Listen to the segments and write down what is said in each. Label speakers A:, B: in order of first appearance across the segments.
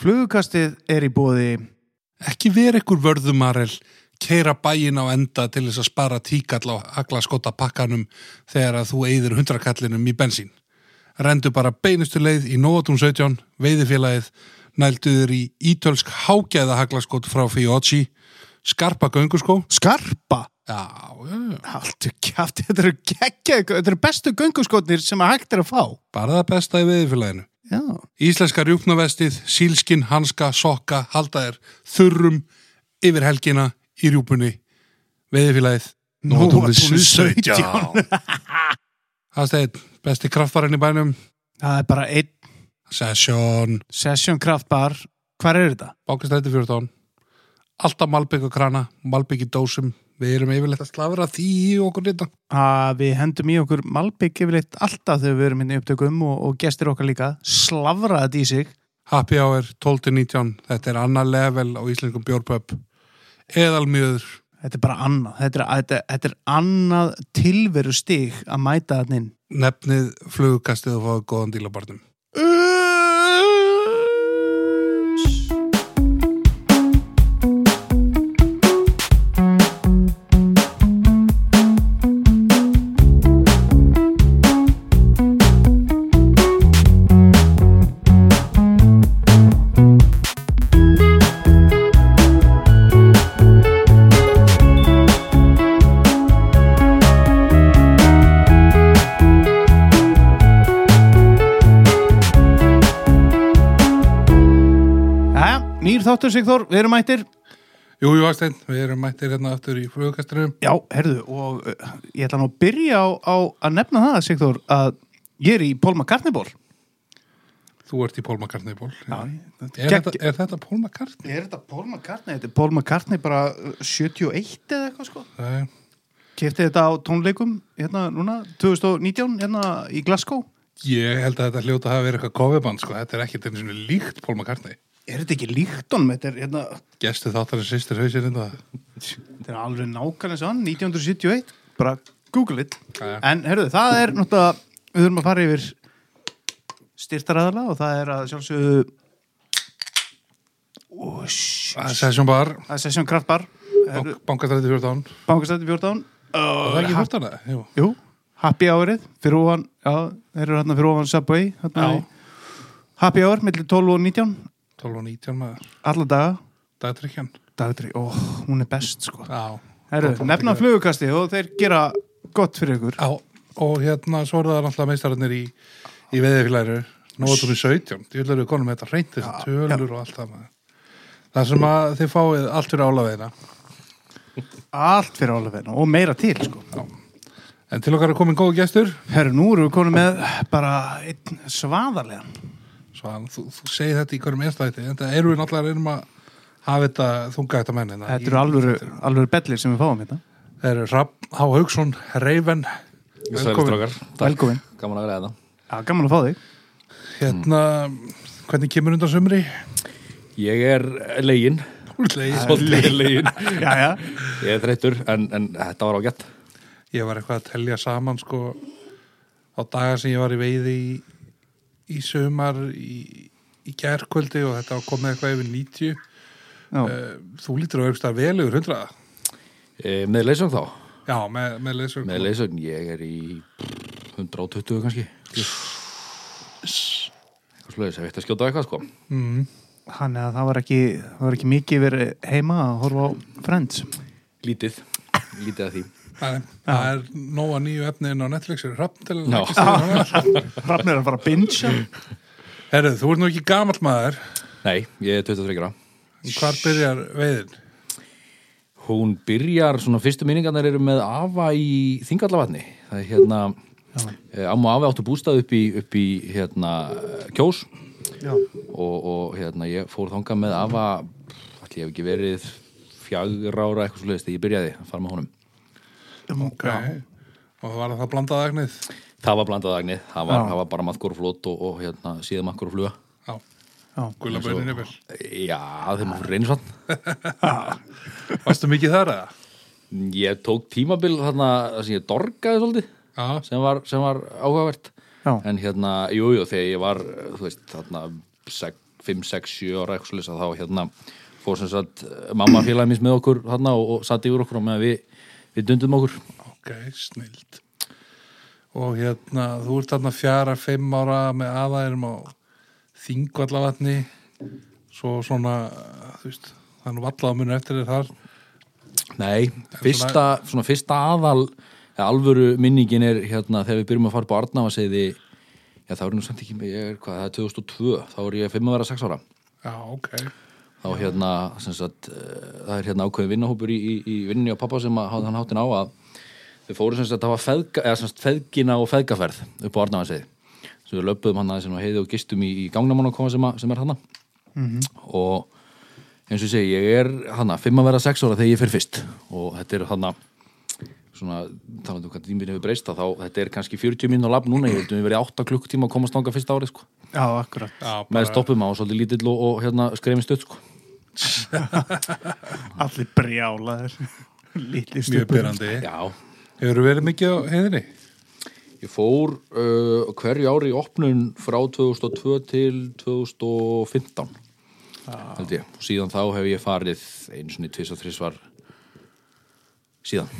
A: Flugukastið er í bóði
B: Ekki verið ykkur um, vörðumarel keira bæin á enda til þess að spara tíkall á agla skota pakkanum þegar að þú eyðir hundrakallinum í bensín. Rendu bara beinustu leið í Nóatún 17, veiðifélagið, nælduður í ítölsk hágæða haglaskot frá Fiocchi, skarpa gönguskó,
A: Skarpa.
B: já, já, já,
A: Haldur kjátt, þetta eru geggja, þetta eru bestu gönguskotnir sem að hægt er að fá.
B: bara það besta í veiðifélaginu.
A: Já.
B: Íslenska rjúpnavestið, sílskin, hanska, sokka, haldaðir, þurrum, yfir helgina, í rjúpunni, veiðifélagið, Nóatún 17. Hafsteinn, besti kraftbarinn í bænum,
A: Það er bara einn
B: Session,
A: session kraftbar. Hvar er þetta?
B: Bákastræti 14, alltaf malbygg og krana, malbygg í dósum, við erum yfirleitt að slafra því í okkur hérna. þetta.
A: að Ah, við hendum í okkur malbygg yfirleitt alltaf þegar við erum inn í upptökum og, og gestir okkar líka, slavra þetta í sig
B: Happy Hour 12-19, þetta er annar level á íslenskum bjórpöpp, eðalmjöður,
A: þetta er bara annað, þetta er, þetta, þetta er annað tilveru stig að mæta þann inn
B: nefnið flugkastið og fáið góðan díl á barnum.
A: Uh. Jæja, nýr þáttur Sigþór, við erum mættir
B: Jú, jú, Hafsteinn, við erum mættir hérna aftur í flugkastinu.
A: Já, herðu, og uh, ég ætla nú að byrja á, á að nefna það Sigþór að ég er í Pólma Karniból
B: Þú ert í Pólma Karni í ból.
A: er
B: Er þetta, er þetta Pólma Karni?
A: Er þetta Pólma Karni? Þetta er Pólma Karni bara uh, 71 eða eitthvað sko
B: Nei.
A: Kefti þetta á tónleikum hérna núna, 2019 hérna í Glasgow.
B: Ég held að þetta hljóta hafa verið eitthvað kofiband, sko. Þetta er ekkert einu svona líkt Paul McCartney.
A: Er þetta ekki líkt honum? Þetta er, hérna,
B: Gestu þáttarinn sýstir hausir enda.
A: þetta er alveg nákvæmlega svo hann, 1971. Bara google it.
B: Já, já.
A: En herruðu, það er náttúrulega, við þurfum að fara yfir styrtaræðala og það er að sjálfsögðu... Ó, shh,
B: Session Bar,
A: Það er Sessjón Kraftbar,
B: bankastræti 14.
A: bankastætti 14.
B: Það er ekki 14, eða? Jú.
A: Jú, happy hourið fyrir ofan, já, þeir eru hérna fyrir ofan Subway, hérna
B: Já.
A: í happy hour millir 12 og 19,
B: 12 og 19 maður.
A: alla daga,
B: Dagtrykkjan.
A: dagdri, ó, hún er best sko.
B: Já.
A: Herru, nefna flugukasti og þeir gera gott fyrir ykkur.
B: Já, og hérna svo eru það náttúrulega meistararnir í, í veðiflæru. Nóðurum 17. Ég vil eru konum með þetta reynt þessu tölur og allt það maður. Það sem að þið fáið allt fyrir álaveina.
A: Allt fyrir álefinna og meira til sko.
B: En til okkar er komin góð gestur.
A: Herru, nú erum við konum með bara einn svaðarlegan.
B: Svan, þú, þú segir þetta í hverjum einstætti en það eru við náttúrulega að reynum að hafa þetta hérna þunga þetta mennin
A: Þetta eru alvöru, alvöru bellir sem við fáum hérna.
B: Það eru Rapp H. Haugsson, Reyven
C: Sælir strókar, takk,
A: Velkomin.
C: gaman að vera þetta
A: Já, gaman að fá þig.
B: hérna, hvernig kemur undan sömri?
C: Ég er legin, svolítið legin
A: Já, já.
C: Ég er þreyttur, en, en þetta var ágætt
B: Ég var eitthvað að telja saman sko á daga sem ég var í veiði í, í sömar í, í gærkvöldi og þetta var komið eitthvað yfir 90
A: Já.
B: Eh, Þú lítur á aukstar vel yfir 100
C: e, Með leysögn þá,
B: Já, með, með leysum
C: með leysögn Ég er í 120 kannski Eitthvað slöðis, ég veit að skjóta á eitthvað sko
A: Þannig að það var ekki, það var ekki mikið verið heima að horfa á Friends.
C: Lítið, lítið að því
B: Nei, Það er nóga nýju efni inn á Netflix er Rapp til
C: Já.
A: Rafnir er að fara að bingja.
B: Herru, þú ert nú ekki gamall maður.
C: Nei, ég er 23 ára
B: En Hvar byrjar veiðin?
C: Hún byrjar, svona fyrstu minningarnar eru með afa í Þingallavatni. Það er hérna, eh, amma og afi áttu bústað upp í, upp í hérna, kjós
A: Já.
C: og, og hérna, ég fór þangað með afa, allir ég hef ekki verið fjagra ára eitthvað svo leiðist þegar ég byrjaði að fara með honum.
A: Um, Okay.
B: Og var það blandað agnið?
C: Það var blandað agnið, það var,
A: Já.
C: það var bara maðkur og flót og, og hérna, síðan maðkur og fluga.
B: Já,
A: Já.
B: gula bönnin yfir.
C: Já, þeim var reynisvann.
B: Varstu mikið þar eða?
C: Ég tók tímabil þarna, þar sem ég dorgaði svolítið,
B: Já,
C: sem var, sem var áhugavert.
A: Já.
C: en hérna, jújú, jú, þegar ég var þú veist, þarna sek- 5, 6, 7 ára eitthvað slis að þá hérna fór sem sagt eh, mamma félagið mis með okkur þarna og, og satt yfir okkur og með við, við dundum okkur
B: Ok, snild. Og hérna, þú ert þarna fjara, fimm ára með aðæðinum á þingvallavatni, svo svona, þú veist, það er nú valla á munu eftir þér þar.
C: Nei, fyrsta, svona fyrsta aðal eða alvöru minningin er hérna þegar við byrjum að fara upp á Arnafaseiði já það er nú samt ekki með ég er hvað, það er 2002, þá er ég 5 að vera 6 ára
B: Já, ok.
C: þá hérna, sem sagt eh, það er hérna ákveðin vinnahópur í, í, í vinninni á pappa sem að, hafði hann hátinn á að við fórum sem sagt, það var feðga, eða, sem sagt, feðgina og feðgaferð upp á Arnafaseiði sem við löpuðum hann aðeins inn á heiði og gistum í, í gangnamann sem, að- sem er hann og eins og ég segi, ég er hana, fimm að vera sex ára þegar ég fer fyrst og þetta er hana svona, talandi um hvað tíminn hefur breyst að þá, þetta er kannski 40 minn og lab núna, ég heldum við verið 8 klukkutíma að komast þangað fyrsta árið sko,
A: Já, akkurat.
B: Já, bara,
C: með stoppum á og svolítið lítill og, og hérna skrefin stutt sko
A: Allir brjálaðir. Lítið
B: mjög
A: stupur.
B: byrjandi.
C: Já,
B: Hefur verið mikið á heiðinni?
C: ég fór uh, hverju ári í opnun frá 2002 til 2015 held ég, og síðan þá hef ég farið einu svona í tvis og þrisvar síðan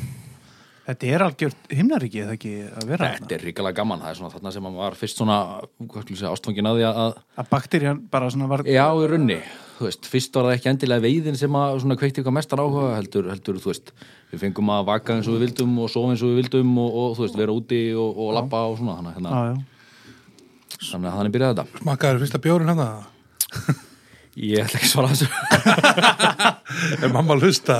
A: Þetta er algjört himnaríkið það ekki að vera
C: Þetta er ríkala gaman, það er svona þarna sem maður var fyrst svona, hvað skulle ég segja, ástfangin að því að, að
A: Að bakterjan bara svona var...
C: Já, í runni, þú veist, fyrst var það ekki endilega veiðin sem að svona kveikti eitthvað mestar áhuga heldur, heldur, þú veist, við fengum að vaka eins og við vildum og sofa eins og við vildum og, og þú veist, vera úti og, og labba og svona
A: Já,
C: þannig, hérna,
A: já.
C: þannig að þannig byrjaði þetta
B: Smakkaður fyrsta hérna. bjórin hann það?
C: Ég ætla ekki að svara þessu,
B: Er mamma að hlusta?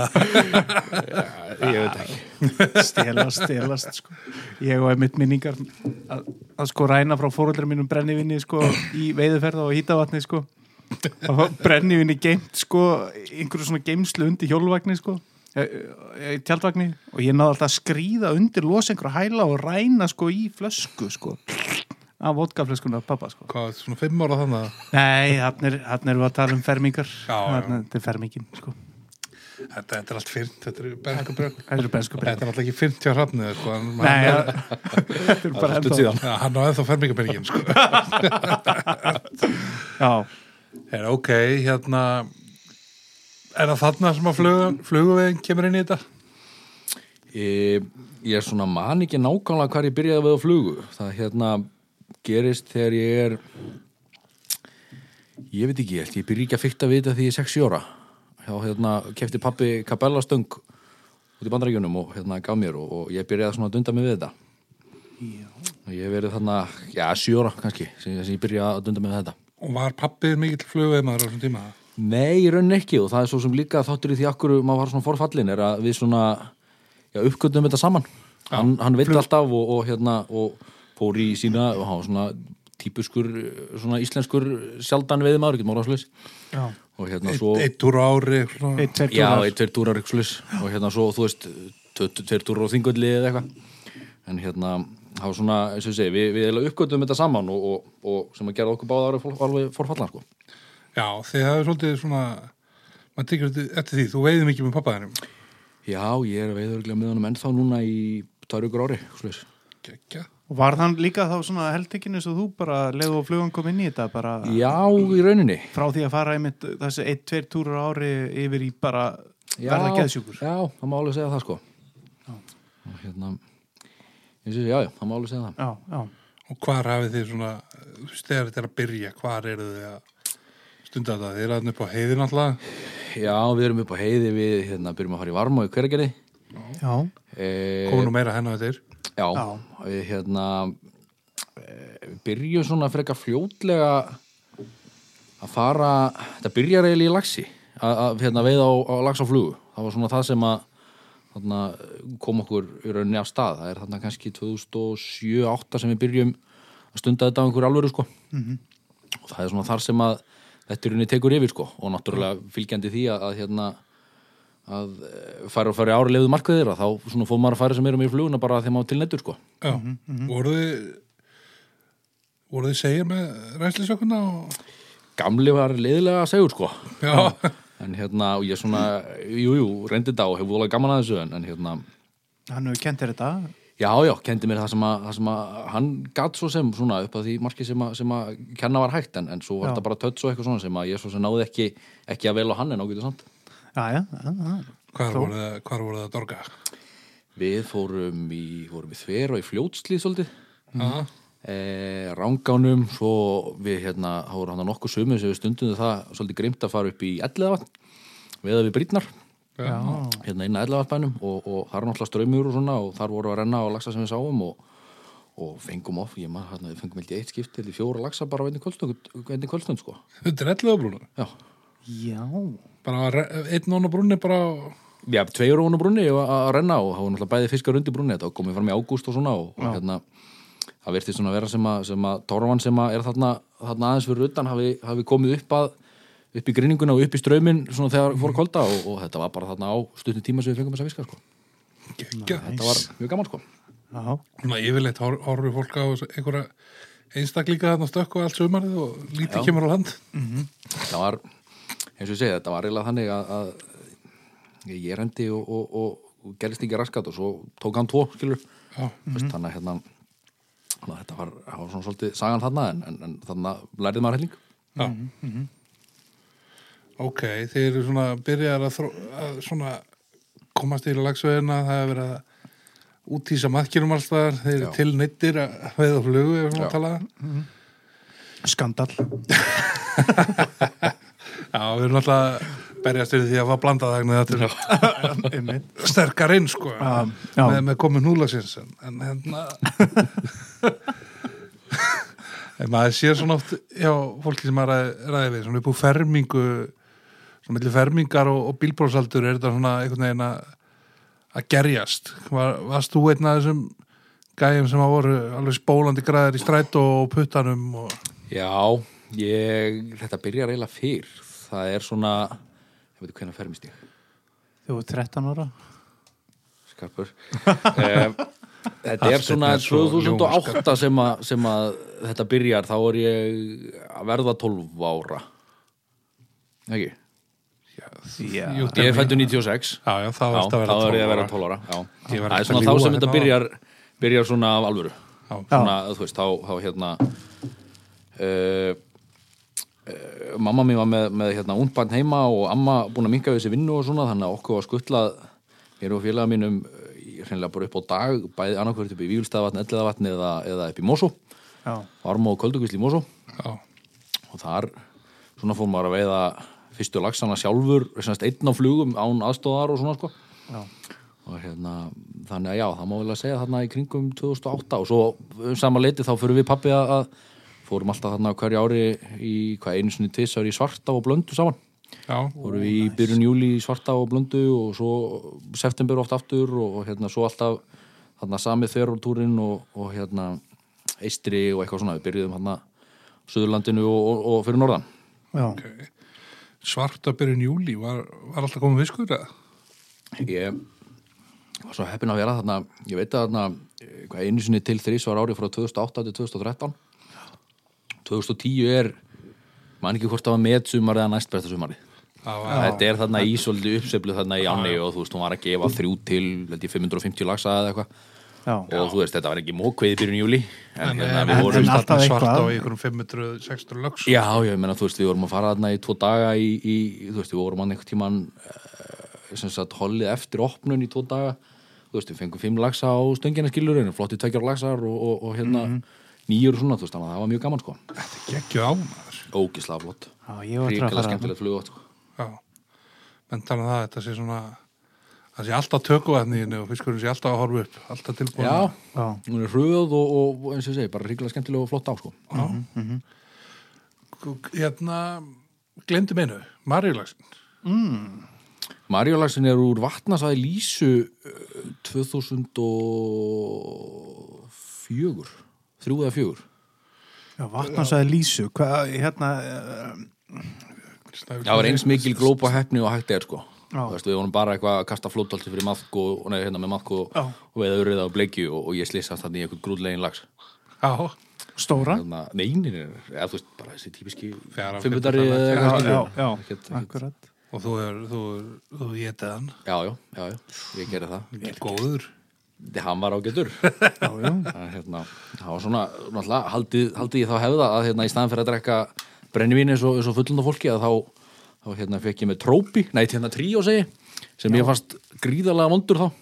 C: ég veit ekki
A: stelast, stelast sko. ég og einmitt minningar að, að sko ræna frá fóröldra mínum brennivinni sko, í veiðuferða og hýtavatni sko. og brennivinni geimt sko, einhverju svona geimslu undir hjólvagni sko, eh, eh, tjaldvagni og ég náði alltaf að skrýða undir losa einhverju hæla og ræna sko í flösku sko af vodkaflöskunni af pappa sko
B: Hvað, svona fimm ára þannig?
A: Nei, hann er, hann er við að tala um fermingar
B: Já, já.
A: Þarna- þetta er fermingin sko
B: Þetta, þetta er allt fyrnt, þetta er bergabjörn.
A: Þetta er bensku
B: Þetta er
A: breyð
B: alltaf ekki fyrnt hjá hrafnið, sko. en
A: Nei,
B: hann-
A: ja, þetta er bara
C: Stutt
A: ennþá
C: síðan
B: Já, hann á eða þá fermingapenningin, sko.
A: Já,
B: Er ok, hérna Er það þarna sem að flugan, fluguvegin kemur inn í þetta?
C: Ég, ég er svona man ekki nákvæmlega hvar ég byrjaði við að flugu. Það hérna gerist þegar ég er, ég veit ekki, ég held ég byrja ekki að fykta við þetta því ég er 6 ára. Þá hérna kefti pappi kapellastöng út í bandarækjunum og hérna gaf mér og, og ég byrjaði svona að dunda mig við þetta. Og ég hef verið þarna, já, 7 ára kannski, sem, sem ég byrjaði að dunda mig við þetta.
B: Og var pappið mikill flugvegimaður á þessum tíma?
C: Nei, í raunin ekki og það er svo sem líka þáttur í því akkur maður var svona forfallin er að við svona já, uppgöndum þetta saman hann, hann veit alltaf og, og hérna og fór í sína og hann var svona típuskur, svona íslenskur sjaldan veiðmaður, ekki mála slis
A: já
C: og hérna svo
B: Eitt túr á ári svona.
A: Eitt, tveir,
C: já,
A: túrar.
C: eitt, tveir túrar, ekki slis og hérna svo, þú veist, tve- tveir túrar á þingulli eða eitthvað en hérna, það var svona, eins og ég segi við, við eiginlega uppgöndum þetta saman og, og, og sem að gera okkur báða árið alveg forfallan sko.
B: Já, þið hafið svolítið svona maður tekur þetta eftir því, þú veiðið mikið með pappaðinum
C: Já, ég er að veiðurglega með honum ennþá núna í tvær ykkur ári, slúiðis.
B: Gekja
A: Og var hann líka þá svona heldtekinn eins og þú bara leðu og flugan kom inn í þetta bara
C: Já, í rauninni.
A: frá því að fara einmitt þessi 1-2 túrar á ári yfir í bara
C: Já,
A: verða geðsjúkur
C: Já, það má alveg segja það, sko. Og hérna, ég sé, já, já, það má alveg segja það.
A: Já, já,
B: Og hvar hafið þið svona, þú veist, þegar þetta er að byrja hvar eru þið að stunda þetta? Þið eru aðna upp á heiðin alltaf
C: Já, við erum upp á heiði, við hérna byrjum að fara í varma og í hverjargerði.
A: já,
C: E,
B: komum nú meira hennar þetta er
C: já,
A: Já.
C: við hérna, e, við byrjum svona frekar fljótlega að fara, þetta byrjar eiginlega í laxi, að að, hérna, veiða á, á lax á flugu. Það var svona það sem að þarna, kom okkur í rauninni af stað. Það er þarna kannski 2007-2008 sem við byrjum að stunda þetta á einhverju alvöru sko. Og það er svona þar sem að þetta í rauninni tekur yfir sko og náttúrulega fylgjandi því að, að hérna að eh, fara og fara í ári lefðu markaðir að þá svona fóð maður að fara sem erum í fluguna bara þegar maður tilnættur sko.
B: Já, voruð Mhm, þið voruð þið segir með ræslisökunna og...
C: Gamli var leiðilega að segja sko.
B: Já,
C: En hérna, og ég svona, jú, jú, reyndi þetta og hefur volað gaman að þessu en, en hérna,
A: hann hefur kentir þetta
C: Já, Já, já, kendi mér það sem að, það sem að hann gatt svo sem svona upp að því marki sem að, sem að kenna var hægt en, en svo var
A: Já.
C: þetta bara tötts og eitthvað svona sem að ég svo sem náði ekki, ekki að vel á hann en ágætu samt.
A: já, já, já, já.
B: Hvar voru, það, hvar voru það að dorga?
C: Við fórum í, fórum í þver og í fljótslið svolítið,
B: Mm.
C: e, rangánum, svo við hérna, þá voru hann að nokkuð sumið sem við stundum það svolítið grimt að fara upp í elliðavatn, veða við brýtnar.
A: já.
C: hérna inn að Ellavarpænum og, og þar er náttúrulega ströymur og svona og þar voru að renna á laxa sem við sáum og, og fengum of, ég maður hérna, við fengum held í eitt skipt held í fjóra laxa bara á einni kvöldstund, einni kvöldstund sko.
B: Þetta er elluða brúnar.
C: Já,
A: Já,
B: Bara re- einn óna brúnni bara á-
C: já tveir óna brunni að að renna og það var náttúrulega bæði fiskar undir brunni þetta var komið fram í ágúst og svona og, og hérna það virtist svona vera sem að, sem að torfan sem að er þarna, þarna aðeins fyrir utan hafi, hafi komið upp að upp í grinninguna og upp í ströyminn svona þegar fór að kolda og, og þetta var bara þarna á stundin tíma sem við fengum þessa fiska sko.
B: geggjað.
C: þetta var mjög gaman sko.
A: já,
B: Svona yfirleitt hor- horfir fólk á einhverja einstaklinga þarna stökk og allt sömarið og lítið
C: Já.
B: kemur á land.
C: þetta var, eins og ég segi, þetta var eiginlega þannig að, að ég- ég rendi og, og, og, og gerist ekki raskat og svo tók hann tvo, skilur
B: Já.
C: mm -hmm. þannig að hérna þannig að þetta var, það var svona svolítið sagan þarna en, en, en þannig að lærið maður helling
B: Já.
C: Mhm,
B: Ok, þeir eru svona byrjar að, þró, að svona komast í lagsveðina, það hefur verið að útísa maðkjörum alls staðar, þeir eru
C: Já.
B: tilneittir að veiða flugu ef svona
C: Já.
B: talaða.
A: skandal
B: Já, við erum alltaf að berjast yfir því að fá blandað þegna þetta
A: einmitt.
B: er sterkar inn sko
A: Já, já.
B: með, með komið núlagsins en, en hérna en maður sér svona oft já, fólki sem maður ræði, ræði við svona upp úr fermingu svona milli fermingar og, og bílbróðsaldur er þetta svona einhvern veginn að að gerjast Var, varst þú einn af þessum gæjum sem að voru alveg spólandi græðar í strætó og puttanum og
C: Já, ég, þetta byrjar eiginlega fyrr það er svona, ég veit ekki hvernig fermist ég
A: Þú er 13 ára
C: skarpur um, þetta er svona
B: er svo
C: 2008 sem að, sem að þetta byrjar þá er ég að verða 12 ára ekki
A: Já,
B: Jú,
C: ég er fættu 96
B: já, já, það varst að vera
C: þá er
B: 12
C: ég að vera
B: ára.
C: 12 ára já.
B: Ég var
C: það
B: ekki
C: er svona
B: að
C: þá
B: ljúga
C: sem þetta
B: hérna.
C: byrjar byrjar svona af alvöru
B: Já.
C: svona, þú veist, þá, þá hérna uh, uh, mamma mín var með, með hérna undbarn heima og amma búin að minka við þessi vinnu og svona þannig að okkur var skuttlað mér og félaga mínum eh, hreinlega bara upp á dag bæði annarkvært upp í Vílstaðavatn, Elliðavatn eða, eða upp í Mosó
A: já,
C: varma og köldugvisli í Mosó
B: Já.
C: og þar svona fór maður að veiða fyrstu lagsana sjálfur semast einn á flugum án aðstóðar og svona sko
A: já,
C: og hérna, þannig að já, það má vel að segja þarna í kringum 2008 og svo um sama leiti þá fyrir við pappi að að fórum alltaf þarna á hverju ári í hvað einu sinni tvis ári í svarta og blöndu saman
B: Já.
C: fórum við í byrjun júli í svarta og blöndu og svo september oft aftur og hérna svo alltaf þarna sami þverjúrtúrin og, og hérna eistri og eitthvað svona, við byrjuðum þarna á Suðurlandinu og, og, og fyrir norðan
A: já.
B: svarta byrjun júli var, var alltaf komið fiskur eða?
C: ég var svo heppin að vera þarna ég veit að þarna eh, hvað einu sinni til þrís var árið frá 2008 til 2013 2010 er mann ekki hvort það var með sumar eða næst besta sumari
B: Það var
C: þetta er þarna í svolítið uppseflu þarna í áni og þú veist, hún var að gefa þrjú til held ég, 550 lagsa eða eitthvað
A: já.
C: og þú veist, þetta var ekki mókveið byrjun júli en hérna
A: en-
C: við vorum
A: en alltaf
B: þarna svarta
A: eitthvað.
B: á einhverjum 500-600 lögs
C: Já, já, ég meina, þú veist, við vorum að fara þarna í tvo daga í, í þú veist, við vorum hann einhvern tíman sem sagt, hollið eftir opnun í tvo daga, þú veist, við fengum fimm lagsa á stöngina skilurinn, flotti tvekjar lagsar og, og, og hérna
A: Mhm.
C: nýjur og svona, þú veist, þannig að það var mjög gaman, sko
B: geggju á maður
C: ógislega flott,
A: já ég var
C: ríkilega
A: tráð
C: skemmtilegt flugvart sko.
B: Já. menn tala um það, þetta sé svona það sé alltaf tökuvæðniðinu og fiskurinn sé alltaf að horfa upp, alltaf tilbúin
C: Já,
A: Já.
C: hún er hröð og, og eins og ég segi, bara ríkilega skemmtileg og flott á, sko
B: Já. K- hérna glemdi meinu, Marjulagsin
C: Marjólagsin er úr vatnasæði Lísu eh, 2004 þrjú eða fjögur
A: Já, vatnansæði Lísu Hvað, hérna eh,
C: Já, það var eins mikil glópa hefni og hægt er sko
A: Já.
C: Þú veist, Við vorum bara eitthvað að kasta flótolti fyrir maðk og, nei, hérna með maðk og,
A: Já.
C: og veiða urriða á bleikju og, og ég slissast þannig í einhvern grúðlegin lags
B: Já,
A: stóra
C: Þannig að neynin er, eða þú veist, bara þessi típiski
B: Fjara,
C: fimmudari eða
B: fimmtudari,
C: eitthvað
A: Já,
C: skilur.
A: já, já,
C: Ekkert- ekkert-
A: akkurat
B: og þú er, þú er, þú getið hann
C: Já, já, já, já, ég gerði það
B: ekki góður
C: Þið, hann var ágætur
A: Já, já.
C: Það, hérna, það var svona, náttúrulega, haldið, haldið ég þá hefða að hérna, í staðan fyrir að drekka brennivín eins og, eins og fullunda fólki að þá, þá hérna, fekk ég með trópi, nei, hérna tríó segi, sem ég fannst gríðarlega vondur þá.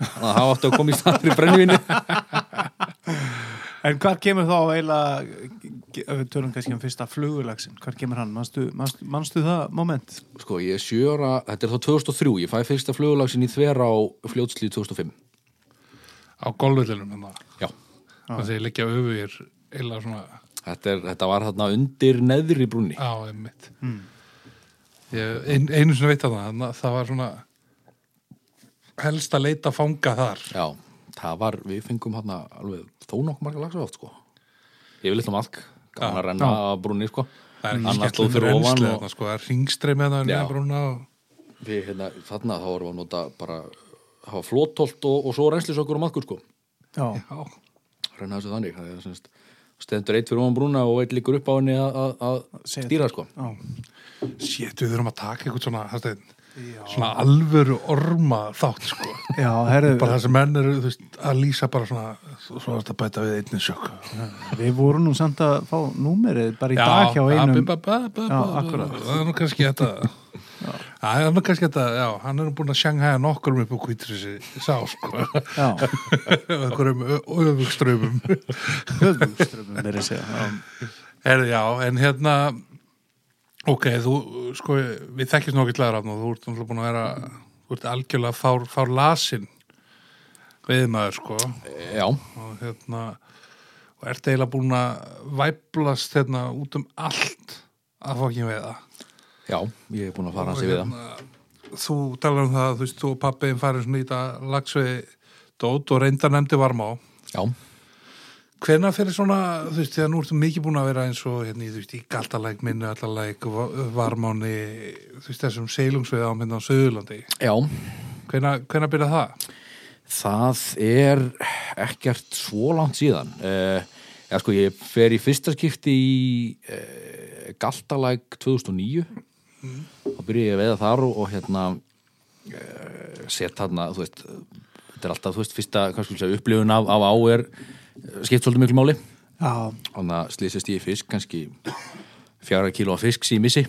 C: Þannig að það átti að koma í staðan fyrir brennivínu.
A: En hvar kemur þá eiginlega, ge- ef við tölum kannski um fyrsta flugulagsin, hvar kemur hann? Manstu, manstu, manstu það moment?
C: Sko, ég er sjöra, þetta er þá 2003, ég fæ fyrsta flugulagsin í þver á fljótslíð 2005.
B: á golvöldinum hann það.
C: Já,
B: Það segir leggja öfugir eila svona
C: þetta, er, þetta var þarna undir neðri brúnni.
B: á einmitt. Mm. Ég, ein, einu sinni veit að það, þannig að það var svona helst að leita fanga þar.
C: Já, það var, við fengum hérna alveg þó nokkuð marga lagsa oft, sko. Ég vil eitthvað malk, gaman að renna að brúnni, sko.
B: Það er ekki
C: Annars
B: skemmtileg
C: stóð fyrir ofan
B: reynsli
C: og-
B: þarna, sko, það er ringstreymi þarna
C: Já.
B: neðan brúna og...
C: Við, hérna, þarna þá vorum við að nota bara, hafa flótholt og, og svo reynslisökur og malkur, sko.
A: Já.
B: Já,
C: Renna þessu þannig, það er semst, stendur eitt fyrir ofan brúna og eitt liggur upp á henni að- að að
A: Segja
C: stýra, sko.
A: Já.
B: Sétt, við þurfum að taka eitthvað svona, það stein, svona alvöru orma þátt, sko.
A: Já, herðu,
B: bara það sem menn eru, þú veist, að lýsa bara svona, svo að bæta við einnig sjökk.
A: við vorum nú samt að fá númerið bara í dag hjá einum.
B: ba, ba, ba, ba,
A: Já,
B: ba,
A: akkúrat.
B: Það er nú kannski þetta, það er nú kannski þetta, já, hann er nú búin að sjanghæja nokkur um upp á kvítri sér, sá, sko.
A: Já,
B: Einhverjum öfugströfum.
A: höfumströmmum verið að segja. Já.
B: Herði, já, en hérna, ok, þú, sko, við þekkjum nokkið lagar af þú ert náttúrulega búin að vera, þú ert algjörlega fár, fár lasin veiðmaður, sko,
C: Já,
B: og hérna, og ert eiginlega búin að væplast hérna út um allt að fókin veiða.
C: já, ég er búin að fara
B: Og
C: hans í við það.
B: Þú talar um það, þú veist, þú og pappiðin farið svona í þetta lagsveiði dót og reyndar nefndi varma á.
C: Já,
B: Hvenna fyrir svona, þú veist, þegar nú ertu mikið búin að vera eins og, hérna, í, þú veist, í galtalæk, minni allalæk, varmáni, þú veist, þessum seilungsveið á mynda á Suðurlandi.
C: já.
B: Hvenna, hvenna byrja það?
C: Það er ekkert svo langt síðan. Uh, já, sko, ég fer í fyrsta skipti í uh, Galtalæk 2009 og byrja ég að veiða þar og, og hérna uh, set þarna, þú veist, þetta er alltaf, þú veist, fyrsta kannski, segja, upplifun af, af á er eh, skipt svolítið miklu máli.
A: Já,
C: Þannig að slýsist ég í fisk, kannski fjara kíló af fisk sem ég missi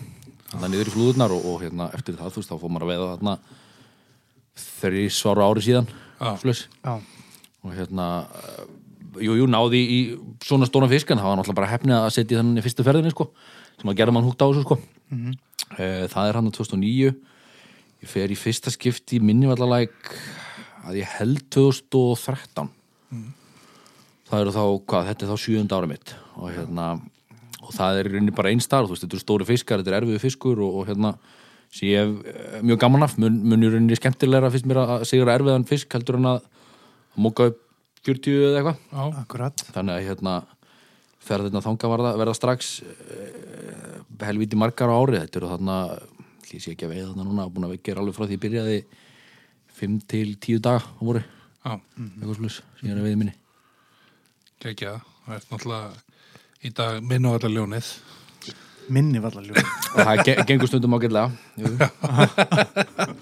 C: þannig niður í flúðurnar og, og hérna eftir það, þú veist, þá fór maður að veiða þarna þrísvar á ári síðan,
B: Já.
C: slags
A: já,
C: og hérna eh, jú, jú, náði í svona stóna fisk en það var náttúrulega bara hefni að setja í þannig fyrstu ferðinni sko, sem að gera mann húgt á þessu sko. Eh, það er hann á 2009 ég fer í fyrsta skipti minnivallalæk að ég held 2013 það eru þá, hvað, þetta er þá sjöunda ára mitt og hérna og það er í rauninni bara einstar, þú veist, þetta eru stóri fiskar þetta er erfiðu fiskur og, og hérna sem ég hef eh, mjög gaman af, mun, mun í rauninni skemmtilegra finnst mér að sigra erfiðan fisk heldur en að móka upp 40 eða eitthvað
B: Já.
A: akkurat.
C: þannig að hérna ferðina þanga verða, verða strax uh, helviti margar á ári þetta eru þarna, lýs ég ekki að veiða þarna núna búin að gera alveg frá því ég byrjaði 5 til 10 daga á voru
B: Já,
C: eitthvað slús, sem ég er að veiði minni
B: ekki það. Það er náttúrulega í dag minna á alla ljónið.
A: Minni var allar ljóð.
C: og það ge- gengur stundum ágætlega jú, jú.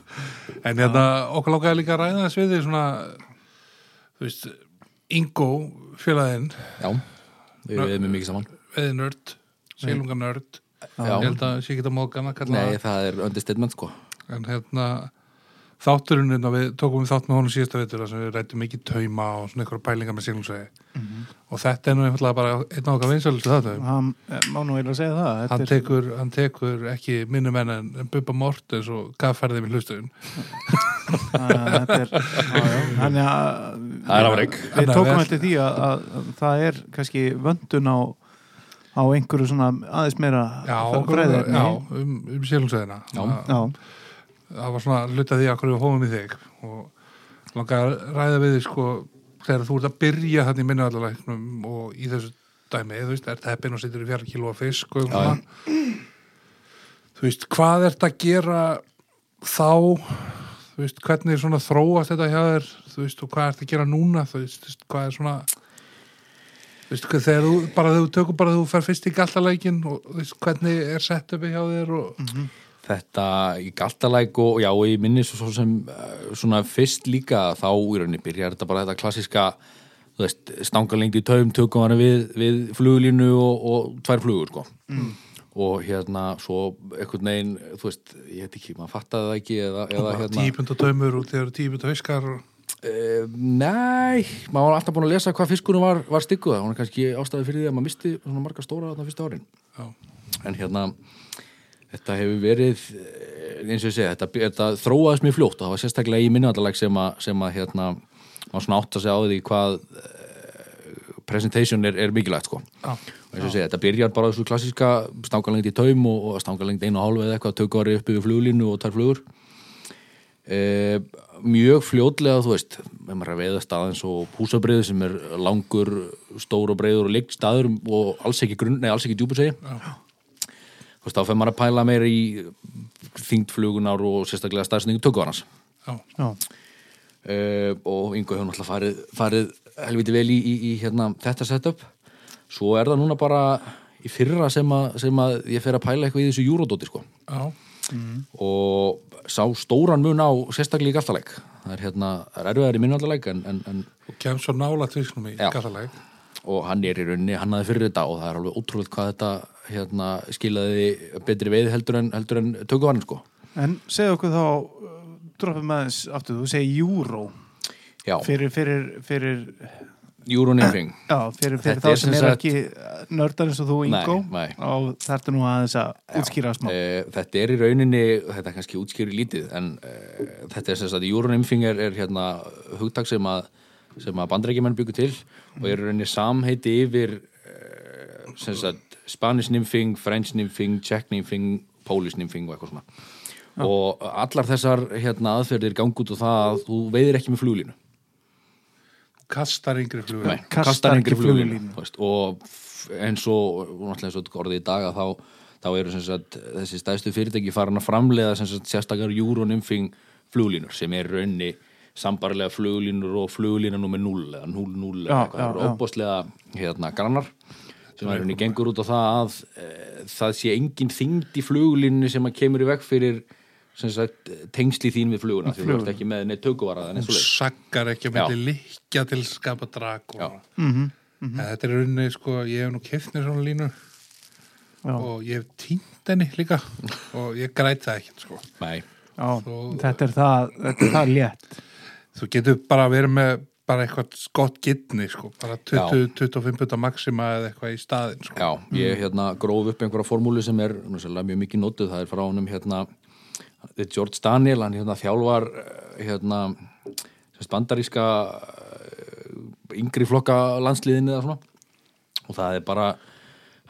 B: En hérna, okkur lákaði líka að ræða þess við því svona, þú veist, Ingo, félaginn,
C: já, við veiðum mjög mikið saman
B: veiðinörd, seilunganörd,
C: Já.
B: ég held að sé ekki að móðgan að kalla
C: nei, það er understatement sko
B: En hérna, þátturinn, hérna, við tókum við þátt með honum síðasta veitur sem við rættum mikið tauma og svona einhverja pælingar með sílungsvegi.
A: Mhm.
B: Og þetta er nú einfallega bara einn af okkar vinsælustu þáttum.
A: Hann eh, má nú eiginlega segja það. þetta
B: Hann
A: er-
B: tekur, hann tekur ekki minnum enn en Bubba Mortens og gaf færðið með hlustuðin.
A: að þetta er já, já, þannig að
C: Það er afrek.
A: við
B: Þannig að
A: tókum
B: við-
A: eftir því að, að, að það er kannski vöndun á á einhverju svona aðeins meira
B: Já,
A: fræðið
B: já, um, um sílungsvegina.
A: já,
B: það var svona hluta því að hverju hófum í þig og langaði að ræða við því sko þegar þú ert að byrja þannig í minnaðalæknum og í þessu dæmi, þú veist, ert heppin og situr í fjara kílóa fisk og
C: Já, já.
B: svona þú veist, hvað ert að gera þá þú veist, hvernig er svona þróast þetta hjá þér þú veist, og hvað ert að gera núna þú veist, þú veist, hvað er svona þú veist, hvað- þegar þú, bara þegar þú tökur bara þegar þú fer fyrst í gallalækin og þú veist, hvernig er setupið hjá þér og
C: Það þetta í galtalæk og já, ég minni svo, svo sem eh, svona fyrst líka þá í rauninni byrjar þetta bara þetta klassiska þú veist, stangalengd í taum tökum hann við, við fluglínu og, og tvær flugur sko og hérna svo einhvern veginn, þú veist, ég veit ekki maður fattaði það ekki eða, eða
B: Bara
C: hérna
B: típunda dömur og þegar típunda hauskar og...
C: Uh, nei, maður var alltaf búin að lesa hvað fiskunum var, var stygguða, hún er kannski ástæði fyrir því að maður misti svona marga stóra þarna fyrsta árin
B: Já.
C: en hérna þetta hefur verið eh, eins og ég segi, þetta, þetta þróaðist mjög fljótt og það var sérstaklega í minnaðalag sem að, sem að hérna, maður svona átt að segja á því hvað uh, presentation er, er mikilvægt sko
B: Já.
C: og eins og ég segi, þetta byrjar bara á þessu klassíska stangalengd í taum og, og stangalengd einu og hálfu eða eitthvað, tökari upp yfir fluglínu og tar flugur e, mjög fljótlega þú veist, ef maður er að veiða stað eins og húsabriði sem er langur stór og breiður og líkt staður og alls ekki grunn, nei, alls ekki djúpur segi þú veist, þá fer maður að pæla meira í þingdflugunar og sérstaklega staðsningu tökvarans
B: Já.
A: Já,
C: uh, og Ingo hefur náttúrulega farið, farið helviti vel í, í, í hérna, þetta setup svo er það núna bara í fyrra sem að, sem að ég fer að pæla eitthvað í þessu júródóti sko.
B: Já.
C: og sá stóran mun á sérstaklega í galtaleg það er, hérna, það er erfiðar í minnvaldaleg en, en, en,
B: Og kemst svo nála tvisnum í
C: Já.
B: galtaleg.
C: og hann er í rauninni hann aði fyrir þetta og það er alveg ótrúlega hvað þetta hérna, skilaði betri veið heldur en, heldur en tökuvarinn sko.
A: en segðu okkur þá uh, droppum aðeins aftur, þú segir júró
C: já,
A: fyrir, fyrir, fyrir
C: júrónýfing
A: já, fyrir, fyrir
C: Þetta
A: þá
C: er
A: sem
C: sem
A: er
C: sagt-
A: ekki uh, nördar eins og þú
C: Nei,
A: Ingo
C: nei.
A: og það ertu nú aðeins að útskýra smá
C: Eh, þetta er í rauninni, þetta er kannski útskýri lítið, en uh, þetta er sem sagt, júrunimfing er, er hérna hugtak sem að, sem að bandrækjumenn byggur til og er í rauninni samheiti yfir uh, sem sagt Spanish nymphing, French nymphing, Czech nymphing, Polish nymphing og eitthvað svona. Og allar þessar hérna aðferðir gangi út á það að þú veiðir ekki með fluglínu.
B: Kastar yngri flugur.
C: Nei,
A: Kastar
C: kastar
A: ekki
C: engri
A: fluglínu.
C: fluglínu þú veist, og f- eins og náttúrulega eins og þetta er orðið í dag að þá, þá eru sem sagt, þessi stæðstu fyrirtæki farin að framleiða sem sagt, sérstakar júronumfing fluglínur sem er raunni sambarlega fluglínur og fluglína nummer 0 eða 00 eða
A: Já,
C: eitthvað,
A: já,
C: það eru
A: já.
C: óbóðslega hérna grannar sem er henni gengur út á það að e, það sé engin þyngd í fluglínu sem að kemur í veg fyrir sem sagt, tengsli þín við fluguna því þú ert ekki með neitt tökuvaraðan eins
B: Hún
C: og leið
B: saggar ekki að
C: Já.
B: myndi líkja til að skapa drag.
C: Já.
B: Og... En Þetta er í rauninni, sko, ég hef nú kefnir svona línu
A: Já.
B: og ég hef týnt henni líka og ég græti það ekki, sko.
C: Nei,
A: Já,
B: Svo-
A: þetta er það, þetta er það létt
B: Þú getur bara verið með bara eitthvað gott gittni, sko, bara 20-25 puta maxima eða eitthvað í staðin, sko.
C: Já, ég hérna gróf upp einhverja formúlu sem er náttúrulega mjög mikið notuð, það er frá honum hérna, þetta er George Daniel, hann hérna þjálfar eh, hérna sérst bandaríska eh, yngri flokka landsliðinni eða svona og það er bara,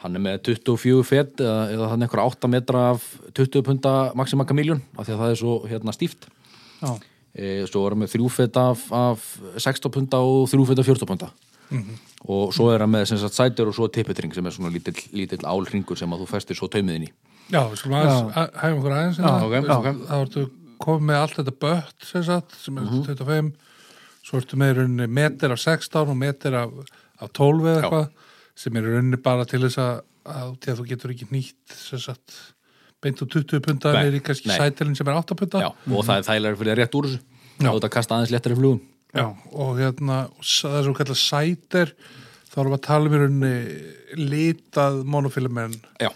C: hann er með 24 fet eða, eða hann einhverja 8 metra af 20 punta maxima kamiljón af því að það er svo hérna stíft
A: Já,
C: e, svo er hann með þrjúfett af, af 16 punta og þrjúfett af 14 punta Mhm. og svo er hann með sem sagt sætur og svo tippetring sem er svona lítill, lítill álringur sem að þú festir svo taumuðin í
B: Já, við skulum aðeins, að- hægum okkur aðeins. hérna.
C: ok,
B: Þú veist,
C: ok.
B: Þá ertu komið með allt þetta bött, sem sagt, sem er
C: Mhm.
B: 25, svo ertu með í rauninni metir af 16 og metir af, af 12 eða
C: Já.
B: eitthvað, sem er í rauninni bara til þess að, að, til að þú getur ekki nýtt, sem sagt, beint og 20 punta
C: Nei,
B: er í kannski
C: nei.
B: sætilin sem er 8 punta.
C: Já, og það er þægilega fyrir það rétt úr þessu
B: Já.
C: þá þetta kasta aðeins léttari flugum
B: Já, og hérna, og s- það er svo kallar sætir, þá erum við að tala um í rauninni litað monofilamenn
C: Já,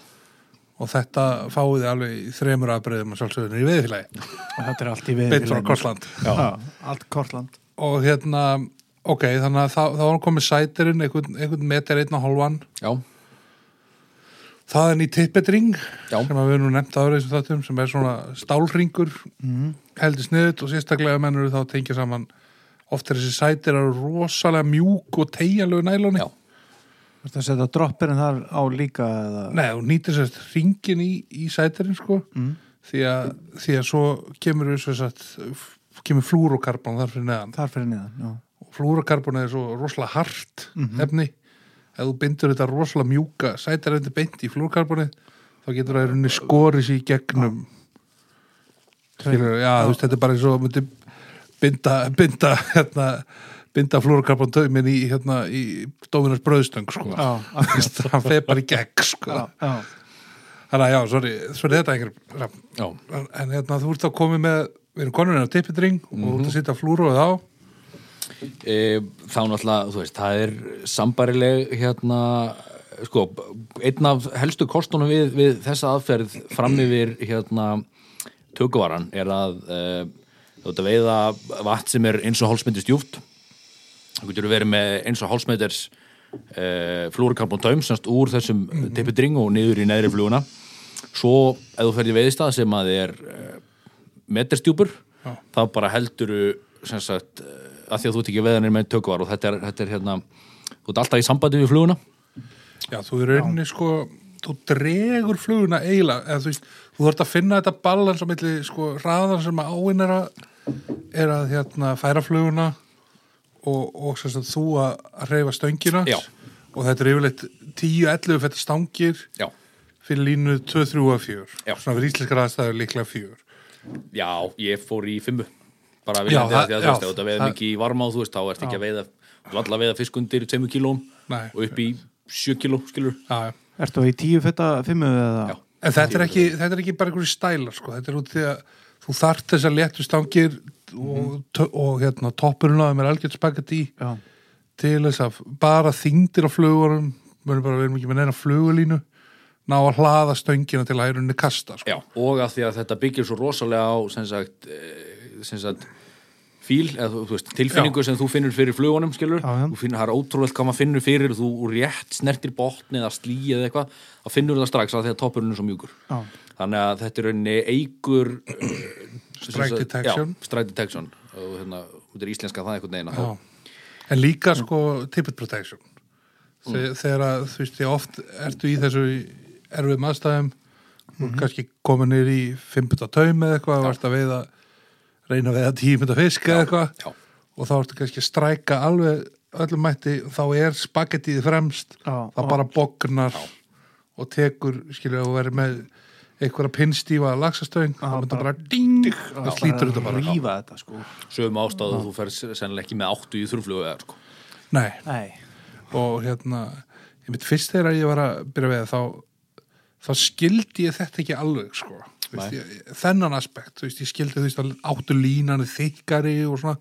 B: og þetta fáiði alveg í þremur afbreyðum að sjálfsögðinu í veðfélagi,
A: og þetta er allt í við
B: beint frá Korsland.
A: Já, allt Kortland
B: Og hérna, ok, þannig að þá, þá var komið sætirinn, einhvern, einhvern meter einn og hálfan,
C: já,
B: það er ný tippetring,
C: Já.
B: sem að við erum nú nefnt ára þessum þáttum, sem er svona stálringur,
C: Mhm.
B: mm. heldur sniðut og sérstaklega ef menn eru þá að tengja saman oft er þessi sætir eru rosalega mjúk og tegjanlegu nælóni.
C: já,
A: Þú ert að setja droppirinn þar á líka eða...
B: Nei, þú nýtir sérst ringin í, í sætirinn sko
C: Mhm.
B: því, að, því að svo kemur sérst, kemur flúrokarbon þar fyrir neðan
A: þar fyrir niðan já.
B: og flúrokarbon er svo rosalega hart efni, ef þú bindur þetta rosalega mjúka sætirindi beint í flúrokarboni þá getur það í rauninni skorið sér í gegnum Skilur, já, þú veist, þetta er bara eins og þú myndir binda, binda hérna, binda flúrokarbon dömin í, hérna, í dóminars bröðstöng sko.
A: Já,
B: Þú veist, hann feð bara í gegn sko.
A: Já, já,
B: Þannig að já, sorry, sorry þetta einhver
C: Já,
B: en en hérna þú ert þá komið með við erum konurinn á tippitring og þú ert að sitja flúruð á
C: e, þá náttúrulega, þú veist, það er sambarileg hérna sko, einn af helstu kostunum við, við þessa aðferð fram yfir hérna tökuvaran er að e, þú ert að veiða vatn sem er eins og hálsmyndist djúft þú getur verið með eins og hálsmynders e, flúrkarbon taum semst úr þessum mm tippidring og niður í neðri fluguna svo ef þú ferð í veiðstað sem að er e, metrstjúpur þá bara helduru sem sagt, að því að þú ert ekki veðanir með tökvar og þetta er, þetta er hérna þú ert alltaf í sambandi við fluguna
B: já, þú er rauninni sko þú dregur fluguna eiginlega eða þú veist, þú þarft að finna þetta balans á milli sko hraðan sem að áinn er að er að hérna færa fluguna og, og sem sagt þú að að reyfa stöngina
C: Já.
B: og þetta er yfirleitt 10-11 fætta stangir
C: já,
B: fyrir línu 2-3 og 4
C: Já.
B: svona fyrir íslenskar aðstæður líklega 4
C: já, ég fór í fimmu bara
B: Já,
C: viljandi
B: það-
C: það, því að
B: já,
C: þú veist, ef þú veið
B: það-
C: mikið í varma og þú veist, þá ert ekki að veiða þú ert alltaf að veiða fisk undir 2 kílóm
B: Nei.
C: og upp í 7 kíló, skilur
B: já, já
A: Ertu í tíu fetta fimmu eða?
C: já,
B: En þetta er ekki, þetta er ekki bara einhverju stælar sko. þetta er út því að þú þarft þess að léttu stangir
C: Mhm.
B: og, tö- og hérna, toppurinn á þeim er algjörn spagetti
A: Já.
B: til þess að bara þyngdir á flugunum mörgum bara að vera mikið með neina flugulínu ná að hlaða stöngina til að hærunni kasta sko.
C: já, og að því að þetta byggir svo rosalega á sem sagt, eh, sem sagt fíl, eða þú- þú veist, tilfinningu sem þú finnur fyrir flugunum, skilur,
A: Já, já.
C: þú finnur, það er ótrúlega hvað maður finnur fyrir, þú rétt snertir botni eða slí eða eitthvað, þá finnur það strax að því að toppurinn er svo mjúkur
A: Já.
C: þannig að þetta er rauninni eigur
B: Strike detection.
C: já, strike detection og hérna, þetta er íslenska það einhvern veginn að þá-
B: Já. En líka sko tippet protection
C: Mm.
B: Þe, þegar að þú veist ég oft ertu í þessu erfið maðstæðum
C: Mhm.
B: og kannski komin niður í 5. taum eða eitthvað, varst að veiða reyna að veiða 10. fisk eða eitthvað
C: já.
B: og þá ertu kannski að stræka alveg öllum mætti, þá er spagettiði fremst,
A: Já,
B: það
A: og-
B: bara bognar og tekur skilja og verður með einhverja pinnstífa lagsastöng, þá mynda bara ding, það slítur þetta bara
A: Rífa þetta sko.
C: sögum ástæðu að þú fer sennilega ekki með áttu í þurrflugu eða sko
B: Nei,
A: Nei.
B: og hérna ég mitt fyrst þegar ég var að byrja við þá, þá skildi ég þetta ekki alveg sko Þú veist, ég, þennan aspekt, þú veist, ég skildi þú veist að áttu línan er þykkari og svona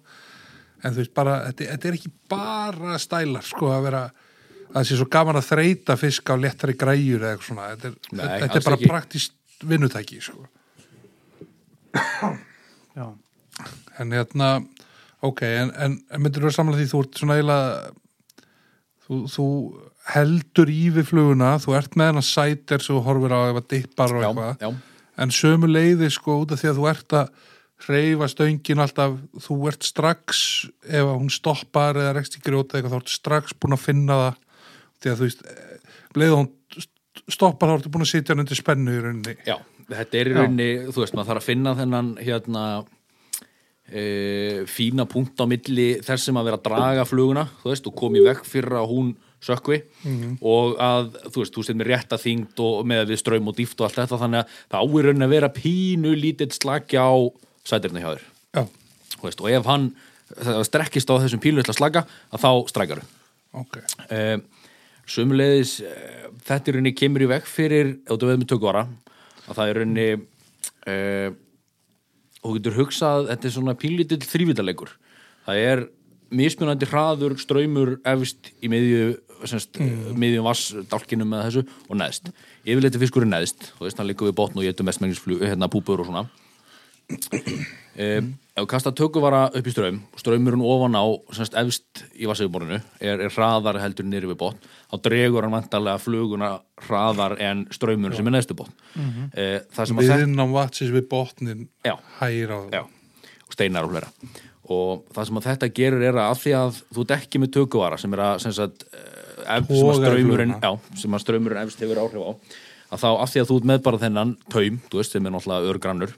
B: en þú veist bara, þetta, þetta er ekki bara stælar sko að vera að það sé svo gaman að þreita fisk á léttari græjur eða eitthvað svona, þetta er,
C: Nei,
B: þetta
C: alls
B: er bara
C: ekki.
B: praktist vinnutæki sko
A: Já.
B: en hérna, ok en, en, en myndir þú að samla því þú ert svona eiginlega þú, þú heldur í við fluguna þú ert með hennar sætir sem þú horfir á eða dippar og
C: Já,
B: eitthvað
C: já.
B: en sömu leiði sko út af því að þú ert að hreyfa stöngin alltaf þú ert strax ef að hún stoppar eða rekst í grjóta eitthvað þá ert strax búin að finna það því að þú veist, leiði hún st- stoppar þá ertu búin að sitja hann undir spennu í rauninni
C: Já, þetta er í rauninni, þú veist, maður þarf að finna þennan hérna e, fína punkt á milli þess sem að vera að draga fluguna, þú veist, og komi vekk fyrir að hún sökvi og að, þú veist, þú sett með rétta þyngd og með við ströym og dýft og allt þetta þannig að það áir rauninni að vera pínu lítill slagja á sætirni hjá þér
B: Já,
C: þú veist, og ef hann það strekkist á þessum pílu ætla að slaga, að þá strækaru
B: ok
C: uh, sömulegis uh, þetta í rauninni kemur í veg fyrir ef þú veður með tökvara að það er rauninni uh, þú getur hugsað þetta er svona pínlítill þrývitalegur það er mismunandi hraður ströymur efst í miðju semst, mm. miðjum vassdálkinum með þessu og neðst, yfirleitt er fiskurinn neðst þú veist, hann liggur við botn og getur mest mengis flug, hérna púpur og svona Um, ef þú kastar tökuvara upp í ströym og ströymurinn ofan á semst, efst í vassauðborinu er, er hraðar heldur niður við botn þá dregur hann vantarlega fluguna hraðar en ströymurinn sem er neðstu botn mm það sem að þetta
B: viðinn á vatsins við botnin
C: Já.
B: hægir á það
C: já, og steinar og hlera og það sem að þetta gerir er að af því að þú ert ekki með tökuvara sem er að sem, sagt, eh, ef, sem að
B: Togar
C: ströymurinn
B: fluguna.
C: já, sem að ströymurinn efst hefur áhrif á að þá af því að þú ert með bara þennan taum, þú veist, sem er náttúrulega örgrannur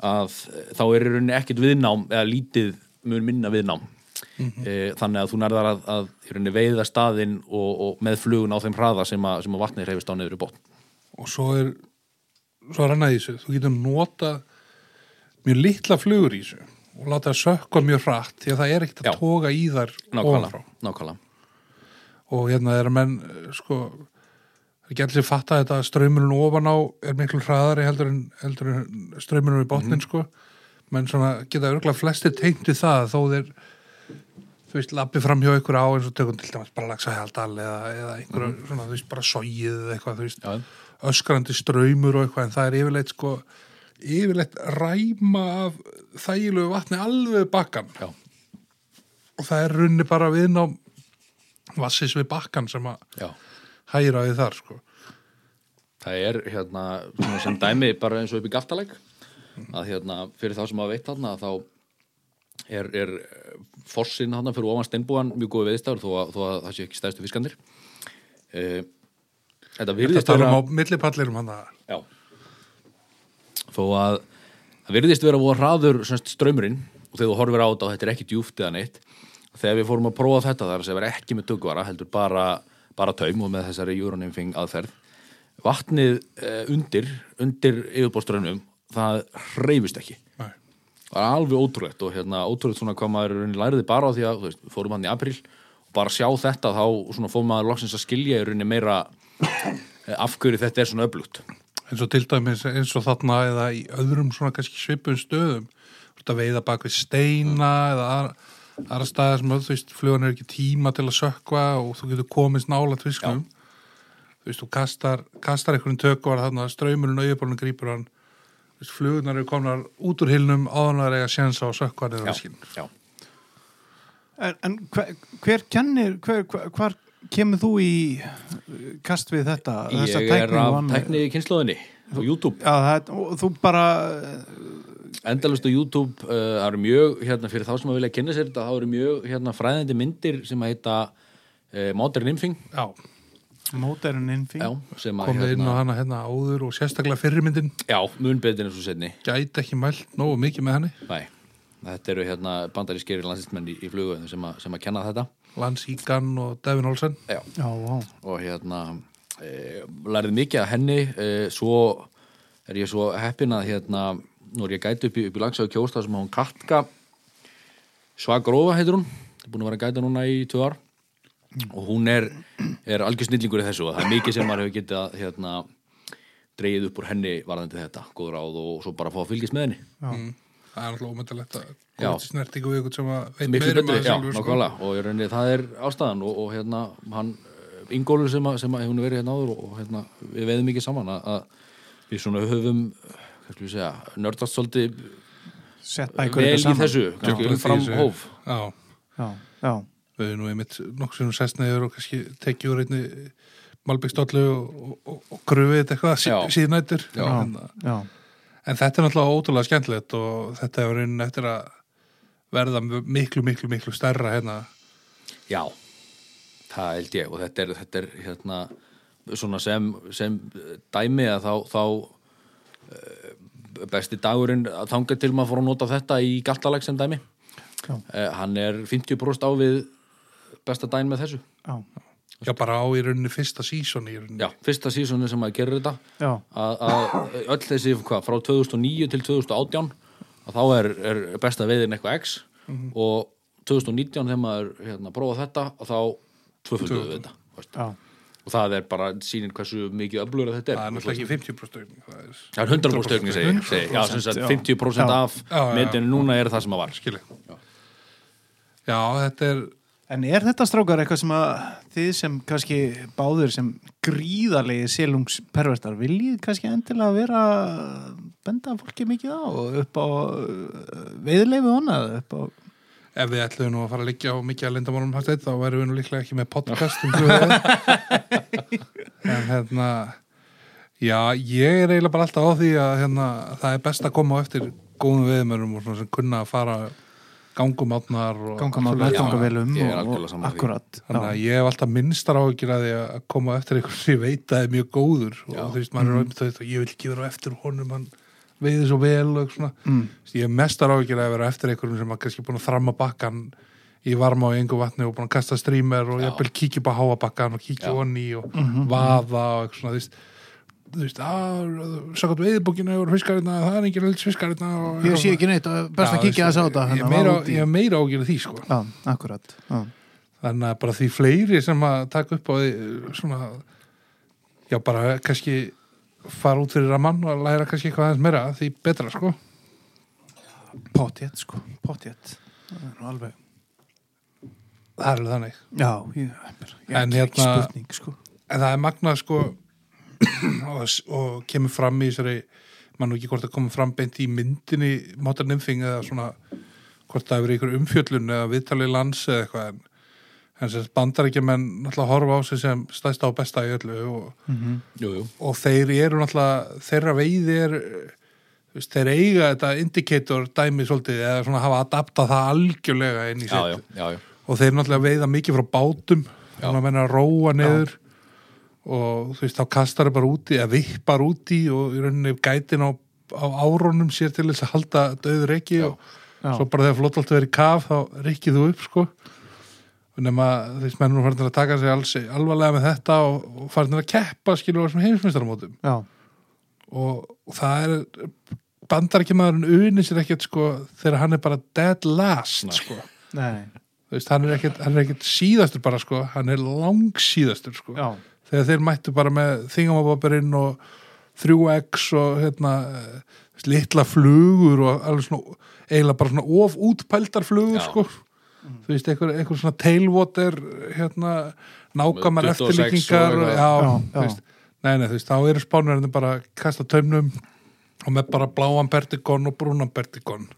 C: að eh, þá er í rauninni ekkert viðnám eða lítið mun minna viðnám e, þannig að þú nærðar að, að í rauninni veiða staðinn og, og með flugun á þeim hraða sem að, sem að vatnið reyfist á niður í bótt
B: og svo er svo er annað í þessu, þú getur nota mjög litla flugur í þessu og láta það sökka mjög hratt því að það er ekkert
C: Já.
B: að toga í þar ofan frá.
C: nákvæmlega, nákvæmlega
B: og hérna er að menn eh, sko er ekki allir fatta þetta að ströymurinn ofan á er miklu hraðari heldur en, heldur en ströymurinn við botnin sko menn svona geta örgulega flestir tengt við það þó þeir þú veist, lappi fram hjá ykkur á eins og tökum til dæmis bara lagsahjaldal eða, eða einhver svona, þú veist, bara sogið eða eitthvað, þú veist,
C: Já.
B: öskrandi ströymur og eitthvað, en það er yfirleitt sko yfirleitt ræma af þægilegu vatni alveg við bakkan
C: Já.
B: og það er runni bara við ná vassis við bakkan sem að
C: Já.
B: hæra við þar sko.
C: Það er hérna svona sem dæmi bara eins og upp í gaftaleg að hérna fyrir þá sem að veit þarna þá er, er fossin þarna fyrir ofan steinbúan mjög góði veðistafur þó, að- þó að það sé ekki stæðstu fiskandir e, Þetta
B: Þetta
C: virðist
B: tala
C: vera
B: um á millipallirum hann að
C: Já Þó að það virðist vera voða hraður semst, ströymurinn og þegar þú horfir á þetta og þetta er ekki djúft eða neitt þegar við fórum að prófa þetta þar sem vera ekki með tökvara heldur bara, bara taum og með þessari júranimfing aðferð vatnið eh, undir undir yfirbórströmmum það hreyfist ekki
B: Nei.
C: það er alveg ótrúlegt og hérna ótrúlegt svona hvað maður í rauninni læriði bara á því að þú veist, við fórum hann í apríl og bara sjá þetta þá svona fór maður loksins að skilja í rauninni meira eh, af hverju þetta er svona öflugt
B: eins og til dæmis eins og þarna eða í öðrum svona kannski svipum stöðum Þú ert að veiða bak við steina eða aðra- aðra staðar sem öll, þú veist, flugan er ekki tíma til að sökva og þú getur komist nála tviskum þú veist, þú kastar, kastar einhvern tökvar þarna, ströymurinn og yfirbólinn grípur hann þú veist, flugunar eru komnar út úr hilnum áðan að reyja sjens á að sökva niður
C: Já,
B: á skinn
C: já.
A: En, en hver, hver kennir, hver, hver, hvar kemur þú í uh, kast við þetta? Þessa tækni
C: Ég er
A: eh, og
C: af
A: annað?
C: tækni í kynnslóðinni á YouTube,
A: Já, það, er- og þú bara, uh,
C: endalust á YouTube uh, það eru mjög, hérna, fyrir þá sem að vilja kynna sér þetta, það eru mjög hérna, fræðandi myndir sem að heita uh, Modern Infing
B: Já,
A: móterinn innfín.
C: já, sem að,
B: komið inn á hana hérna áður og sérstaklega fyrirmyndin
C: já, mun betur en svo setni
B: gæti ekki mælt nógu mikið með henni
C: Nei, þetta eru hérna bandarískeri landsistmenn í, í flugu sem, að- sem að kenna þetta
B: Lance Egan og Devin Olsen
C: já.
A: Já, vá.
C: og hérna e, lærið mikið að henni e, svo er ég svo heppin að hérna, nú er ég gæti upp í, upp í langsaðu kjósta sem hún Katka Svagrófa heitir hún er búin að vera að gæta núna í tvö ár og hún er, er algjör snillingur í þessu og það er mikið sem maður hefur getið að hérna, dreigið upp úr henni varðandi þetta, góður áð og svo bara fá að fylgjast með henni
B: Það er alltaf ómyndilegt að
C: Já.
B: koma til snertingu við ykkur sem að veit
C: miklu
B: meira um
C: betri,
B: það
C: já,
B: sjálfur, sko.
C: nákvæmlega og ég rauninni, það er ástæðan og, og hérna, hann, Ingólfur sem, að, sem að hún er verið hérna áður og, og hérna, við veðum mikið saman að, að við svona höfum hvað skal við segja, nördast svolítið
A: Sett bækur
C: vel
A: þetta
C: í
A: saman.
C: þessu, kannski
B: Djöfnum í
C: umfram
B: þessu.
C: hóf
B: Já,
A: Já, já.
B: við erum nú einmitt nokksunum sestnaður og kannski tekið úr einni malbyggstollu og, og, og gröfið þetta eitthvað sí,
C: Já.
B: síðnættur
C: Já. hérna.
B: en,
A: Já,
B: en þetta er náttúrulega ótrúlega skemmtilegt og þetta er einn eftir að verða miklu, miklu, miklu stærra hérna
C: Já, það held ég og þetta er, þetta er hérna, svona sem, sem dæmi að þá, þá eh, besti dagurinn að þanga til maður fór að nota þetta í galtaleg sem dæmi
A: Já.
C: Eh, Hann er 50% á við besta dæn með þessu
A: já,
B: já, bara á í rauninni fyrsta sísoni í rauninni
C: Já, fyrsta sísoni sem maður gerir þetta
A: já.
C: að, að öll þessi hvað, frá 2009 til 2018 að þá er, er besta veiðin eitthvað X og 2019 þegar maður hérna, prófa þetta og þá tvöfölduðu við þetta þú veist.
A: já.
C: og það er bara sýnir hversu mikið öflugur þetta
B: það er
C: er
B: náttúrulega ekki 50% aukning, það er
C: Það er 100% aukning segi, ég, segi. ég. Já, sem sagt
A: Já.
C: 50%
A: Já.
C: af
B: Já, já, já.
C: metinu núna er það sem að var
B: skilja já, þetta er
A: En er þetta strákar eitthvað sem að þið sem kannski báður sem gríðarlegi selungspervertar viljið kannski endilega vera að benda fólki mikið á og upp á uh, veiðleifu honað upp á
B: Ef við ætluðum nú að fara að liggja á mikið að lindamálum hættið, þá værum við nú líklega ekki með podcast um flugveiðar. en hérna, já, ég er eiginlega bara alltaf á því að hérna, það er best að koma á eftir góðum veðmörum og svona sem kunna að fara gangum átnar og
A: ganga mátt
B: svoleiðis.
A: ganga vel um
C: ég er
A: og,
C: algjörlega
A: og
C: sammála því.
A: akkurat
B: Þannig að ég hef alltaf minnstar áhyggjur að því að koma á eftir einhvern sem ég veit að er mjög góður og þú veist, maður
A: Mhm.
B: er auðvitað þetta, ég vil ekki vera á eftir honum, hann veiði svo vel og svona. Mm. Ég hef mestar áhyggjur að vera á eftir einhverjum sem er kannski búin að þramma bakkan í varma og engu vatni og búin að kasta strímer og jafnvel kíkja upp á háa bakkan og kíkja
C: Já.
B: onni og
A: Mhm.
B: vaða og eitthvað svona, þú veist, þú veist, að, sagði veiðbókina og fiskarina, það er engin eldsfiskarina og...
A: ég sé ekki neitt og best
B: Já,
A: að kíkja
B: þú
A: þess á
B: veist,
A: þetta hérna,
B: Ég hef meira, ég hef meira áhyggjur af því, sko.
A: já, akkurat já,
B: þannig að bara því fleiri sem að taka upp á því eh, svona já, bara kannski fara út fyrir rammann og læra kannski eitthvað aðeins meira því betra, sko
A: Potjett, sko, potjett. Það er nú alveg,
B: það er alveg þannig
A: já, ég, ég
B: En
A: ekki- ekki
B: hérna-
A: spurning, sko.
B: en það er magnað sko og, og kemur fram í þessari mann og ekki hvort það komið fram beint í myndinni Modern Infing eða svona hvort það hefur ykkur umfjöllun eða viðtalið lands eða eitthvað en, en sem bandarækjumenn náttúrulega horfa á sig sem stæsta og besta í öllu og,
C: Jú, jú.
B: og þeir eru náttúrulega þeirra veiði er þú veist, þeir eiga þetta indicator dæmi svolítið eða svona hafa adaptað það algjörlega inn í
C: Já, já,
B: sitt
C: já, já.
B: og þeir náttúrulega veiða mikið frá bátum þannig að menna að róa niður og þú veist þá kastar þeir bara úti eða vippar úti og í rauninni gætin á, á árónum sér til þess að halda döður ekki og
A: Já.
B: svo bara þegar flott allt verið í kaf þá rikkið þú upp sko og nema þú veist mennum farin að taka sig alls, alvarlega með þetta og, og farin að keppa skilur á þessum heimsmyndstarmótum
A: Já,
B: og, og það er bandar ekki maðurinn unir sér ekkert sko þegar hann er bara dead last sko
A: nei,
B: Þú veist, hann er, ekkert, hann er ekkert síðastur bara sko, hann er langsíðastur sko.
A: já,
B: Þegar þeir mættu bara með þingamaboburinn og 3X og hérna, eh, þú veist, litla flugur og alveg svona, eiginlega bara svona of útpældar flugur
C: Já. Mm.
B: sko. Þú veist, einhver, einhver svona tailwater, hérna, nákvæmar
C: Með 26 og
B: eftirlíkingar.
C: eitthvað.
B: og- Já,
A: Já,
B: þú
A: já.
B: veist, nei, nei, þú veist, þá eru spánverðinu bara að kasta taumnum og með bara bláan bertikon og brúnan bertikon.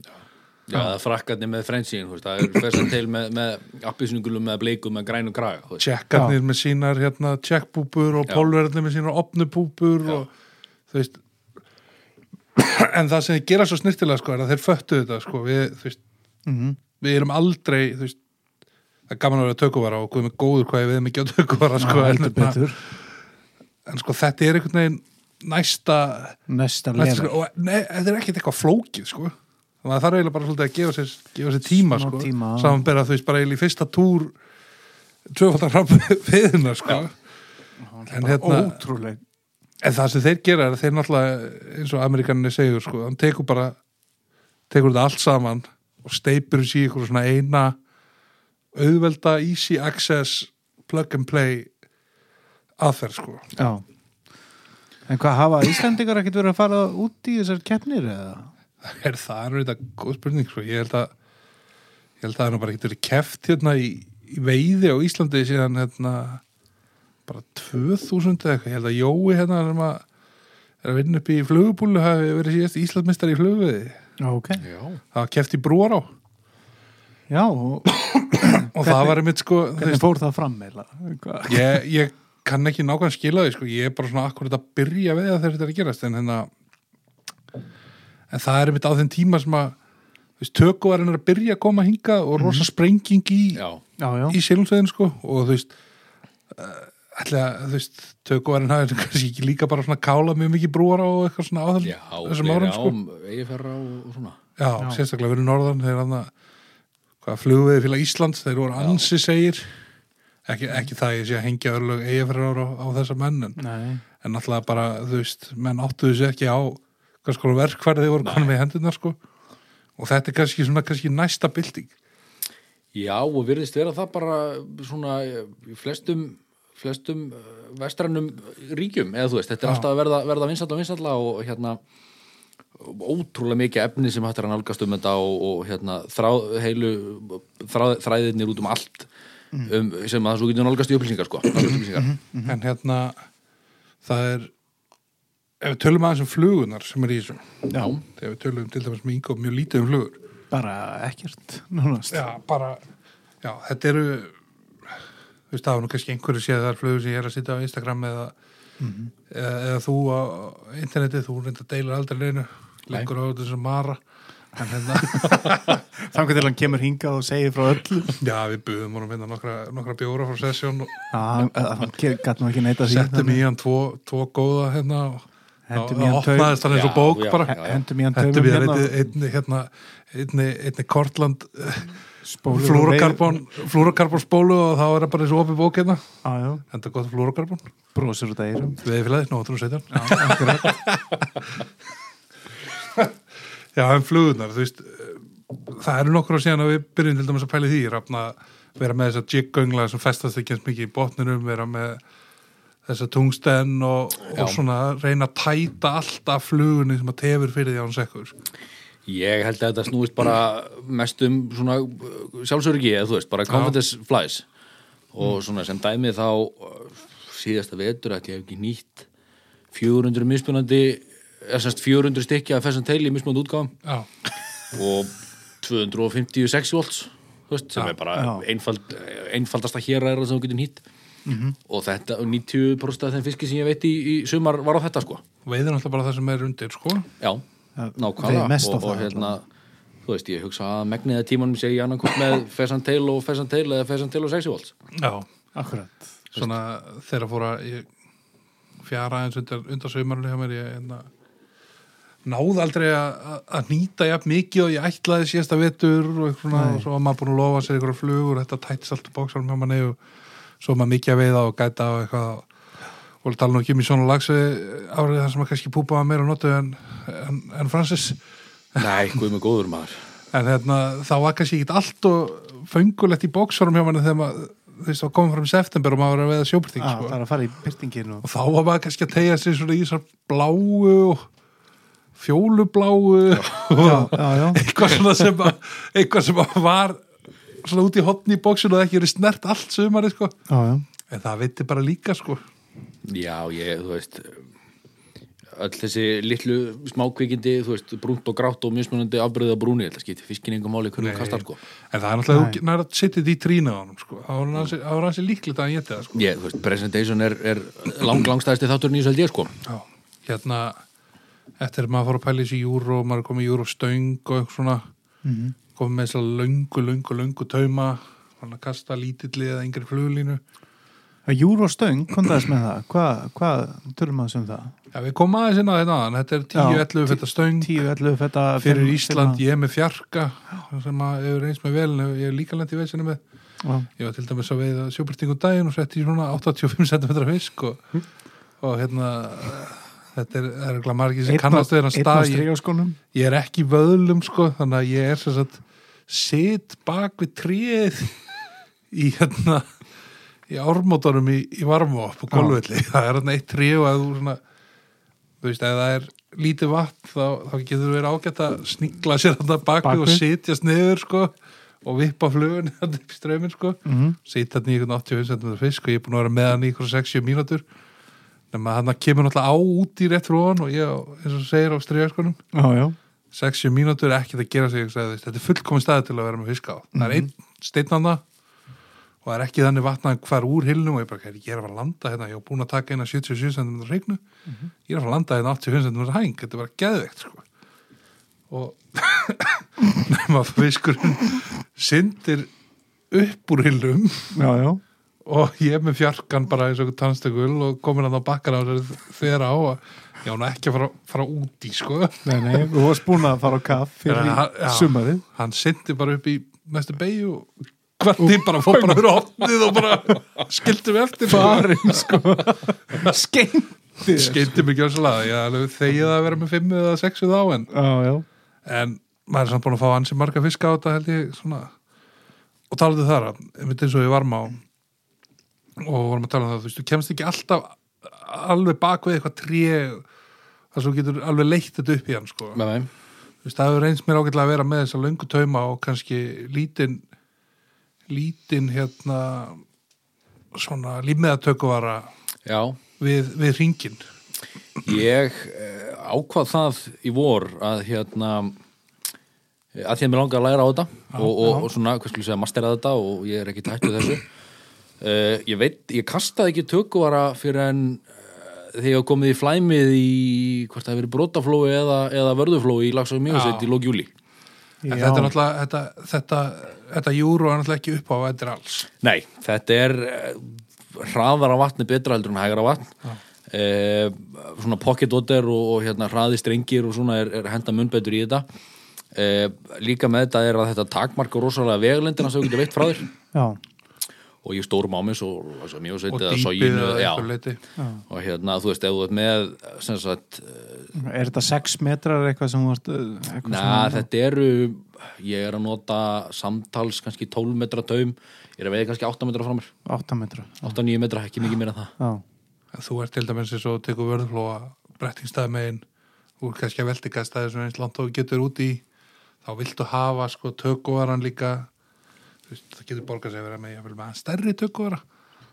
C: Já, það er frakkarnir með frensín, þú veist, það er fyrst til með, með appisningulum, með bleikum, með grænum kraga, þú veist.
B: tjekkarnir með sínar hérna, tjekkbúbur og
C: Já.
B: pólverðnir með sínar opnubúbur og þú veist en það sem þið gera svo snirtilega sko er að þeir föttu þetta sko við, þú veist,
A: mhm,
B: við erum aldrei þú veist, það er gaman að vera tökuvara og guðum góður hvað við erum ekki á tökuvara sko,
A: heldur
B: en, hérna,
A: betur.
B: en sko þetta er einhvern veginn næsta,
A: Næsta
B: næsta sko,
A: level.
B: og nei, þetta er ekkert eitthvað flókið sko þannig að það er eiginlega bara svolítið að gefa sér, gefa sér tíma
A: Smá
B: sko,
A: tíma, já.
B: samanberða þú veist bara eiginlega í fyrsta túr tvöfaldar hrapp viðina sko en hérna-
A: Ótrúleg.
B: En það sem þeir gera er að þeir náttúrulega eins og Amerikaninni segjur sko, hann tekur bara tekur þetta allt saman og steipur þessi í ykkur svona eina auðvelda easy access plug and play aðferð sko.
A: Já. En hvað hafa Íslandingar ekkert verið að fara út í þessar keppnir eða?
B: Er það er þetta góð spurning sko. Ég held að ég held að hann bara getur keft hérna í, í veiði á Íslandi síðan hérna bara 2000 eða eitthvað. Ég held að Jói hérna hann er maður- er að vinna upp í flugubúlu hafi verið síðast Íslandsmeistar í flugviði.
A: Já, ok.
C: Já.
B: Það var keft í brúar á.
A: Já, og
B: og
A: Hvernig-
B: það var einmitt sko þú
A: hvernig
B: veist,
A: fór það fram eða? Hvað?
B: ég, ég kann ekki nákvæm skila því sko, ég er bara svona akkurat að byrja við það þegar þetta er að gerast en, hérna, en það er einmitt á þeim tíma sem að þú veist, tökuvarinn er að byrja að koma hinga og rosa sprenging í,
C: Mhm. Já,
A: Já, já.
B: í silungsveginn sko og þú veist uh, ætla, að, þú veist, tökuvarinn hafi kannski ekki líka bara svona kála mjög mikið brúar á eitthvað svona áður
C: já,
B: þessum árum sko
C: eigiðferra og, og svona.
B: já,
A: Já.
B: sérstaklega verið norðan þeir hann að hvað flugveði félag Íslands þeir voru ansi segir ekki, ekki það ég sé að hengja örlög eigafærar á, á þessa menn en,
A: Nei.
B: en náttúrulega bara, þú veist, menn áttuðu sér ekki á hvers konar verkfærið þeir voru konum við hendurnar sko og þetta er kannski svona kannski næsta bylting
C: Já, og virðist vera það bara svona í flestum, flestum eh, vestrænum ríkjum, eða þú veist, þetta er alltaf að verða, verða vinsalla og vinsalla og hérna ótrúlega mikið efni sem hættir að nálgast um þetta og, og hérna þráð, heilu þráð, þræðinir út um allt um, sem að svo getur nálgast í upplýsingar sko, nálgast í upplýsingar.
B: en hérna það er ef við tölum aðeins um flugunar sem er í þessu
A: Já.
B: þegar við tölum til dæmis með yngu mjög lítið um flugur
A: Bara ekkert, nánast.
B: Já, bara, já, þetta eru þú veist, það var nú kannski einhverju séð þar flögu sem ég er að sitja á Instagram eða,
A: Mhm.
B: eða, eða þú á internetið, þú reynda deilir aldrei neinu lengur á þessu mara en hérna,
A: Þannig til hann kemur hingað og segir frá öllu.
B: já, við buðum honum hérna nokkra, nokkra bjóra frá sessjón og
A: Já, hann- hann gæti nú ekki neita því.
B: settum í hann tvo, tvo góða hérna og
A: Hérna Hentum
B: og-
A: í hann
B: og opnaðist hann eins og
C: Já,
B: bók
C: já,
B: bara
C: já, já.
A: Hendum í hann
B: Hentum
A: taumum
B: við hann
A: hérna.
B: einni, einni, hérna, einni, einni Kortland
A: Spólur og
B: flúrakarbon, flúrakarbon spólu og þá er það bara eins og opið bók hérna
A: Já, já.
B: enda gott flúrakarbon
A: Brósir út að eyrum.
B: Veðifélagið, nóttur og sveitjan Já, en flugunar, þú veist eh, það eru nokkur á síðan að við byrjum til dæmis að pæli því, rafna vera með þess að jiggöngla sem festast ekki eins mikið í botninum, vera með þessa tungsten og,
C: Já.
B: og svona reyna að tæta allt af flugunni sem að tefur fyrir því án sekkur
C: Ég held að þetta snúist bara mest um svona uh, sjálfsörgi eða þú veist, bara confidence flies og svona sem dæmi þá uh, síðasta vetur að ég hef ekki nýtt 400 mismunandi eða semst 400 stykki af fessan teili í mismunandi útgáðum
B: Já,
C: og 256 volts þú veist, sem er bara
A: Já.
C: einfald, einfaldasta héræra sem þú getur nýtt
A: Mhm.
C: og þetta, 90% af þeim fiski sem ég veit í, í sumar var á þetta sko
B: veiðir náttúrulega bara það sem er undir, sko
C: Já,
A: Það
C: nákvæmlega
A: veiði mest á
C: og, og
A: það,
C: hérna, þú veist, ég hugsa að megniða tímanum sé ég annarkomt með Fessan Tail og Fessan Tail eða Fessan Tail og 6 volts
B: Já,
A: Akkurat
B: svona þegar fóra ég fjara eins undir, undir saumarunni hjá mér ég hérna, náði aldrei að að nýta jafn mikið og ég ætlaði síðasta vetur og, eitthvað svona, og svo var maður búin að lofa sér einhverja flugur og þetta tætist allt bóksalum hjá manni og svo var maður mikið að veiða og gæta og eitthvað og tala nú ekki um í svona lagsi árið þar sem maður kannski púpaði meira og notu en, en, en Francis
C: Nei, guð með góður maður
B: En hérna, þá var kannski ekkit allt og föngulegt í bóksvarum hjá manni þegar maður, þú veist, þá komum fram í september og maður var að veða
A: ah,
B: sjóbyrting,
A: Það
B: sko.
A: er að fara í pyrtingin og
B: Og þá var maður kannski að tegja sér svona í þessar bláu og fjólubláu og
A: Já, já,
B: eitthvað svona sem að, eitthvað sem að var svona út í hotni í bóksinu og ekki verið snert allt sumari, sko.
A: já, já.
B: En það veitir bara líka, sko.
C: Já, ég, þú veist öll þessi litlu smákvikindi, þú veist, brúnt og grátt og mismunandi afbreyða brúni, þetta skiptir fiskin engum máli hvernig
B: Nei.
C: þú kastar, sko
B: En það er náttúrulega, þú nærið að setja því trína á honum, sko. Þá er hann ansi- þá er hann sér líklegt að ég geti það, sko.
C: Ég, þú veist, presentation er, er lang, langstæðasti þátturinn í þessu held ég, sko
B: Já, hérna eftir að maður fór að pæla í þessi júru og maður er komið í júru og stöng og eitthvað svona
A: Mhm.
B: komið með þess að löngu, löngu, löngu tauma, hann að kasta lítilli eða yngri fluglínu.
A: Júróstöng, kom það með það Hvað, hvað tölum maður sem það?
B: Já, við komum aðeins inn á þetta aðan, þetta er 10-11 fætta stöng
A: 10, 11, þetta
B: fyrir Ísland, ég er með fjarka sem að hefur eins með vel, ég er líka lent í vesinu með,
A: Já,
B: ég var til dæmis að veiða sjóbyrtingu um daginn og setti í svona 85 cm fisk og, og hérna, þetta er, það er ekki margir sem kannast við hérna
A: Einn á
B: stagi.
A: stríðaskónum
B: ég er ekki í vöðlum sko þannig að ég er sem sagt sitt bak við tríð í hérna í ármótunum í, í varmóp og gólfelli, það er hérna eitt tríð og að þú svona þú veist, ef það er lítið vatn þá, þá getur þú verið ágætt að snigla sér þarna bak
A: Bak
B: við og
A: við.
B: sitjast niður sko og vippa flugun þarna upp í strömin sko mm -hmm. sitja þarna í einhvern 85 cm fisk og ég er búin að vera með hann í einhvern 60 mínútur nema hann kemur náttúrulega á út í rétt frá hann og ég, á- eins og þú segir á stríðaskonum
A: Já, já,
B: 60 mínútur er ekkert að gera sig ég sagði, þetta er fullkomin staði til að vera með fiska á það er einn steinnanna og það er ekki þannig vatnað hvar úr hillnum og ég bara, "Heyrðu, ég er að fara að landa hérna ég er búin að taka eina 77 cm hreiknu ég er að fara að landa hérna 85 cm hæng þetta er bara geðveikt sko. og nema fiskurinn syndir upp úr hillum
A: já, já
B: og ég er með fjarkan bara eins og tannstökul og komin að það bakkar á þessari þvera á að ég án ekki að fara, fara út í sko
A: Nei, nei, þú varst búin að fara á kaff fyrir
B: Þannig að hann-
A: í
B: já,
A: sumarið
B: hann syndi bara upp í næstu beigju og hvernig bara fór bara fyrir opnið og bara skildi mig eftir
A: Farin, sko Skeinti
B: skildi mig gjörslega ég alveg þegið að vera með fimmu eða sexu þá en,
A: Já, já,
B: en maður er samt búin að fá ansi marga fiska á þetta held ég svona og talaðu þar að, einmitt eins og ég varma á og vorum að tala um það þú veist, þú kemst ekki alltaf alveg bak við eitthvað tré þar sem þú getur alveg leitt þetta upp í hann sko.
C: Með þeim
B: Þú veist, það hefur reynst mér ágætlega að vera með þessa löngu tauma og kannski lítinn lítinn hérna svona límiðatökuvara
C: Já,
B: við, við ringin
C: Ég eh, ákvað það í vor að hérna að því að mér langar að læra á þetta og, og, og svona, hvað skulle ég segja, mastera þetta og ég er ekki tættu þessu uh, ég veit, ég kastaði ekki tökuvara fyrir en uh, þegar ég var komið í flæmið í hvort það hefur verið brotaflói eða, eða vörðuflói í lagsóðum mjögsett
B: Já.
C: í lókjúli
B: en
A: já.
B: þetta er náttúrulega þetta, þetta, þetta júru er náttúrulega ekki upp á þetta er alls
C: Nei, þetta er uh, hraðara vatn er betra heldur en hægara vatn uh, svona pocket otter og, og hérna, hraði strengir og svona er, er henda mun betur í þetta uh, líka með þetta er að þetta takmarka rosalega veglendina sem þú getur veitt frá þér
A: já,
C: og ég stórum á mig svo, svo mjög sveit
B: og
C: eða
B: dýpið
C: soginu
B: eða
C: já.
B: eitthvað leiti
C: og hérna, þú veist, ef þú ert með sem sagt, eh,
A: er þetta 6 metrar eitthvað sem þú varst uh, eitthvað
C: na, þetta eru ég er að nota samtals kannski 12 metra taum, ég er að veið kannski 8 metra framur
A: svona 8 metrar
C: 8-9 metra, ekki mikið meira en það
A: Já,
B: að þú ert til dæmis eins og tekur vörðflóa brettingstæð megin úr kannski að veltingastæði sem eins langt og þú getur út í þá viltu hafa sko tökkuvaran líka þú veist, það getur borgað sig að vera með, jafnvel með stærri tökkuvara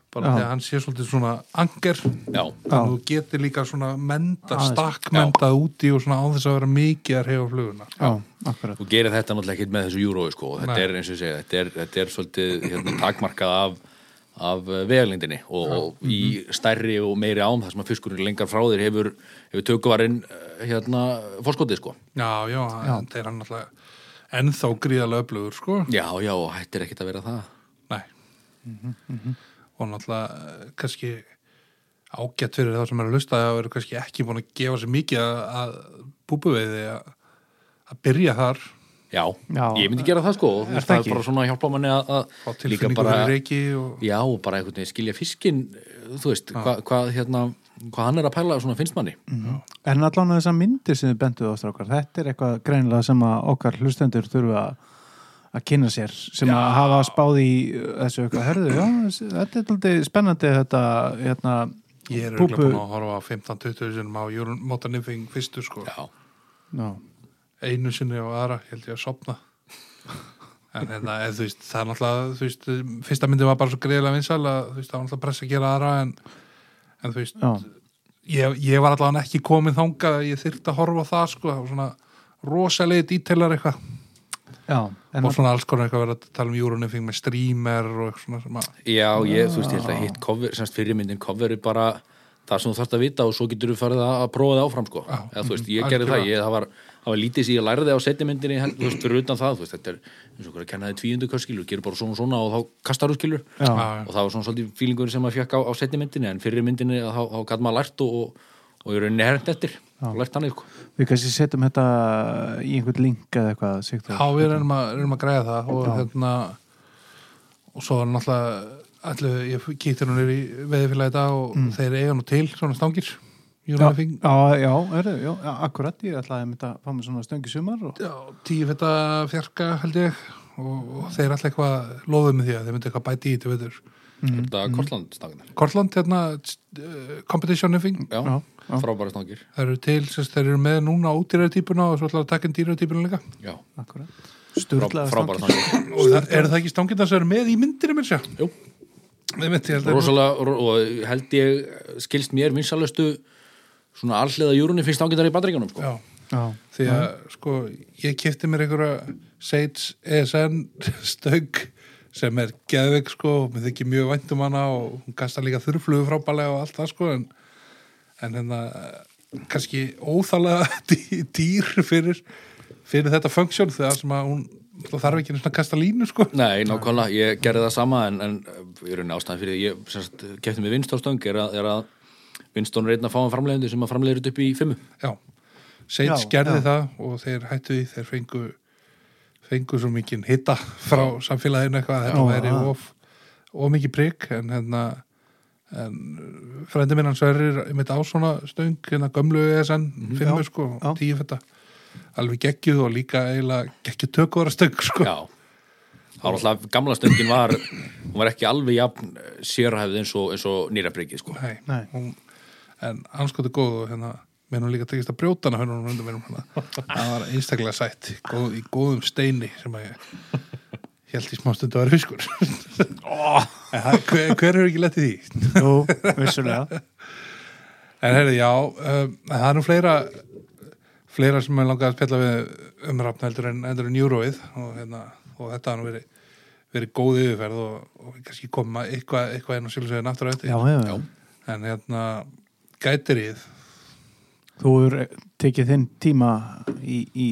B: bara
A: Já.
B: því að hann sé svolítið svona anger
C: já,
A: Já.
B: og þú getur líka svona menda,
A: Aðeins.
B: stakkmenda úti og svona á þess að vera mikið að reyfa fluguna
A: Já, akkurat
C: og gerir þetta náttúrulega ekki með þessu júrói sko, og þetta
B: Nei.
C: er eins og ég segja, þetta er, þetta er svolítið hérna, takmarkað af, af vegalindinni og, og í stærri og meiri ám þar sem að fiskurinn lengar frá þér hefur, hefur tökuvarinn eh, hérna, fórskotið sko
B: Já, já, þetta er hann alltaf ennþá gríðarlega öflugur, sko
C: já, já, og hættir ekkit að vera það
B: Nei Og náttúrulega eh, kannski ágætt fyrir þá sem er að lusta að vera kannski ekki búin að gefa sér mikið að, að búbuveiði að, að byrja þar
C: já,
A: Já.
C: ég myndi gera það sko og þú
A: Er
C: veist,
A: það
C: það
A: ekki?
C: er bara svona að hjálpa manni að,
B: á
C: að líka
B: tilfinningu
C: bara
B: fyrir reiki og
C: já, og bara einhvern veginn skilja fiskin þú veist, hvað hva, hérna hvað hann er að pæla svona finnst manni
A: En allan að þessar myndir sem þið benduð á strákar þetta er eitthvað greinilega sem að okkar hlustendur þurfa að kynna sér sem að hafa spáð í þessu eitthvað herðu, já, þessi- þetta er alltaf spennandi þetta, hérna
B: ég er
A: púpu-
B: auðvitað búin að horfa á 15-20 sinum á Mótanifing fyrstu, sko
C: já,
A: Já,
B: einu sinni og aðra, ég held ég að sopna en hérna, eð, þú veist, það er náttúrulega þú veist, fyrsta myndi var bara svo greiðilega vinsal að þú veist, það var náttúrulega pressa að gera aðra en, en þú veist,
A: já,
B: ég, ég var allavega ekki komin þangað að ég þyrfti að horfa á það sko, það var svona rosalegi dítelar eitthvað
A: já en
B: og svona alls konar eitthvað verið að tala um júrunifing með streamer og eitthvað svona sem að,
C: já, ég, þú veist, ég held að hitt cover, semst fyrirmyndin cover er bara það sem þú þarfst að vita og svo getur þú farið að að prófa það áfram sko,
B: Já,
C: eða þú veist,
B: mhm,
C: ég gerði
B: algjörlega.
C: það ég, það var, það var lítið sem ég lærði á setjamyndinni held- þú veist, fyrir utan það, þú veist, þetta er eins og okkur að kenna þið tvíundu kastskilur, gerir bara svona og svona og þá kastar þú skilur
A: Já.
C: og það var svona svolítið fílingur sem maður fjökk á, á setjamyndinni en fyrirmyndinni þá, þá gæti maður lært og, og, og í rauninni hernt eftir og lært sko. hann eitthvað
A: við kannski setjum þetta í einhvern link eða eitthvað Sigþór.
B: Já, við erum að, erum að græða það og hérna og svo er náttúrulega allu, ég kýttir hún er í veðifélagi í dag og þeir eiga nú til svona stangir
A: Mm. Já,
B: júrunifing
A: já, já, heyrðu, já, já, akkurat ég ætlaði að mynda að fá mér svona stöngi sumar og,
B: já, tíu fætta fjarka held ég og, og þeir alltaf eitthvað lofuð með því að þeir myndi eitthvað bæti í þetta veitur
C: þetta mm. kortlandstangna
B: Kortland, hérna uh, competitionifing,
C: já,
A: Já, já.
C: frábæra stangir
B: þeir eru til sérst, þeir eru með núna útýræðartípuna og svo ætlaðu að taka inn dýræðartípuna líka
C: já,
A: akkurat,
C: frá,
A: sturlaðar
C: frábæra stangir
B: og það, er það ekki stangirna sem eru með í myndinu mér sér?
C: Jú.
B: Nei, mitt, ég held að
C: rosalega, ro- og held ég skilst mér vinsalustu svona alliða júrunni finnst ágættar í bandaríkjunum sko.
B: Já,
A: já,
B: því að sko ég kipti mér einhverja Sage E ESN stögg sem er geðveik sko og mér þykir mjög vænt um hana og hún kastar líka þurrflugu frábælega og allt það sko en, en hérna eh, kannski óþálega dý- dýr fyrir, fyrir þetta funksjón þegar sem að hún náttúrulega þarf ekki einu sinni að kasta línu sko
C: Nei, nákvæmlega, ég gerði það sama en, en ég er ástæðan fyrir því ég semst, kefti með vinstórstöng er að, er að vinstón er einn að fá hann framleiðandi sem að framleiður þetta upp í fimmu
B: Já, Sage
A: Já,
B: gerði
A: já.
B: það og þeir hættu því, þeir fengu fengu svo mikinn hitta frá samfélaginu eitthvað, þetta
A: Já,
B: væri
A: já.
B: of, of mikið prik en hérna en frændi minn hann sverir mitt á svona stöng, hérna gömlu ESN fimmu
A: Mhm, já,
B: sko,
A: já.
B: tíu fætta alveg geggjuð og líka eiginlega geggjuð tökvara stöng sko
C: Já, þá var alltaf gamla stöngin var, hún var ekki alveg jafn eh, sérhæfð eins og, eins og nýrabrikið sko.
B: Nei,
A: Nei.
B: Hún, en anskotu góð og hérna mér hún líka tekist að brjóta hana hörnum undan mér um hana það var einstaklega sætt góð, í góðum steini sem að ég held í smástund að vera fiskur En það- hver, hver er ekki lett í því
A: jú, vissulega
B: en herri, já, um, það er nú fleira fleira sem ég langaði að spjalla við umrafn heldur en, heldur en júróið og, hérna, og þetta hann verið verið góð yfirferð og, og kannski koma eitthvað, eitthvað enn og sjálfsögðin aftur á þetta
A: já, já, já,
B: en hérna gætirið
A: þú er tekið þinn tíma í, í,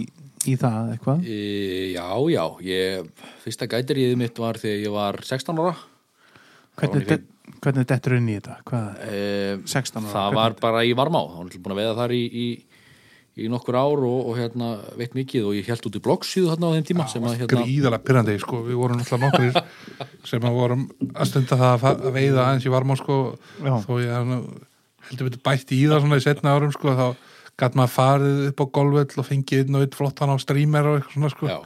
A: í það eitthvað
C: E, já, já, ég, fyrsta gætiriðið mitt var þegar ég var 16 ára
A: hvernig,
C: Það var
A: det, hvernig dettur inn í þetta hvað,
C: Eh,
A: 16 ára,
C: það
A: hvernig?
C: var bara í varmá þá var hann búin að veiða þar í, í, í nokkur ár og, og hérna veit mikið og ég held út í bloggsíðu þarna á þeim tíma sem að hérna
B: gríðalega pyrrandi sko. við vorum alltaf nokkur sem að vorum að stunda það að, fa- að veiða aðeins í varmá sko.
A: Já.
B: þó ég hann, heldur við bætt í það svona í setna árum sko. þá gæt maður farið upp á golfell og fengið einn og einn flottan á streamer og eitthvað svona sko.
C: já,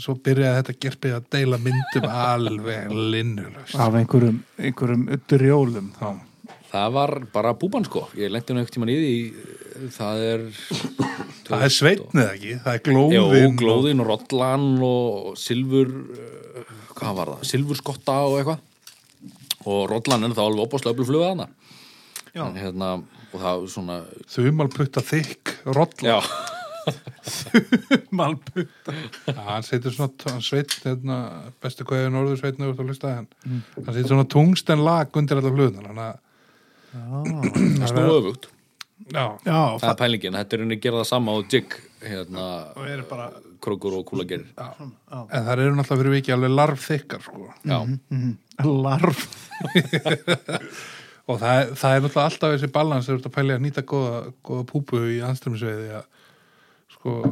B: svo byrjaði þetta gerpið að deila myndum alveg linnulegst
A: af einhverjum, einhverjum drjólum þá.
C: Það var bara búban sko Ég lendi nú ekkert tíma niði í Það er
B: Það er sveitnið ekki, það er glóðin.
C: Jó,
B: og-
C: glóðin og rollan og silfur eh, Hvað var það? Silfurskotta og eitthvað Og rollan er þá alveg opaslega öflufluga þarna
A: Já.
C: En hérna, Og það er svona
B: Þumalputta þykk, rolla.
C: Já,
A: Malputta
B: Já, hann setur svona, t- hann sveit, hérna, bestu kveðin orður sveitnið úr þú hlustaði hann. Hann setur svona tungsten lag undir allar hlutunar, hann að,
C: það er snú öfugt
B: já,
A: Já,
C: Það er pælingin, þetta er henni að gera það sama og Jig hérna,
A: og er bara
C: Krókur og Kúla gerir
B: já. En það eru náttúrulega fyrir vikið alveg larf þykkar, sko.
C: Já,
A: Mhm. larv
B: Og það, er- það er náttúrulega alltaf þessi balans þegar þú ert að pæli að nýta góða, góða púpu í anströmsveiði að sko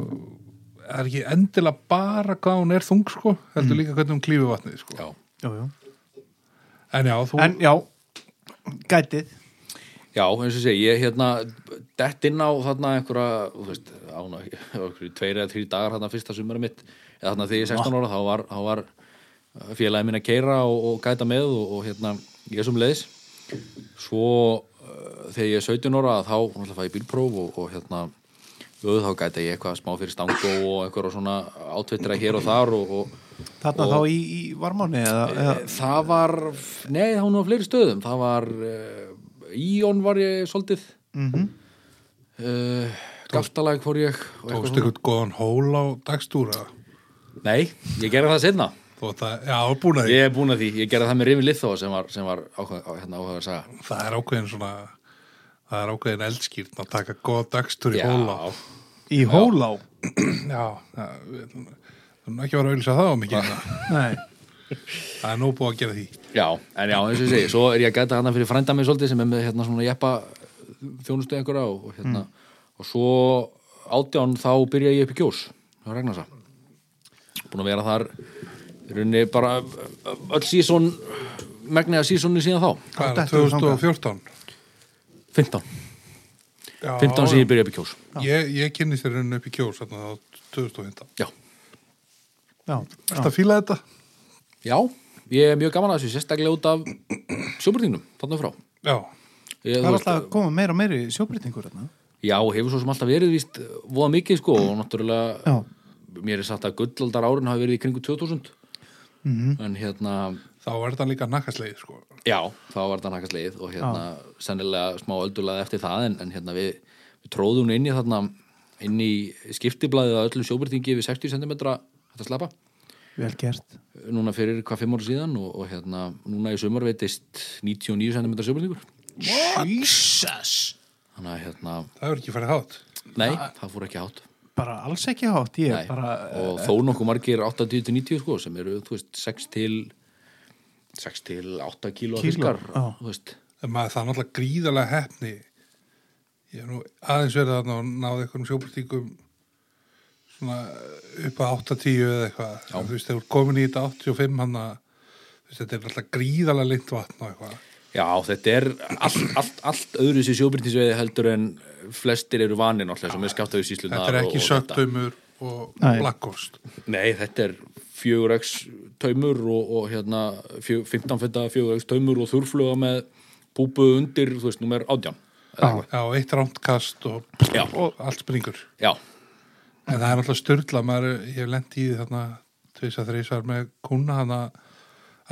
B: það er ekki endilega bara hvað hún er þung sko, heldur líka hvernig hún klífi vatnið sko.
C: já
A: já, já.
B: En já, þú,
A: En já, gætið
C: Já, eins og segi, ég hérna dett inn á þarna einhverja þú veist, ána, tveir eða þrý dagar þarna fyrsta sumari mitt eða þarna þegar ég er 16 ára, þá var, þá var félagi mín að keira og, og gæta með og, og hérna, ég sem leiðis svo uh, þegar ég er 17 ára þá náttúrulega fæ ég bílpróf og, og hérna jú, þá gæta ég eitthvað smá fyrir stangó og einhverja svona átvittra hér og þar og, og Eh,
A: Þarna þá í, í varmáni eða, eða,
C: það var, nei það var nú á fleiri stöðum það var uh, Íon var ég svolítið mm Gaftalag fór ég og eitthvað
B: tókst ykkur góðan hól á dagstúra
C: svona. nei, ég gerði það setna
B: þú átt að, já, búin að því
C: ég er búin að því, ég gerði það með Rifin Lithó sem var, sem var áhuga, á- hérna, áhuga að saga
B: það er ákveðin svona það er ákveðin eldskýrn að taka góða dagstur í
C: Já,
B: hóla
A: í hólá
B: Já, það við- þú erum ekki að vera að auðvisa það á mikið hérna.
A: Nei,
B: það er nóg búið að gera því
C: já, en já, eins og ég segi svo er ég að gæta hana fyrir frænda mig svolítið sem er með hérna svona jeppa þjónustu einhverja og, og hérna, og svo átján þá byrja ég upp í gjós á Ragnarsa búin að vera þar í rauninni bara öll sísón megnið að sísónu síðan þá
A: Hvað
B: hvað er
A: dettur þú þangað?
B: 2014?
C: 15,
B: Já,
C: 15
B: já.
C: síðan ég byrja upp í gjós
B: Ég, ég kynni þér henni upp í kjós þarna á 2015.
C: já,
A: já, já.
B: Þetta fíla þetta?
C: já, ég er mjög gaman að þessu sérstaklega út af sjóbyrtingnum, þarna frá
B: Já.
C: ég,
A: Það er
C: þú veist,
A: alltaf að koma meira og meiri sjóbreytingur þarna.
C: já, hefur svo sem alltaf verið víst eh, voða mikið sko og náttúrulega
A: Já,
C: mér er sagt að gullaldar árin hafi verið í kringu 2000 en hérna,
B: Þá er þetta líka nakkasleið, sko.
C: já, þá var þetta nakast leið og hérna, sennilega smá öldulaði eftir það en, en hérna við, við tróðum inn í þarna, inn í skiptiblaðið að öllum sjóbyrtingi við 60 cm þetta slappa,
A: vel gert
C: eh, núna fyrir hvað 5 ára síðan og, og hérna, núna í sumar veitist 99 cm sjóbyrtingur
A: Jesus
C: þannig að hérna,
B: Það er ekki farið hát.
C: nei, það fór ekki hátt
A: Bara alls ekki hátt, ég
C: Nei,
A: er bara eh,
C: og þó nokkuð margir 80-90 sko, sem eru, þú veist, 6 til 6 til 8 kíló
A: Kíló,
C: fiskar,
A: já.
C: þú veist
B: En maður það er náttúrulega gríðarlega hefni. Ég er nú aðeins verið þarna og náði einhverjum sjópartíkum svona upp að 8-10 eða eitthvað. Já. Þú veist, þegar þú ert komin í þetta 85 hann að þú veist, þetta er náttúrulega gríðarlega lengt vatn og eitthvað.
C: Já, þetta er allt, allt, allt öðru sér sjóbyrtinsveiði heldur en flestir eru vanir náttúrulega sem er skapt af síslunar
B: Þetta er ekki
C: þetta.
B: söktaumur og
A: Nei.
B: blakkost.
C: Nei, þetta er 4x taumur og, og hérna fjö- 15 fætta 4x taumur og þurfluga með púpu undir, þú veist, númer 18
A: Já,
B: Já, eitt rántkast og,
C: Já.
B: og allt springur.
C: Já,
B: En það er alltaf störla, maður, ég hef lent í því þarna tveisa þreisar með kuna hann að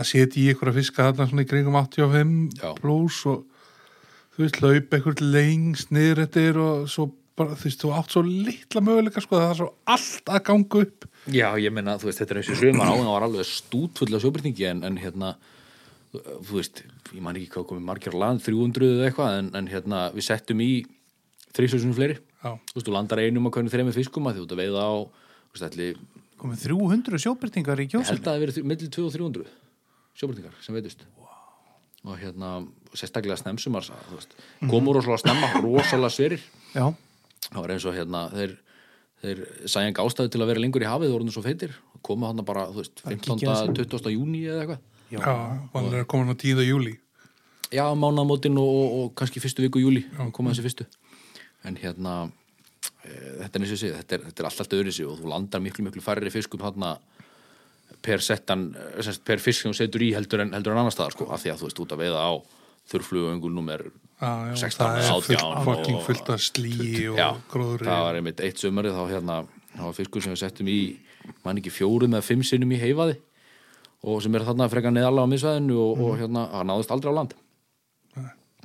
B: að setja í ykkur að fiska þarna svona í kringum 85
C: Já.
B: pluss og þú veist, laup einhvern lengst niður eftir og svo bara, þú veist, þú átt svo litla möguleika sko, það er svo allt að ganga upp
C: já, ég meina, þú veist, þetta er eins og sumar áðan var alveg stútfull af sjóbyrtingi en, en hérna, þú veist, ég man ekki hvað komið margir á land, 300 eða eitthvað en, en hérna, við settum í 3000 fleiri
B: Já,
C: Þú veist, þú landar einum að hvernig þremi fiskum að því þú ert að veiða á, þú veist, ætli, ég
A: komið 300 sjóbreytingar í
C: held að
A: kjósinni
C: það hafi verið þrjú- milli 2 og 300 sjóbyrtingar sem veitust. Og hérna, sérstaklega snemsumars, þú veist, komur rosalega snemma, rosalega sverir.
A: Já,
C: Það var eins og hérna, þeir, þeir sæjan gástaði til að vera lengur í hafið, voru nú svo feitir, koma hann bara, þú veist,
A: Að kíkja
C: 15. 20. júni eða eitthvað.
B: já, hann er komin á 10. júli
C: Já, mánamótin og, og, og kannski fyrstu viku júli, koma þessi fyrstu. En hérna, e, þetta er eins og séð, þetta er, þetta er alltaf öðru og þú landar miklu, miklu færri fiskum hérna e, per settan, eh, sem sagt, per fisk sem þú setur í heldur en, heldur en annars staðar, sko, af því að þú veist út að veiða á þurrflugöngu nummer
B: Já, já,
C: 16,
B: það er
C: 18
B: fullt,
C: og-
B: fucking fullt að slíi og
C: já,
B: gróðri
C: það var einmitt eitt sömari þá hérna, þá var fiskur sem við settum í mann ekki fjórum eða fimm sinnum í heifaði og sem er þarna frekar neðalega á misvæðinu og, og hérna, hann náðist aldrei á land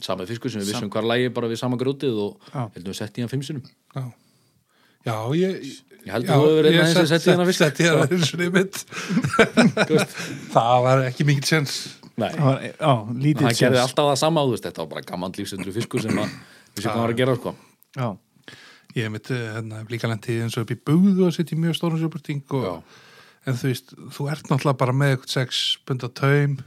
C: sami fiskur sem við vissum hvar lægi bara við sama grjótið og
A: Já.
C: heldum við sett í hann fimm sinnum
B: já. já, ég
C: Ég held að þú hefur verið einn af þeim sem setti í hana fisk.
B: Setti hérna eins og nefnt Það var ekki mikil sens
C: Nei,
A: Það var, á, lítið
C: hann gerði alltaf það sama áðust þetta var bara gaman lífsendlu fiskur sem að við séum hvað hann var að gera sko
A: Já,
B: Ég hef mitt eh, hérna, líka lendið eins og upp í búðu og setja í mjög stórum sjöparting og, en þú veist, þú ert náttúrulega bara með eitthvað 6 bunda taum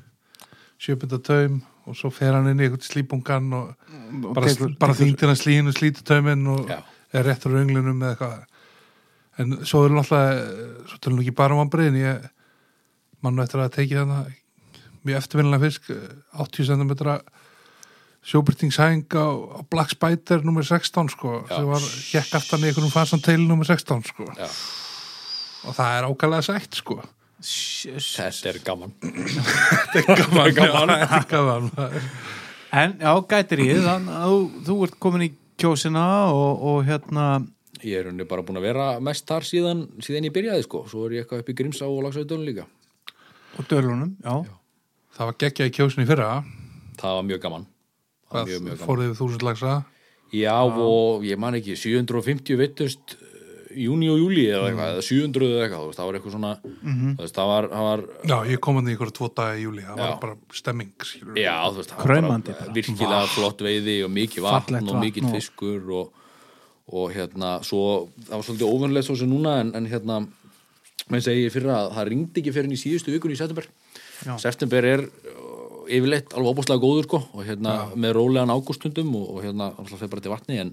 B: 7 bunda taum og svo fer hann inn í eitthvað slípungan og
C: Mm,
A: og
B: bara,
A: tekur-
B: bara
A: tekur-
B: þýndina slíin og slíti tauminn og
C: Já.
B: er réttur á önglinum eða eitthvað en svo er náttúrulega svo tölum við ekki bara um anbriðin ég mann eftir að teki þarna mjög eftirvinnilega fisk eh, 80 cm sjóbyrtingshæng á, á Black Spider nummer 16 sko,
C: Já.
B: sem var hjekk aftan í einhvernum fasanteil nummer 16 sko
C: Já.
B: og það er ákælega sætt sko
C: þetta er gaman
B: gaman, gaman, já, gaman.
A: En já, gætir ég, þann, þú, þú ert komin í kjósina og, og hérna
C: ég er henni bara búin að vera mest þar síðan, síðan ég byrjaði sko, svo er ég eitthvað upp í Grímsá og Lagsveitun líka,
A: og dölunum, já,
B: það var geggjað í kjósinni í fyrra
C: það var mjög gaman það var
B: það
C: mjög, mjög gaman
B: fóruðið við þúsund lagsa
C: já og ég man ekki, 750 vettust júni og júli eða eitthvað, eða 700 eða eitthvað, þú veist, það var eitthvað svona þú veist, það var, það var
B: já, ég kom hann í ykkur tvo daga í júli það var
C: Já.
B: bara stemming skilur.
C: já, þú veist, það var
A: Kraumandi
C: bara
A: bara.
C: virkilega flott veiði og mikið vatn
A: Fallegt
C: og
A: vatn
C: mikið
A: og-
C: fiskur og, og hérna, svo það var svolítið óvönlega svo sem núna, en, en hérna menn segi ég fyrra að það ringdi ekki fyrir henni í síðustu vikunni í september
A: Já.
C: september er uh, yfirleitt alveg óbúslega góður sko og hérna með rólegan ágústundum og, og hérna alltaf fyrir bara til vatni en,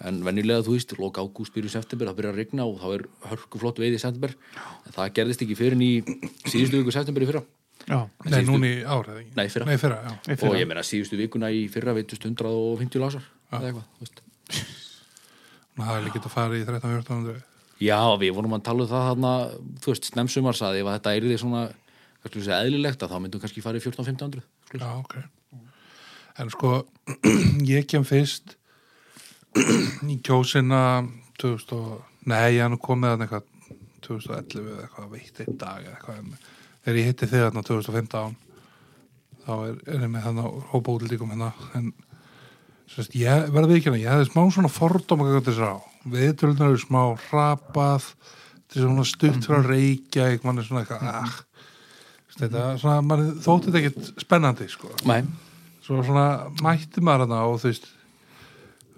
C: en venjulega þú veist, lók ágúst byrju september, það byrjar að rigna og þá er hörku flott veiði í september en það gerðist ekki fyrir henni í síðustu viku september í fyrra
A: já,
B: nei, núna í ár eða ekki?
C: Nei, í fyrra.
B: nei, í fyrra já.
A: Í fyrra.
C: og ég meina síðustu vikuna í fyrra veitust 150 lásar eða eitthvað, þú veist
B: Ná, það er líka að fara í 13-14
C: Já, við vorum að tala um það þarna, þú veist, snemsumars að ef að þetta er því svona, hvað slúið segja, eðlilegt að þá myndum við kannski fara í 14-1500. skilur.
B: já, ok en sko, ég kem fyrst í kjósina 2000 og, nei, ég hann komið að eitthvað 2011 eða eitthvað veitt einn dag eða eitthvað en þegar ég hitti þig þarna 2015 þá er, er ég með þarna hópa útlíkum hérna en sérst, ég verði ekki hérna, ég hefði smá svona fordóma gæti þessar á, viðtölunar eru smá rapað, þetta er svona stutt frá Reykjavík, mann er svona eitthvað ah, Sérst, þetta, svona, mann þótti þetta ekkert spennandi, sko
C: Nei,
B: svo svona mætti maður hana og þú veist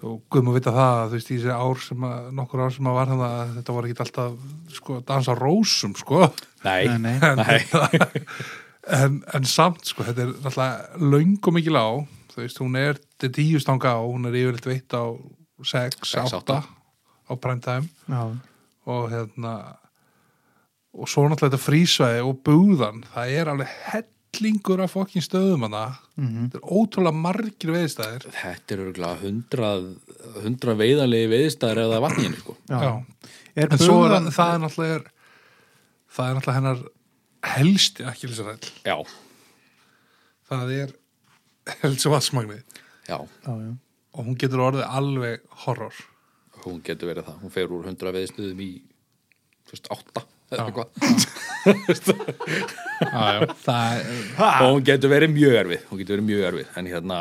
B: og guðum að vita það þú veist, í þessi ár sem að, nokkur ár sem að var hana þetta var ekkit alltaf sko að dansa á rósum sko
A: nei,
C: nei,
A: nei,
B: en, en, en samt sko, þetta er alltaf löng og mikil á þú veist, hún er þetta er tíu stanga á, hún er yfirleitt veitt á 6,
C: Sex,
B: 8
C: átta.
B: á primetime
A: já,
B: og hérna og svo náttúrulega þetta frísvæði og búðan það er alveg hellingur af fokkin stöðum hana
A: Mhm.
B: þetta er ótrúlega margir veðistæðir
C: þetta eru örgulega 100, 100 veiðanlegi veiðstæðar eða vatninu, sko.
A: já.
B: Já.
A: Er
B: en svo er,
A: bugðan-
B: það er náttúrulega er, það er náttúrulega hennar helsti akkilsaræll
C: Já,
B: það er helsti vatsmagni
C: já,
A: já, já.
B: og hún getur orðið alveg horror
C: hún getur verið það. Hún fer úr 100 veiðstöðum í, þú veist, 8
B: Já.
C: eða eitthvað.
B: ah, það er
C: Og hún getur verið mjög erfið, hún getur verið mjög erfið. En hérna,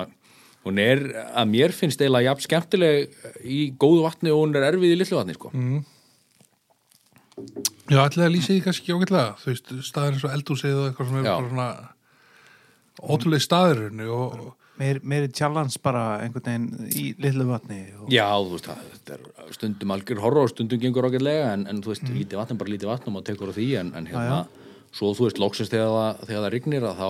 C: hún er, að mér finnst eiginlega jafn skemmtileg í góðu vatni og hún er erfið í litlu vatni, sko.
B: Já, ætlaði að lýsa því kannski ágætlega þú veist, staðir eins og eldúsið og eitthvað sem er
C: Já.
B: bara svona ótrúlega staðirunni og
A: Meir, meiri challenge bara einhvern veginn í litlu vatni og...
C: Já, þú veist, það- þetta er stundum algjör horror, stundum gengur ágætlega en, en þú veist, lítið vatn er bara lítið vatn og maður tekur á því en, en hérna, svo þú veist, loksins þegar það, þegar það rignir að þá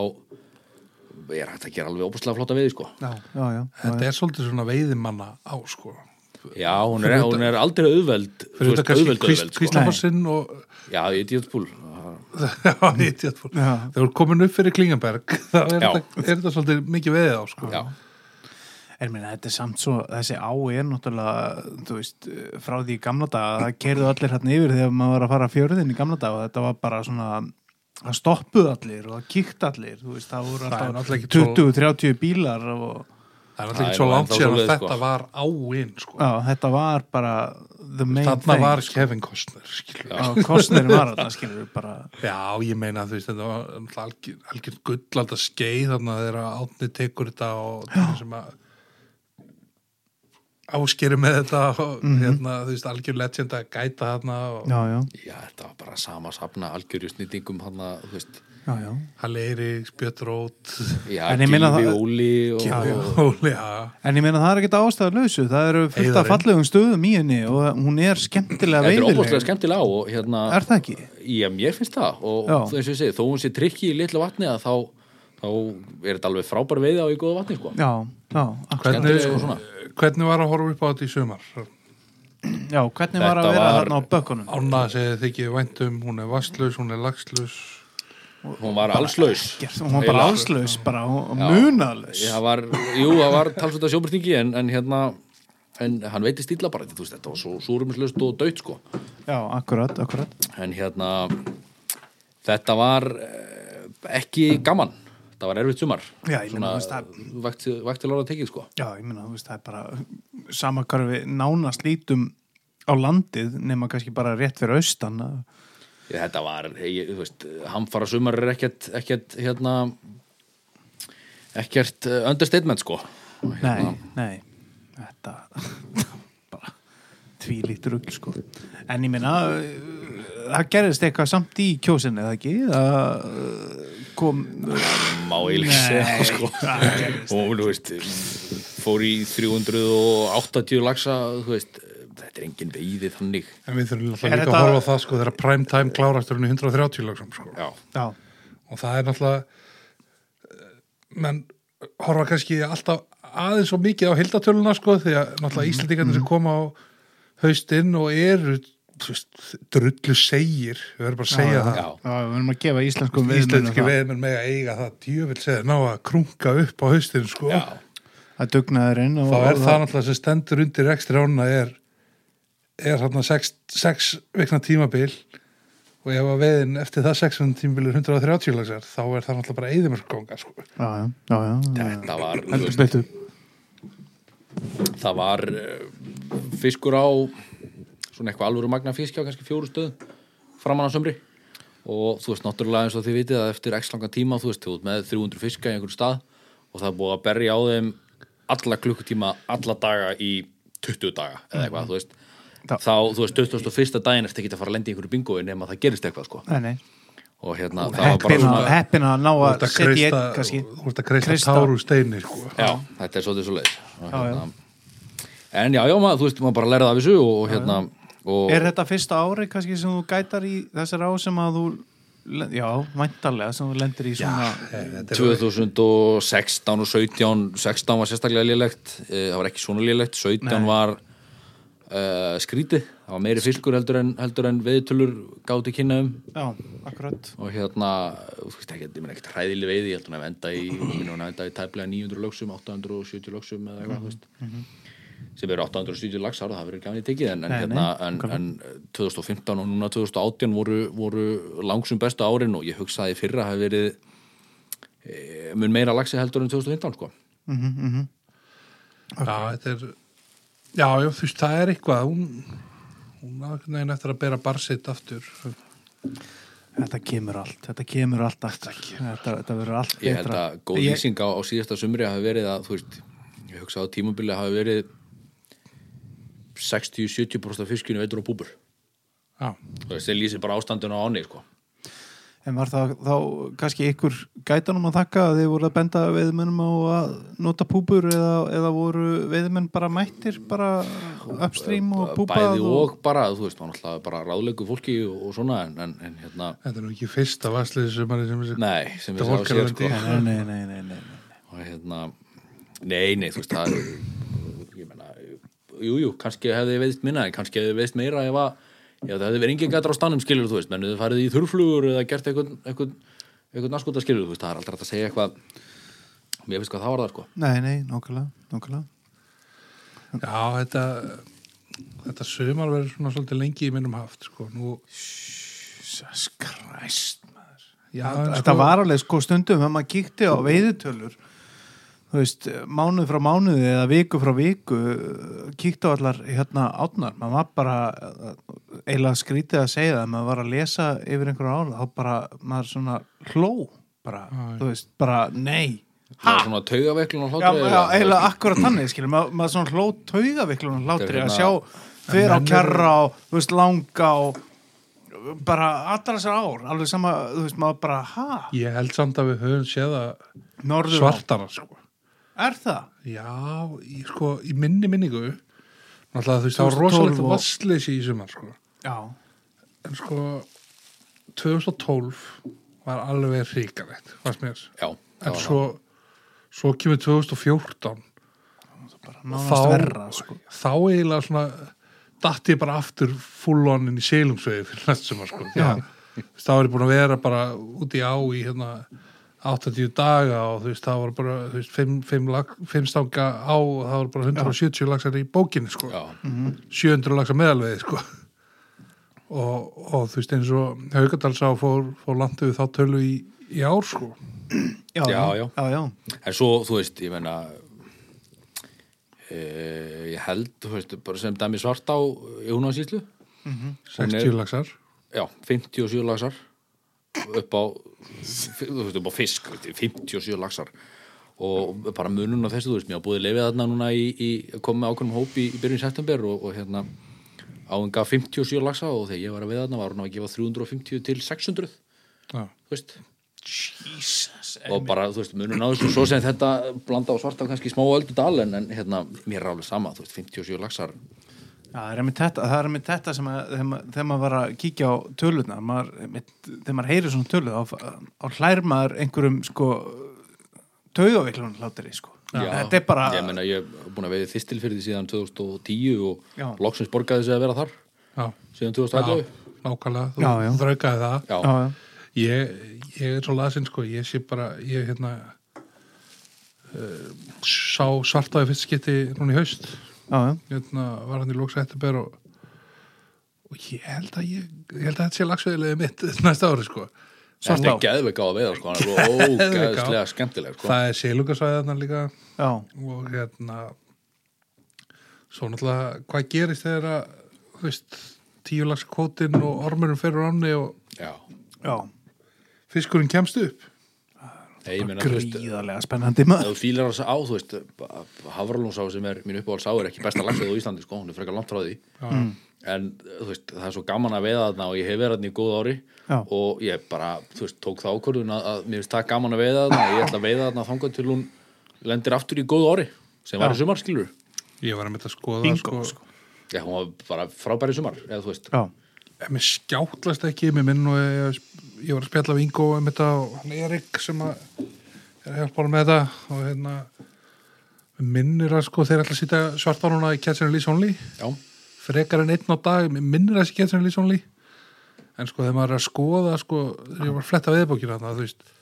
C: er hægt að gera alveg óbúslega flotta við, sko.
A: já, já, já, já,
B: þetta er svolítið svona veiðimanna á sko
C: Já, hún er, hún er aldrei auðveld, þú
B: fyrir
C: veist,
B: þetta kannski
C: auðveld,
B: kvist,
C: auðveld, sko.
B: Kvíslafossinn og
C: Já, ég er djöðspúl.
B: Já, idiot.
A: Já.
B: þegar þú er komin upp fyrir Klingenberg þá er
C: Já.
B: þetta, er þetta svolítið mikið veðið á sko.
C: Já,
A: En minna, þetta er samt svo, þessi á er náttúrulega, þú veist, eh, frá því í gamla daga, það keirðu allir hérna yfir þegar maður var að fara fjörðin í gamla daga og þetta var bara svona það stoppuð allir og það kíkt allir þú veist, það voru
B: Það er
A: alltaf
B: náttúrulega ekki svo-
A: 20-30 bílar og
B: Það er alltaf
C: Æ,
B: ekki svo
C: nú,
B: langt
C: ennþá
B: sér að
C: svoleiðis,
B: þetta
C: sko.
B: var áinn sko.
A: já, þetta var bara the main
B: Þarna
A: thing
B: var Kevin Costner skilur.
A: Já, kostnir var þarna, skilur við bara
B: Já, ég meina þú veist, þetta var náttúrulega algjör, algjör gullald að skeið þannig að þeirra átni tekur þetta og það sem að áskeri með þetta og hérna, þú veist, algjör legend að gæta þarna og
A: já, já,
C: Já, þetta var bara sama safna algjörju snýtingum hann að, þú veist,
A: já, já,
B: Halleiri, Spjötrót
C: já,
A: En ég
C: Gylfi,
A: meina það-
C: Óli og, og,
B: Óli, já
A: en ég meina það er ekkert ástæða lausu það eru fullt af
B: Heiðarinn.
A: fallegum stöðum í henni og hún er skemmtilega
C: þetta er óbúslega
A: veiðileg
C: skemmtilega á og hérna,
A: er það ekki?
C: já, mér finnst það og
A: Já.
C: og eins og ég segi, þó hún sé trikki í litla vatni að þá, þá er þetta alveg frábær veiði á í góða vatni, sko.
A: Já, já, akkur,
B: hvernig,
C: Skemmtileg og svona.
B: hvernig var að horfa upp á þetta í sumar?
A: já, hvernig var að
C: Þetta
A: vera
C: var-
A: þarna á bökkunum?
B: Ána segið þið ekki væntum, um, hún er vastlus, hún er lagslus
C: Hún var allslaus.
A: Gert- Hún var bara allslaus, bara hún- munalaus
C: Já, það var, jú, það var talsvölda sjóbyrtingi en, en hérna en hann veitir stíla bara, þú veist, þetta var svo súrumislaust og döitt, sko
A: Já, akkurat, akkurat
C: en hérna þetta var eh, ekki gaman, þetta var erfitt sumar
A: Já, ég meina, þú veist, það-
C: vakti, vakti lára tekið, sko
A: Já, ég meina, þú veist, það er bara sama hvar við nánast lítum á landið nema kannski bara rétt fyrir austan að-
C: Ég, þetta var, ég, þú veist, hamfara sumar er ekkert, ekkert, hérna ekkert eh, understatement, sko
A: Nei, nei, þetta bara tvílít rugl, sko En ég meina, uh, það gerðist eitthvað samt í kjósinni, eða ekki? Það uh, kom
C: má eiginlega ekki segja, sko
A: það gerðist
C: og þú veist fór í 380 lagsa þú veist, þetta er engin veiði þannig
B: En við þurfum alltaf
A: Er
B: líka
A: þetta-
B: að horfa á það sko þegar prime time klárast er hún í 130 lögsum sko.
C: já,
A: Já,
B: og það er náttúrulega eh, menn horfa kannski alltaf aðeins og mikið á hildatöluna sko því að náttúrulega
C: Mm-hmm.
B: Íslandingarnir sem koma á haustinn og eru þú veist, drullu segir við verðum bara að segja
C: já,
B: það
A: já, við erum að gefa íslenskum veiðmönnum
B: Íslenski veðmenn mega eiga það djöfil segir ná að krunga upp á haustinn sko
C: já,
A: Það er dugnaðurinn og,
B: þá er
A: og
B: það náttúrulega sem stendur undir rekstri ána er, er hérna sex, sex vikna tímabil og ef að veðin eftir það 600 tímabil er 130 lagsar þá er það náttúrulega bara eðimörkgónga sko.
A: Já, já, já, já, já.
C: þetta var þú
A: Heldur
C: veist,
A: betur
C: það var eh, fiskur á svona eitthvað alvöru magna fisk á kannski fjóru stöð framan á sömri og þú veist náttúrulega eins og þið vitið að eftir x langan tíma þú veist, þú veist með 300 fiska í einhverju stað og það er búið að berja á þeim alla klukkutíma, alla daga í 20 daga eða
A: Mhm.
C: eitthvað, þú veist
A: Já.
C: þá, þú veist, 21. daginn eftir ekki að fara að lenda í einhverju bingói nema það gerist eitthvað, sko
A: Nei, nei
C: og hérna, það var bara
A: heppin að,
C: svona
A: heppin að ná
B: Þú
A: að
B: ert að
A: setja í einn
B: kreista-
A: kannski
B: þú ert að kreista
A: Kreista.
B: tár úr steini sko.
C: já, þetta er svolítið svo leiðis
A: Já, já.
C: en já, já, maður, þú veist, maður bara lærði af þessu og, og hérna og,
A: er þetta fyrsta ári kannski sem þú gætar í þessar á sem að þú le- já, mæntarlega sem þú lendir í svona já,
C: 2016 og 17 16 var sérstaklega lélegt eh, það var ekki svona lélegt, 17 var uh, skrítið það var meiri fylgur heldur en, heldur en veðtölur gáti kynna um
A: akkurat
C: og hérna, þú veist ekki, ég meina ekkert hræðileg veiði, ég held hún að venda í hún að venda í tæplega 900 lögsum, 870 lögsum eða eitthvað, þú veist
A: Mhm,
C: sem eru 870 lagsar og það verður gafni tekið en, en,
A: Nei, nei,
C: hérna, en, en 2015 og núna 2018 voru, voru langsum bestu árin og ég hugsaði í fyrra hafi verið e, mun meira lagsi heldur en 2015 sko.
B: já, þetta er já, já, þú veist, það er eitthvað hún, hún aðeins eftir að bera barsitt aftur
A: þetta kemur allt, þetta kemur allt aftur þetta, þetta verður allt
C: ég held
A: betra.
C: að góð
A: Ég-
C: lýsing á, á síðasta sumri hafi verið að þú veist, ég hugsaði á tímabili hafi verið 60-70% af fiskinu veitur og búbur
B: já,
C: þú veist, þeir lýsir bara ástandinu á áni sko.
A: en var það þá kannski ykkur gætanum að þakka að þið voru að benda veiðmennum á að nota púpur eða, eða voru veiðmenn bara mættir bara upstream og púpað
C: bæði og bara, þú veist, maður alltaf bara ráðlegu fólki og, og svona en, en, en hérna,
B: þetta er nú ekki fyrsta vastlið sem er sem þessi
C: nei,
B: Þetta
C: sem ég sá
B: fólk er
C: sér
B: alveg
C: sko,
A: Nei, nei, nei, nei, nei, nei.
C: og hérna nei, nei, þú veist, það er ég menna, jú, jú, kannski hefði ég veist minna, en kannski hefði ég veist meira ef að, ef það hefði verið engin gætra á stannum skilur, þú veist, menn þau farið í þurrflugur eða gert eitthvað, eitthvað, eitthvað naskúta skilur, þú veist, það er aldrei hægt að segja eitthvað mér finnst hvað það var það, sko
A: nei, nei, nákvæmlega, nákvæmlega
B: já, þetta þetta sumar verður svona svolítið lengi í minnum haft sko, nú
A: Jesus Christ maður
B: Já,
A: Þetta
B: sko-
A: var alveg sko stundum þegar maður kíkti á veiðutölur þú veist, mánuð frá mánuði eða viku frá viku kíkti á allar hérna átnar maður var bara eh, eiginlega skrítið að segja það maður var að lesa yfir einhverja ála þá bara maður svona hló bara, þú veist, bara nei
C: Það var svona taugaveiklun og
A: já,
C: hlátur
A: já, eiginlega akkurat þannig skilur, maður, maður svona hló taugaveiklunum hlátri
C: Þetta
A: að
C: er hérna-
A: sjá fyrir á kjarra og, þú veist, langa og bara allra þessar ár alveg sama, þú veist, maður bara, ha?
B: Ég held samt að við höfum séð að
A: Norður
B: svartara, sko.
A: Er það?
B: Já, í, sko, í minni minningu, náttúrulega þú veist, það var
A: 2012
B: rosalegt
A: og-
B: vassleysi í sumar, sko.
A: Já.
B: En sko, 2012 var alveg hrikalegt, fannst mér.
C: Já, það
B: En
C: var
B: svo, svo kemur 2014
A: Bara
B: þá,
A: nánast verra, sko.
B: þá eiginlega svona datt ég bara aftur full on inn í selungsvegi fyrir næst sumar sko. Já. Veist, þá er ég búin að vera bara úti á í hérna 80 daga og þú veist, það var bara þú veist, 5, 5, lag, 5 stanga á og það var bara 170 lagsar í bókinni sko.
C: Já,
B: 700 lagsar meðalvegi sko. og, og þú veist eins og Haukadalsá fór, fór landið við þá tölu í, í ár sko.
A: Já,
C: Já, já.
A: Já, já.
C: en svo, þú veist, ég meina e, ég held, þú veist, bara sem dæmi svart á Jónasíslu
B: 60 lagsar
C: Já, 57 laxar upp á, þú veist, upp á fisk þú veist, 57 laxar og bara munun á þessu, þú veist, mér hafa búið lefið þarna núna í, í komið ákveðnum hóp í, í byrjun september og, og hérna áðan gaf 57 laxa og þegar ég var að veið þarna var hún að gefa 350 til 600
B: Já.
C: þú veist Jesus, og bara, þú veist, munun á þessu svo sem þetta blanda á svarta kannski smá öldudal en, en hérna, mér er alveg sama, þú veist, 57 laxar
A: Já, Það er með þetta, það er með þetta sem að, þegar maður- þegar maður var að kíkja á töluna, maður, einmitt, þegar maður heyrir svona tölu, þá, þá hlær maður einhverjum, sko, taugaveiklun hlátir í, sko. Þetta er bara,
C: Ég meina, ég er búin að veiði þistilfyrði síðan 2010 og
A: Já.
C: loksins borgaði sig að vera þar
B: Já.
C: síðan
B: Já,
C: 2011
B: nákvæmlega, þú
A: Já, já.
B: þraukaði það
C: Já,
A: já, já.
B: Ég, ég er svo lasinn sko, ég sé bara, ég hérna uh, sá svartaði fyrst skipti núna í haust,
A: Já, já.
B: hérna var hann í lóks eftirber og, og ég held að ég, ég held að þetta sé lagsveðilegði mitt næsta ári sko.
A: Svart á.
C: Þetta er geðveika á að veiða sko, hann er svo
B: Geðveik á.
C: ógeðslega skemmtileg sko.
B: Það er selungasvæðarnar líka
A: Já,
B: og hérna, svo náttúrulega hvað gerist þegar að, þú veist, tíu lags kvótinn og ormurum fyrir ánni og
C: Já,
A: já.
B: fiskurinn kemst upp.
C: Nei, ég meina, þú veist ef
A: Gríðarlega spennandi maður.
C: þú fílar þess á, þú veist Havralónsá sem er mín uppáhalds á er ekki besta lagsveið á Íslandi, sko, hún er frekar langt frá því
B: Já. Mm.
C: en þú veist, það er svo gaman að veiða þarna og ég hef verið þarna í góð ári
A: Já.
C: og ég bara, þú veist, tók það ákvörðun að, að mér finnst það gaman að veiða þarna ég ætla að veiða þarna þangað til hún lendir aftur í góð ári sem var í sumar, skilur
B: Ég var að mynda að skoða
A: Bingo,
B: sko.
A: sko.
C: Já, hún var bara frábæri sumar eða þú veist,
A: Já,
B: En mér skjáttlast ekki, mér minn og ég, ég var að spjalla við Ingo um þetta og hann Erik sem að er að hjálpa hann með þetta og hérna mér minnir að sko þeir ætla að sýta svartánuna í Catch and Release Only
C: já,
B: frekar en einn á dag, mér minnir að þessi Catch and Release Only en sko þegar maður er að skoða sko, þegar ég var að fletta veðbókina þarna, þú veist,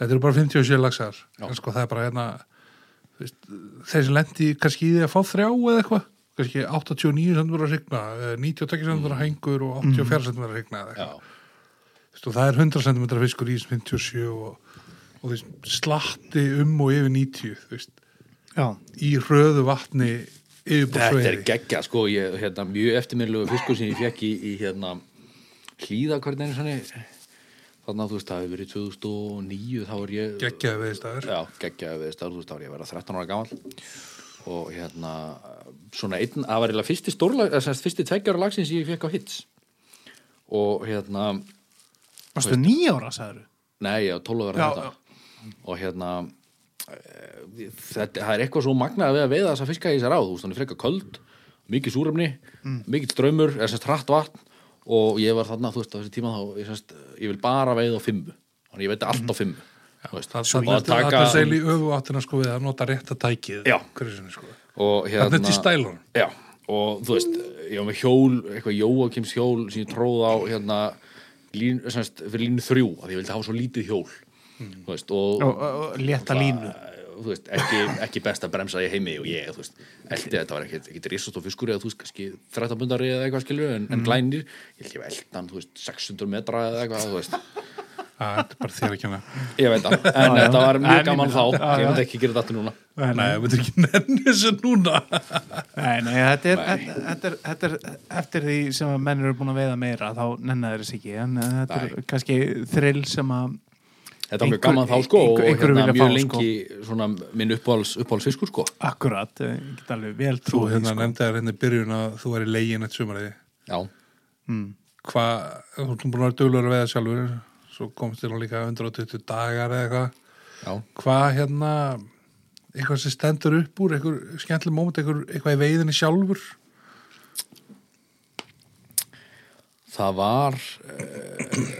B: þetta eru bara 57 lagsar en sko það er bara hérna þú veist, þeir sem lendi kannski í því að fá þrjá eða eitthvað kannski 89 sem verður að signa 92 sem verður að hengur og 84 sem verður að signa eða eitthvað
C: Mm. já,
B: Þú veist, og það er 100 cm fiskur í þessum 57 og, og þú veist, slatti um og yfir 90 þú veist,
A: já.
B: í hröðu vatni yfir bara
C: þetta er
B: sveiði
C: geggja sko, ég, hérna, mjög eftirminnlegu fiskur sem ég fekk í, í hérna, hlýða hvernig einu svona þannig að þú veist, það hefur verið 2009 þá er ég
B: geggjaði veðistæður
C: Já, geggjaði við starf, þú veist, þá var ég að vera 13 ára gammal og hérna svona einn, það var eiginlega fyrsti stórlag eða sem sagt, fyrsti tveggjara lag sem ég fekk á hits og hérna
A: Varstu nýjára, sagður?
C: nei, ég var 12 ára
A: Já,
C: þetta og hérna e, þetta, það er eitthvað svo magnað að við að veiða þessa fiska í þessar á, þú veist, hann er frekar köld mikið súrefni, mikið strömmur eða sérst hratt vatn og ég var þarna, þú veist, á þessi tíma þá ég, sérst, ég vil bara veiða á fimmu þannig ég veiti allt á fimmu þú veist,
B: það
C: og að
B: er
C: taka-
B: að segja í öfu áttina sko við að nota rétt að tækið
C: Já.
B: hverju sinni, sko.
C: og
B: Þarna
C: hérna
B: er til stælun.
C: já, og þú veist, ég var með hjól eitthvað Jóakims hjól sem ég tróð á hérna, lín, semst, fyrir línu þrjú að ég vildi hafa svo lítið hjól þú veist, og,
A: Já, og- og létta línu.
C: þú veist, ekki, ekki best að bremsa í heimi og ég, þú veist, eldi þetta var ekkit, ekkit risast og fiskur eða þú veist, kannski 13
A: Mhm.
C: bundari eða eitthvað skilur, en, en glænir ég held ég eldan, þú veist, 600 metra eða eitthvað, þú veist
B: þetta er bara þér að kenna
C: Ég veit það, en
A: já.
C: þetta var mjög
A: En
C: gaman
A: ég
C: þá
A: meina- já,
C: Ég
A: já.
C: veit ekki gera þetta aftur núna
B: Nei, við erum ekki nenni þessu núna
A: Nei, nei, þetta er, þetta, þetta er, þetta er eftir því sem að menn eru búin að veiða meira þá nennar þeir þess ekki en eh, þetta er
C: Nei.
A: kannski þrill sem að
C: Þetta var mjög
A: Einhver-
C: gaman þá sko
A: einhver-
C: og
A: einhverju
C: hérna,
A: vilja
C: mjög
A: fá, sko.
C: lengi svona minn uppáhals, uppáhals fiskur sko
A: akkurat, eh, ég get alveg vel
B: Þú
A: trúið
B: hérna nefndaður hérna í byrjun að þú er í legin eitt sumariði.
C: Já,
B: Hvað, þú ert búin að vera duglur að veða sjálfur, svo komst þér nú líka 120 dagar eða eitthvað.
C: já
B: Hvað hérna, eitthvað sem stendur upp úr, eitthvað skemmtileg móment, eitthvað, eitthvað í veiðinni sjálfur?
C: Það var eh,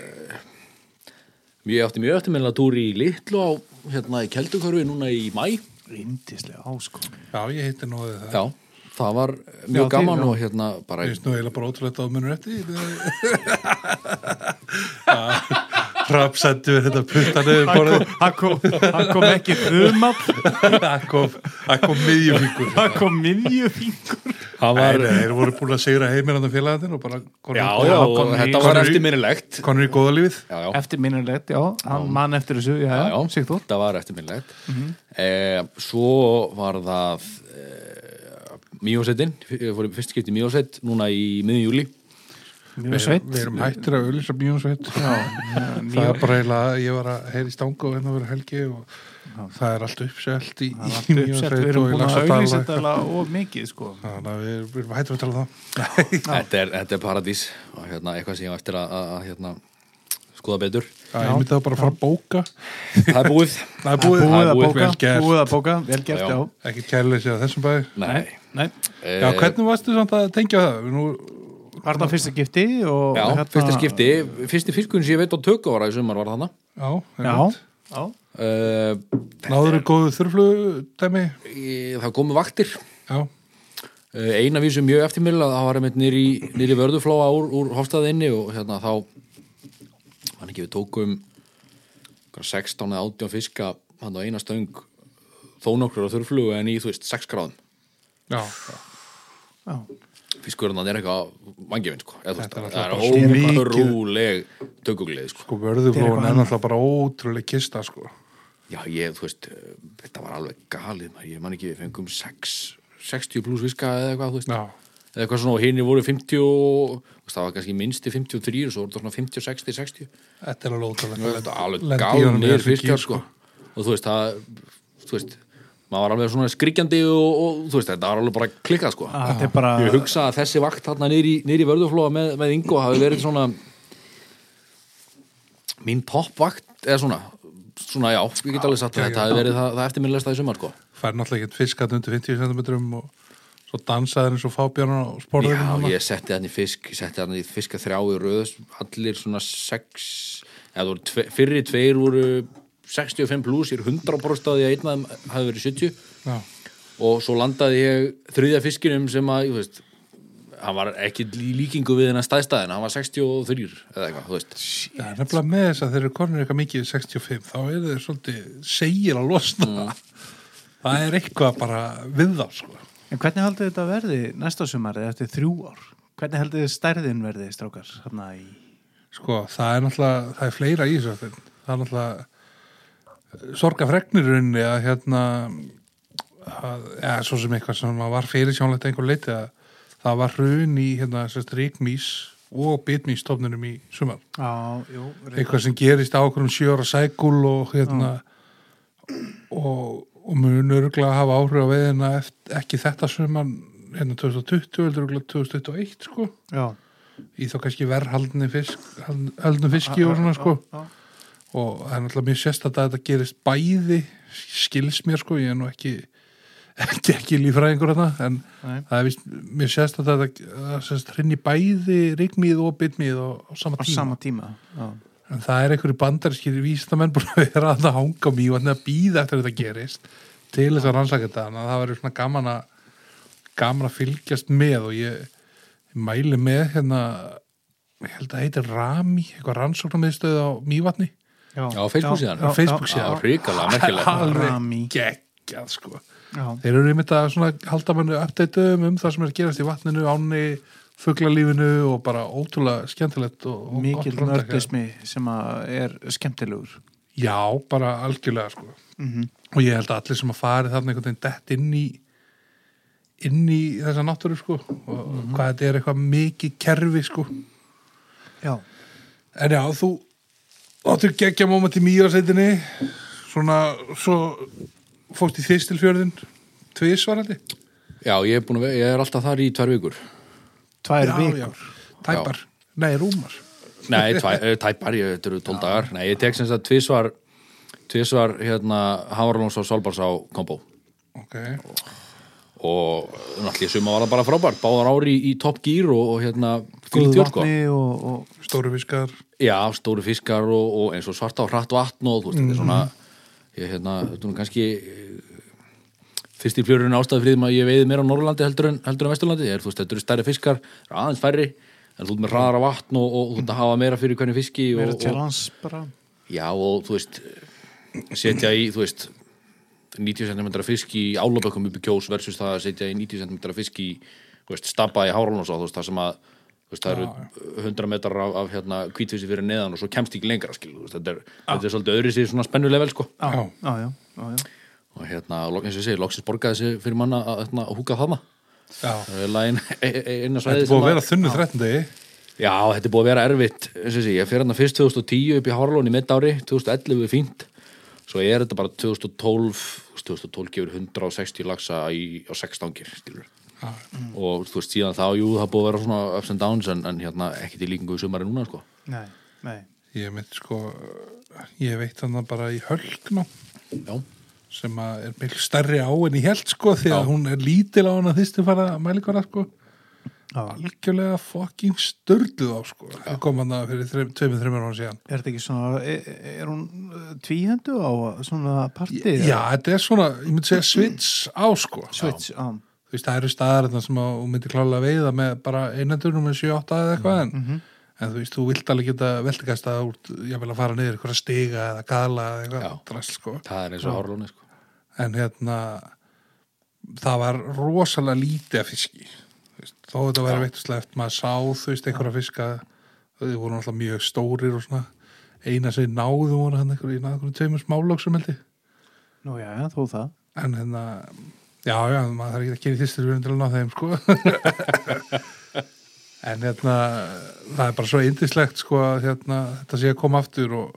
C: Ég átti mjög eftir meðlega túr í Litlu á hérna í Keldukörfi núna í mæ
A: Índislega áskó
B: Já, ég hitti nóðið það.
C: Já, það var
A: Já,
C: mjög
A: til-
C: gaman
A: já.
C: og hérna bara
B: Ég veist nú eiginlega bara ótrúlega að munur eftir því. Ah, Rapsættu er þetta puttan yfir borðið.
A: Það kom, það kom ekki þumall,
B: Það kom, það kom miðjumíkur.
A: það kom miðjufíngur
C: Það
B: Nei,
C: var,
B: nei, þeir voru búin að segra heimilandi félagatinn og bara
C: já,
B: konur-
C: já,
A: það kom
C: og þetta
A: í-
C: var
B: Konur-
C: eftirminnilegt
B: konur í góða lífið.
C: Já, já
A: Eftir minnulegt, já, hann mann eftir þessu, já,
C: já,
A: já,
C: já,
A: Sigþór
C: þetta var eftirminnlegt mm svo var það e, mjósettin ég fór í fyrst skipti mjósett núna í miðjum júli
A: Mjög
B: Við-
A: sveitt
B: Við erum hættir að auðlýsa Bjónsveit Það
A: Já,
B: er bara eiginlega að ég var að heyri stanga og hérna verið helgi og það er allt uppselt í, í
A: mjög sveitt Við
B: Mjónsveit
A: erum
B: og í
A: búin að auðlýsa
B: Laxadal
A: þetta og mikið, sko
B: Þannig að við við erum hættir að tala um það
C: þetta er, þetta er paradís og hérna, eitthvað sem ég á eftir að, að, að hérna, skoða betur
B: Já, Ég myndi það bara að fara að bóka
C: það er búið
B: Það er
A: Búið
B: búið,
C: Það er
A: að
C: búið,
A: bóka,
B: vel gert.
A: búið að bóka, vel
C: Já,
A: gert,
C: já.
A: já
B: ekki kærlega sér að þessum bæði
C: Nei.
A: nei
B: Já,
C: Eh,
B: hvernig varstu samt að tengja það? Nú,
A: Var það fyrsta skipti og
C: Já,
A: hérna-
C: fyrsta skipti, fyrsti fiskurinn sem ég veit á tökku ára í sumar var þarna
B: já,
A: Já,
B: einmitt.
A: já,
C: uh,
B: Náðurðu góðu þurflutæmi?
C: það komu vaktir
B: Já,
C: Eh, eina vísum mjög eftirmiðla það var einmitt nýri, nýri vörðuflóa úr, úr hofstaðinni og hérna þá hann ekki við tókum einhverja 16 eða 18 fiska hann á eina stöng þó nokkur á þurflugu en í þú veist 6 gráðum
B: já
A: já
C: fiskurinn hann er eitthvað vangefinn sko eða, þú veist,
B: Þetta er
C: það
B: náttúrulega
C: er
B: bara
C: ótrúleg tökuglið sko
B: Sko, vörðuflóan
A: eitthvað
B: er náttúrulega bara ótrúlega kista, sko
C: já ég þú veist eh, þetta var alveg galið maður. ég man ekki við fengum 6 60 pluss fiska eða eitthvað þú veist
B: Já,
C: eða eitthvað svona og hinni voru 50 og, þú veist, það var kannski minnsti 53 og svo voru það svona 50, 60, 60
B: þetta er alveg ótrúlega
C: þetta er alveg
B: Lendi í honum í
C: galnir
B: þessum gír,
C: fiskar sko. og þú veist það þú veist, maður var alveg svona skrikjandi og, og þú veist, þetta var alveg bara klikkað sko.
A: Ah, Þetta er bara
C: ég hugsa að þessi vakt þarna niður í, niður í vörðuflóa með, með Ingo hafi verið svona mín toppvakt eða svona, svona já, ég get alveg satt að
B: Já, já.
C: þetta hafi verið það, það eftirminnlegsta í sumar sko.
B: fær náttúrulega ekkert fiskat undir 50 cm og svo dansaði eins og fábjörn og sporður
C: Já, ég setti hann í fisk, ég setti hann í fiska þrjá í röðus, allir svona sex, eða það voru tve, fyrri tveir voru 65 pluss, ég er 100% á því að einn af þeim hafi verið 70
B: Já,
C: og svo landaði ég þriðja fiskinum sem að, ég veist, hann var ekki í líkingu við hennar staðstæðin, hann var 63 eða eitthvað, þú veist.
B: Já, nefnilega með þess að þeir eru konur eitthvað mikið í 65 þá eru þeir svolítið segir að losna
C: Mm.
B: það er eitthvað bara við þá sko.
A: En hvernig haldið þetta verði næsta sumarið eftir þrjú ár? Hvernig haldið þið stærðin verði, strákar? Hanna í...
B: sko, það er náttúrulega það er fleira í þessu en það er náttúrulega sorgafregnirinni að hérna að, ja, svo sem eitthvað sem var fyrir sjónlegt einhver leiti að það var hrun í hérna, sérst, ríkmís og bitmísstofnunum í sumar
A: Já, jú,
B: eitthvað sem gerist á okkur um sjóra sækul og hérna og, og mun örgulega hafa áhrif á veiðina eft- ekki þetta suman hérna 2020 heldur örgulega 2021 sko
A: Já,
B: í þá kannski verðhaldni fisk haldnum fiski og svona sko
A: já.
B: og það er náttúrulega mjög sérstætt að þetta gerist bæði skils mér sko ég er nú ekki ekki, ekki lífræðingur hana en
A: Nei.
B: það er vist mér sérstætt að þetta sérst, hrinni bæði rigmið og bitmið á, á sama
A: á
B: tíma
A: sama tíma. Já,
B: En það er einhverju bandarskir vísindamenn búin að vera að hanga mjög og að býða eftir að þetta gerist til þess að rannsaka þetta þannig að það verður svona gaman að gaman að fylgjast með og ég mæli með hérna ég held að það heitir Rami eitthvað rannsóknarmiðstöð á Mývatni
C: Já, Facebook síðan.
A: já,
B: á Facebook
A: já,
C: Það
B: síðan
C: var hrikalega merkilegt.
A: Rami.
B: alveg geggjað sko
A: Já,
B: þeir eru einmitt að svona halda mannu uppdateum um það sem er að gerast í vatninu áni fuglalífinu og bara ótrúlega skemmtilegt og, og
A: Mikil
B: gott framtak.
A: nördismi sem að er skemmtilegur
B: Já, bara algjörlega sko. og ég held að allir sem að fari þarna einhvern veginn dett inn í inn í þessa náttúru sko. og hvað þetta er eitthvað mikið kerfi sko.
A: Já,
B: en já, þú áttur geggja moment í mýjarsveitinni svona, svo fórst í þistilfjörðin tvisvarandi
C: Já, ég er, búin að, ve- ég er alltaf þar í tvær vikur
A: tvær
B: já,
A: vikur
B: tæpar, nei rúmar
C: Nei, tvæ, eh, tæpar, ég, þetta eru tól dagar Nei, ég tek sem sagt tvisvar tvisvar hérna Havarlóns og Solbars á kombo
B: ok,
C: og náttúrulega í suma var það bara frábært báðar ári í, í topp gýr og, og hérna
A: Góðu
C: fylgd jörg sko.
A: vatni og, og
B: stóru fiskar
C: Já, stóru fiskar og, og eins og svarta og hratt vatn og þú veist, þetta er svona
A: Mm.
C: ég hérna, þetta er nú kannski eh, fyrst í fljórin ástæði fyrir því að ég veiði meira á Norrlandi heldur en, heldur en Vesturlandi er, þú veist, þetta eru stærri fiskar, eru aðeins færri en þú ert með hraðara vatn og, og þú ert að hafa meira fyrir hvernig fiski
A: vera
C: og,
A: til
C: og,
A: hans bara
C: Já, og þú veist setja í, þú veist 90 cm fisk í álabökkum upp í kjós versus það að setja í 90 cm fisk í þú veist, stapa í háralónsá þú veist, það sem að þú veist, það eru 100 metrar af, af hérna, kvítfissi fyrir neðan og svo kemst ekki lengra skil, þú veist, þetta, er, þetta er svolítið öðri sér svona spennulevel sko.
B: já,
A: Já, já, já, já.
C: og hérna, lo- eins og ég segi, loksins borgaði sér fyrir manna að, hérna, að húka þarna
B: já.
C: það er lagin e,
B: þetta
C: eina svæði
B: er búið
C: sem
B: að vera þunnu 13 degi
C: Já, þetta er búið að vera erfitt eins og sé, ég fyrir hann fyrst 2010 upp í Háralón í mitt ári, 2011 er fínt svo er þetta bara 2012 2012 gefur 160 lagsa í, á 6 stangir, skilur
B: Já.
C: og þú veist, síðan þá, jú, það er búið að vera svona ups and downs, en, en hérna, ekki til líkingu í sumari núna, sko.
A: Nei, nei
B: ég mitt sko ég veit þannig bara í hölknum
C: Já,
B: sem að er miklu stærri á en í held sko því að hún er lítil á hann að þýstu fara að mælikvara sko
A: Já.
B: algjörlega fucking störluð á sko það kom hann að fyrir þreim, tveimur, þreimur án síðan
A: Er þetta ekki svona, er, er hún eh, tvíhendu á svona partið?
B: já, þetta er svona, ég myndi segja svits á sko
A: Switch, já.
B: þú veist, það eru staðar þarna sem að hún myndi klálega veiða með bara einandunum með 7-8 eða eitthvað en, en þú veist, þú vilt alveg geta veltikast að út, ég vil að fara niður eitthvað stiga eða gala eða
C: Já.
B: eitthvað drast sko
C: það er eins og Háralóni, sko.
B: en hérna það var rosalega lítið af fiski Þú veist, þó þetta væri veitluslegt maður sá þú veist einhverja fiska þau voru alltaf mjög stórir og svona eina sem náðu voru hann einhverju í náðurum tveimur smálóksum held ég
A: Nú já, já, þó það.
B: en hérna já já maður þarf ekki að gera þýstur við til að ná þeim sko en hérna það er bara svo yndislegt sko að hérna, þetta sé að koma aftur og,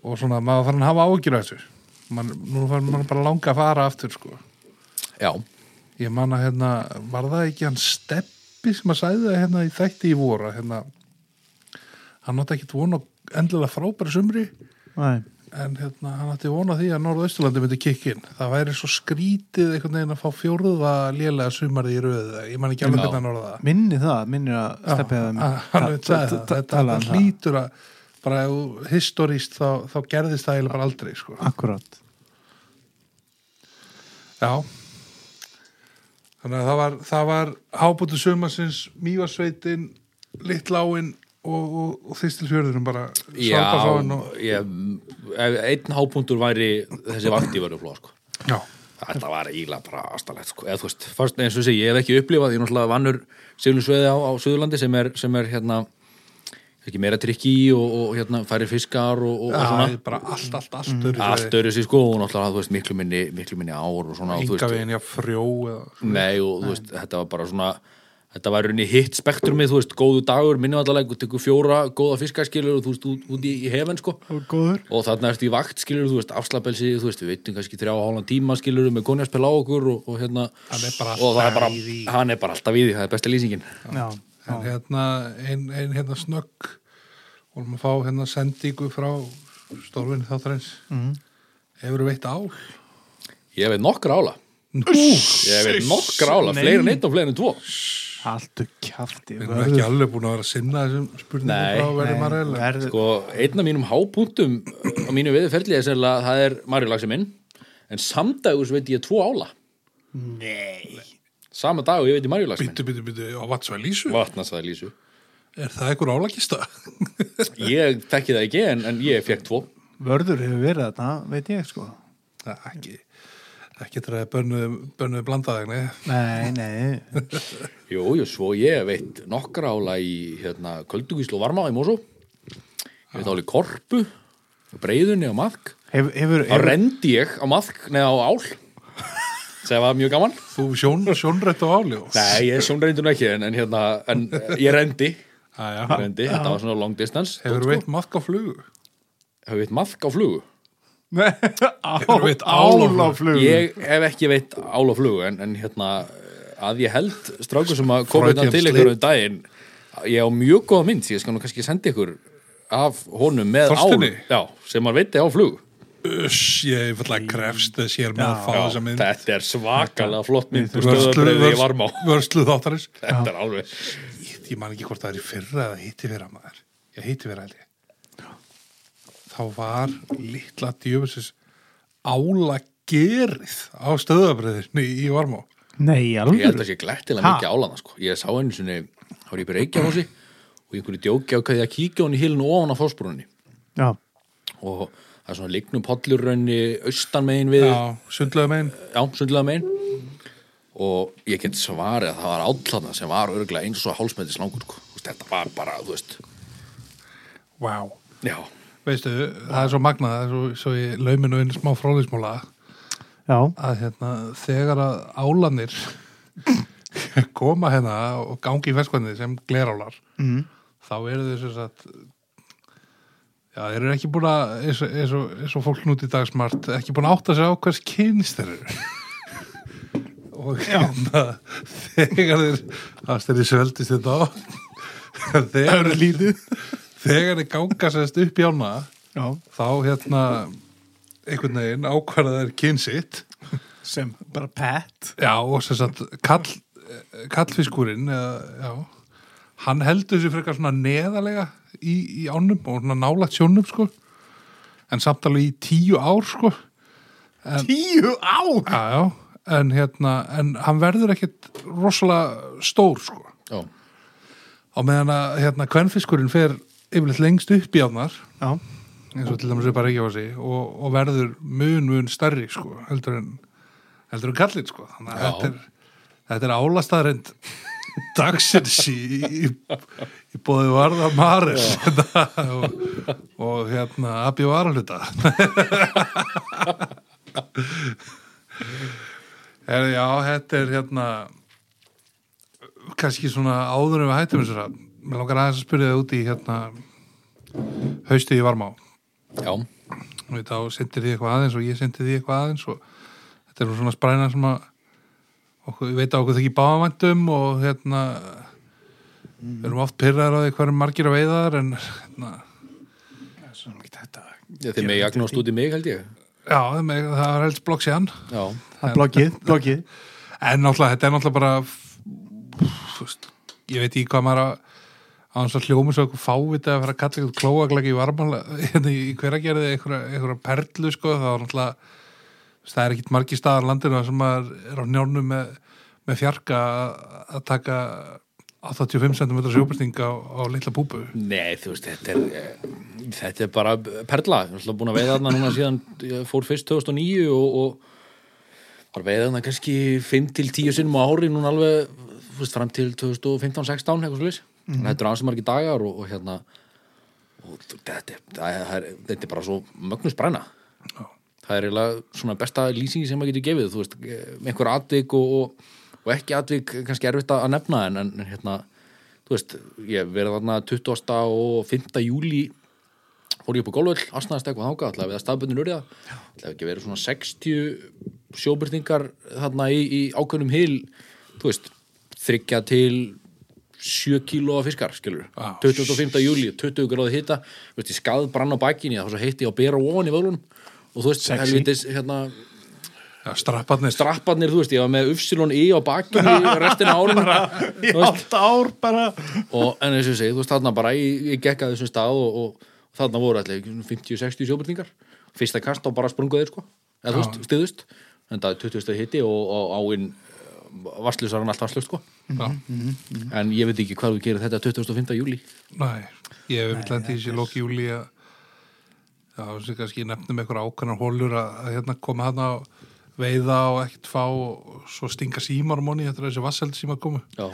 B: og svona maður þarf að hafa ágjur af þessu man, nú þarf maður bara að langa að fara aftur sko
C: Já,
B: Ég man að hérna, var það ekki hann Steppi sem að sæði það hérna í þætti í voru að, hérna, hann átti ekkit von á endilega frábæri sumri
A: Nei,
B: en hérna, hann átti von á því að Norðausturlandi myndi kikkin. Það væri svo skrítið einhvern veginn að fá fjórða lélega sumarið í röðu. Ég man ekki alveg
C: Já.
B: hvernig hann orða það.
A: minni það, minni að stefja
B: Já, að- hann veit sagði það. Þetta
A: tala um
B: þetta
A: það.
B: hlýtur að bara ef þú- historíst þá, þá gerðist það eiginlega bara aldrei sko.
A: Akkurát.
B: Já Þannig að það var, það var hábútu sumarsins Mývarsveitin, Littláin og, og, og Þistilfjörðurum bara
C: já,
B: Svalbarðsváin og,
C: ég, einn hápunktur væri þessi vakt í vörðuflóa, sko.
B: Já,
C: Þetta var eiginlega bara astalegt sko. eða þú veist, fast eins og sé, ég hef ekki upplifað ég er náttúrulega vannur siglusveiði á, á Suðurlandi sem er, sem er hérna ekki meira trikki og, og hérna færi fiskar og, og, og
B: það
C: svona
B: er bara allt, allt, allt mm. öðru
C: allt öðru sér sko og náttúrulega þú veist, miklu minni, miklu minni ár og svona og, þú
B: Enga
C: veist,
B: veginn, sko. já, frjó eða,
C: Nei, og þú veist, þetta var bara svona þetta var rauninni hitt spektrumið, þú veist, góðu dagur minnvallarleik, þú tekur fjóra góða fiskaskilur og þú veist, út, út í, í hefen, sko
A: Og góður.
C: og þarna ertu í vakt, skilur, þú veist, afslapelsi þú veist, við veitum kannski þrjá og hálfan tíma, skilur með konjarspil á okkur og, og hérna
B: Hann er bara
C: og það er
B: alltaf
C: bara,
B: í því.
C: hann er bara alltaf í því það er besta lýsingin
A: Já, já.
B: En hérna, ein, ein hérna snögg vorum að fá hérna sendingu frá Stórvinni þáttarins
C: Mhm.
B: mm. Hefur veitt ál
C: ég veit nokkra ála, ég veit nokkra ála
A: Nei.
C: fleiri en eitt og fleiri en tvo
A: Haltu kjafti.
B: Við erum ekki alveg búin að vera að sinna þessum
C: Nei.
B: spurningum frá verðum að reyla
A: Verður.
C: sko, einn af mínum hápunktum á mínu viðferðli er sérlega, að það er Marju Laxi minn, en samdagus veit ég tvo ála
A: Nei.
C: sama dag og ég veit ég Marju Laxi minn
B: Býtu, býtu, býtu, á vatsvæð lýsu
C: vatnasaði lýsu
B: Er það einhver álagista?
C: ég tekki það ekki en, en ég fekk tvo
A: Vörður hefur verið þarna, veit ég sko.
B: það er ekki. ekki þegar að bönnuðu bönnuðu blandaðegni
A: Nei, nei,
C: Jú, jú, svo ég veit nokkra ála í hérna, köldugíslu og varma í Mosó Ég veit áli korpu breiðunni á maðk
A: hefur, hefur,
C: Þá
A: hefur
C: rendi ég á maðk, neða á ál sem var mjög gaman
B: þú sjón, sjónrætt og áljó
C: Nei, ég svona reyndi nú ekki en, en, hérna, en eh, ég rendi,
B: hefur
C: rendi þetta var svona long distance
B: þú veitt maðk á flugu
C: Hefur veit maðk á flugu
B: Hefur veitt
A: ál á
B: áloflug.
A: flug
C: Ég hef ekki veit ál á flugu en, en hérna að ég held strákur sem að koma hérna
B: Freudian
C: til ykkur um daginn ég á mjög góða mynd, ég skal nú kannski senda ykkur af honum með
B: Þorsteini?
C: ál já, sem að veiti á flug
B: Uss, ég fyrir að krefst þess ég er með að fá
C: já,
B: þessa mynd
C: Þetta er svakalega flott mynd úr stöðabröðu í varmá
B: Vörslu- vörslu þáttarins
C: Þetta er alveg
B: Ég ég man ekki hvort það er í fyrra eða hitti vera maður ég hitti vera held ég þá var litla djöfusins ála gerið á stöðabröðinni í Varmó
A: Nei,
C: Ég held
A: alveg
C: að sé glættilega
A: Ha?
C: mikið álana sko. Ég sá einu sinni, þá er ég byrja ekki á þessi og í einhverju djóki á hvað ég að kíkja á hann í hilinu ofan á fósbrunni
A: Já,
C: og það er svona lignum pollurraunni austan megin við
B: á sundlega megin
C: já, sundlega megin og ég get svarið að það var átlana sem var örgulega eins og hálsmetis langur sko. Þú veist, þetta var bara, þú veist
B: Vá
C: já,
B: Veistu, það er svo magnað, það er svo, svo ég lauminu inn smá fróðismóla
A: já,
B: að hérna, þegar að álanir koma hérna og gangi í verskvæðinni sem glerálar mm. þá eru þau sem sagt já, þeir eru ekki búin að eins og- eins og eins og fólk nút í dag smart ekki búin að átta sig á hvers kynst þeir eru og hérna þegar þeir það styrir sveldist þetta á þegar,
A: lítið
B: þegar þeir ganga sérst upp í ána
A: Já,
B: þá hérna einhvern veginn ákvarða þeir kynsitt
A: sem bara pet
B: Já, og sem sagt, kall, kallfiskurinn, eða, já, hann heldur sér frekar svona neðalega í, í ánum og svona nálægt sjónum, sko, en samt alveg í tíu ár, sko,
A: Tíu ár
B: já, já, en hérna, en hann verður ekkit rosalega stór, sko,
C: já,
B: á meðan að, hérna, kvenfiskurinn fer yfirleitt lengst upp í ánar,
A: Já,
B: eins og til dæmis upp að reykja á sig, og, og verður mun, mun stærri, sko, heldur en, heldur en kallinn, sko, þannig að
C: Já.
B: þetta er, Þetta er álastaðarind dagsins í, í, í bóði varða Maril hérna, og, og hérna Abbi Varluta er, Já, þetta er hérna kannski svona áður en við hættum þess að mér langar aðeins að spyrja það út í hérna haustið í Varmá
C: já,
B: og þá sendir því eitthvað aðeins og ég sendir því eitthvað aðeins og þetta er nú svona spræna sem að okkur, við veit að okkur þekki báðamæntum og hérna við erum oft pyrraðar á því hvað eru margir að veiðar en hérna,
A: svona ekki þetta
C: þið með jagnast út í mig held ég
B: já, það með- það var helst blokk síðan
C: já,
A: Það er blokkið, blokkið
B: en náttúrulega, þetta er náttúrulega bara þú veist, ég veit í hvað maður að á hans að hljóma svo eitthvað fávita að fara að kalla eitthvað klóaglegi í varmála hérna í hveragerði eitthvað, eitthvað perlu sko, þá er náttúrulega þú veist, það er ekkit margi staðar á landinu þar sem maður er á njálnum með, með fjarka að- að taka 85 cm sjóbyrting á, á litla búbu
C: nei, þú veist þetta er, eh, þetta er bara perla, ég er alltaf búin að veiða þarna núna síðan ég fór fyrst 2009 og, og bara veiða þarna kannski 5 til 10 sinnum á ári núna alveg, þú veist, fram til 2015-16 eitthvað slis, mm. þetta er aðeins margir dagar og, og hérna og þetta, það er, þetta er bara svo mögnus bræna það er eiginlega svona besta lýsing sem maður getur gefið þú veist, eh, einhver atvik og, og, og ekki atvik kannski erfitt að nefna en, en hérna, þú veist ég hef verið þarna 20. og 5. júli fór ég upp á golföll asnaðast eitthvað þáka, ætlaði við að staðbundin urða ætlaði ekki verið svona 60 sjóbyrtingar þarna í, í ákveðnum hil, þú veist þryggja til 7 kílóa fiskar, skilur
B: Á,
C: 25. júli, 20 gráði hita Þú veist, ég skað brann á bakkinni, þá svo heitti ég á bera ofan í völunum og þú veist, helvitis, hérna
B: já, strapparnir
C: strapparnir, þú veist, ég var með Upsilon I á bakkinni restina árum
A: Í átt ár bara
C: og en eins og ég segi, þú veist, þarna bara ég, ég gekk að þessum stað og, og, og þarna voru allir 50-60 sjóbyrtingar fyrsta kast og bara sprunguðir sko eða þú veist, stiðust, en það er 20. hitti og, og áinn varslusar hann allt varslust sko
B: já,
C: en ég veit ekki hvað þú gerir þetta 25. júli
B: Nei, ég hef umtlandi í þessi lóki júli að já, sem kannski nefnum eitthvað ákveðnar hólur að, að hérna koma hann á veiða og ekkert fá og svo stinga símar um honni eftir að þessi vasseld síma komu
C: já,
B: og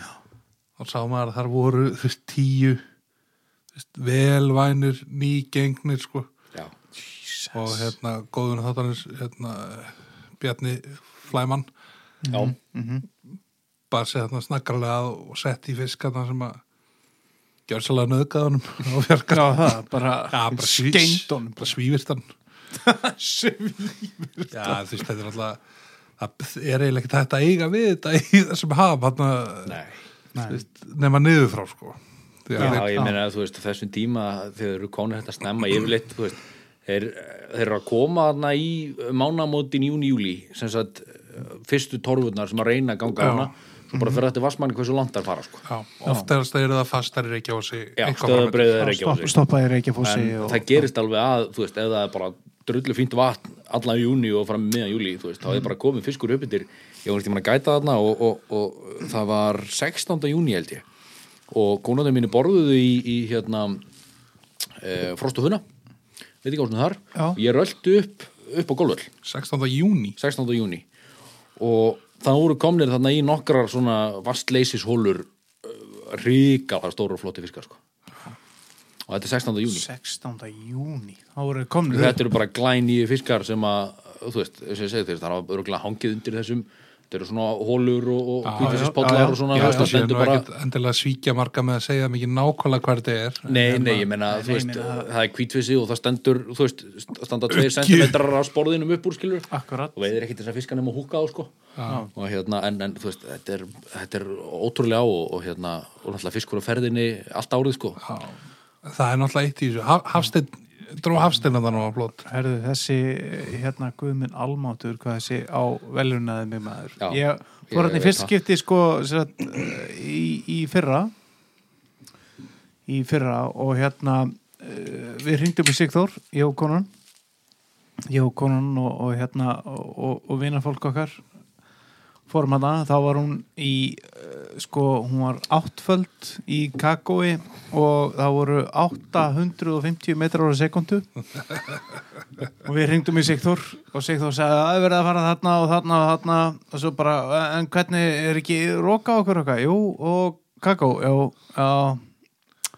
B: sá maður að þar voru þú veist, tíu þú veist, velvænir, nýgengnir sko.
C: já,
B: og hérna góðun þáttanins hérna, Bjarni Flæmann
C: já,
B: bara setja þarna snakkarlega að og sett í fiskarna sem að gjör svolítið nöðgæðunum og fjarkar
A: Já, það, bara,
B: Já, bara sví-
A: skeint honum
B: bara svífist hann
A: bara.
B: Já, þú veist, þetta er alltaf það er eiginlega ekki hægt að eiga við þetta í þessum haf hérna,
C: nei
B: þú veist, nema niður frá sko. Því að
C: Já,
B: þeir-
C: ég meina að þú veist, á þessum tíma þegar þeir eru konir þetta snemma yfirleitt þú veist, þeir, þeir eru að koma þarna í mánamótin júni-júli sem sagt, fyrstu torfurnar sem að reyna að ganga hana svo bara fyrir þetta vassmanni hversu langt þær fara sko.
B: já, oftast eru það fastar í Reykjavísi
C: Já, stöðabreiðið er ekki á
A: Stopp,
C: sig
A: stoppaði Reykjafossi
C: en
A: og
C: það gerist alveg að, þú veist, ef það er bara drullu fínt vatn allan í júni og fram meðan júli, þú veist, þá
A: Mhm.
C: er bara komin fiskur upp yfir, ég var ekki að gæta þarna og, og, og það var 16. júni held ég og konandi mínu borðuðu í, í hérna e, frost og huna veit ekki á svona þar,
A: Já.
C: og ég röldu upp upp á golfur,
B: 16. júni
C: 16. júni og það voru komnir þarna í nokkrar svona vastleisishólur ríkala stóru og flotti fiskar sko og þetta er 16. júni
A: 16. júni þá voru þeir komnir upp.
C: þetta eru bara glænýju fiskar sem að, þú veist, eins og ég segi þeir það er örgulega hangið undir þessum þetta eru svona hólur og, og
A: já, já.
C: hvítfiskpollar og svona,
B: Já,
C: þú veist,
B: það sé
C: það
B: nú
C: stendur bara
B: ekkert endilega svíkja marga með að segja mikið nákvæmlega hvað þetta er
C: Nei, nei, ég meina, þú veist, það er hvítfissi og það stendur, þú veist, standa 2 cm á sporðinum upp úr skilur
A: Akkurat.
C: og veiðir ekkert þess að fiska nema húka á, sko og hérna, en, en þú veist, þetta er, þetta er ótrúlega á og, og hérna, og náttúrulega fiskur á ferðinni allt árið, sko
B: Já, það er náttúrulega eitt í þessu Haf, Hafsteinn, dró Hafsteinn að það nú að blót
A: Herðu, þessi, hérna, Guðminn Almátur, hvað þessi á velunaði mig maður.
C: Já,
A: ég
C: ég
A: fór hann í
C: veit
A: fyrst
C: það.
A: skipti, sko, sem sagt, eh, í, í fyrra, í fyrra og hérna, eh, við hringdum í Sigþór, ég og konan, ég og konan og, og hérna, og, og, og vinafólk okkar, fórum hana, þá var hún í, eh, sko, hún var áttföld í kakói og það voru 850 metrar á sekundu og við ringdum í Sigþór og Sigþór sagði að það er verið að fara þarna og þarna og þarna og svo bara, en hvernig er ekki roka á okkur okkar? Jú, og kakó, já, já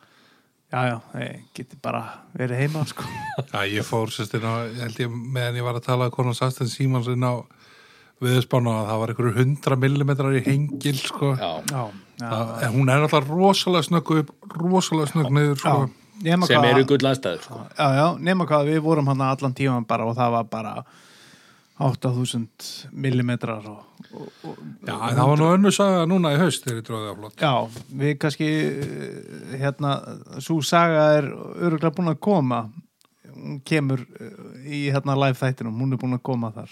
A: já, já, ég geti bara verið heima, sko
B: Já, ég fór sérst inn á, ég held ég, meðan ég var að tala að konan Sastin Símans inn á viðspána að það var einhverju 100 millimetrar í hengil, sko.
C: Já,
A: já, já,
B: Það, en hún er alltaf rosalega snögg upp, rosalega snögg niður,
A: já
B: sko.
A: nema
C: sem
A: hvað-
C: eru gull aðstæður, sko
A: já, já, nema hvað, við vorum hann allan tíman bara og það var bara 8000 millimetrar og, og, og
B: Já, en það var nú önnur saga núna í haust þegar ég dróði af flott.
A: Já, við kannski eh, hérna, svo saga er öruglega búin að koma hún kemur eh, í hérna live þættinum, hún er búin að koma þar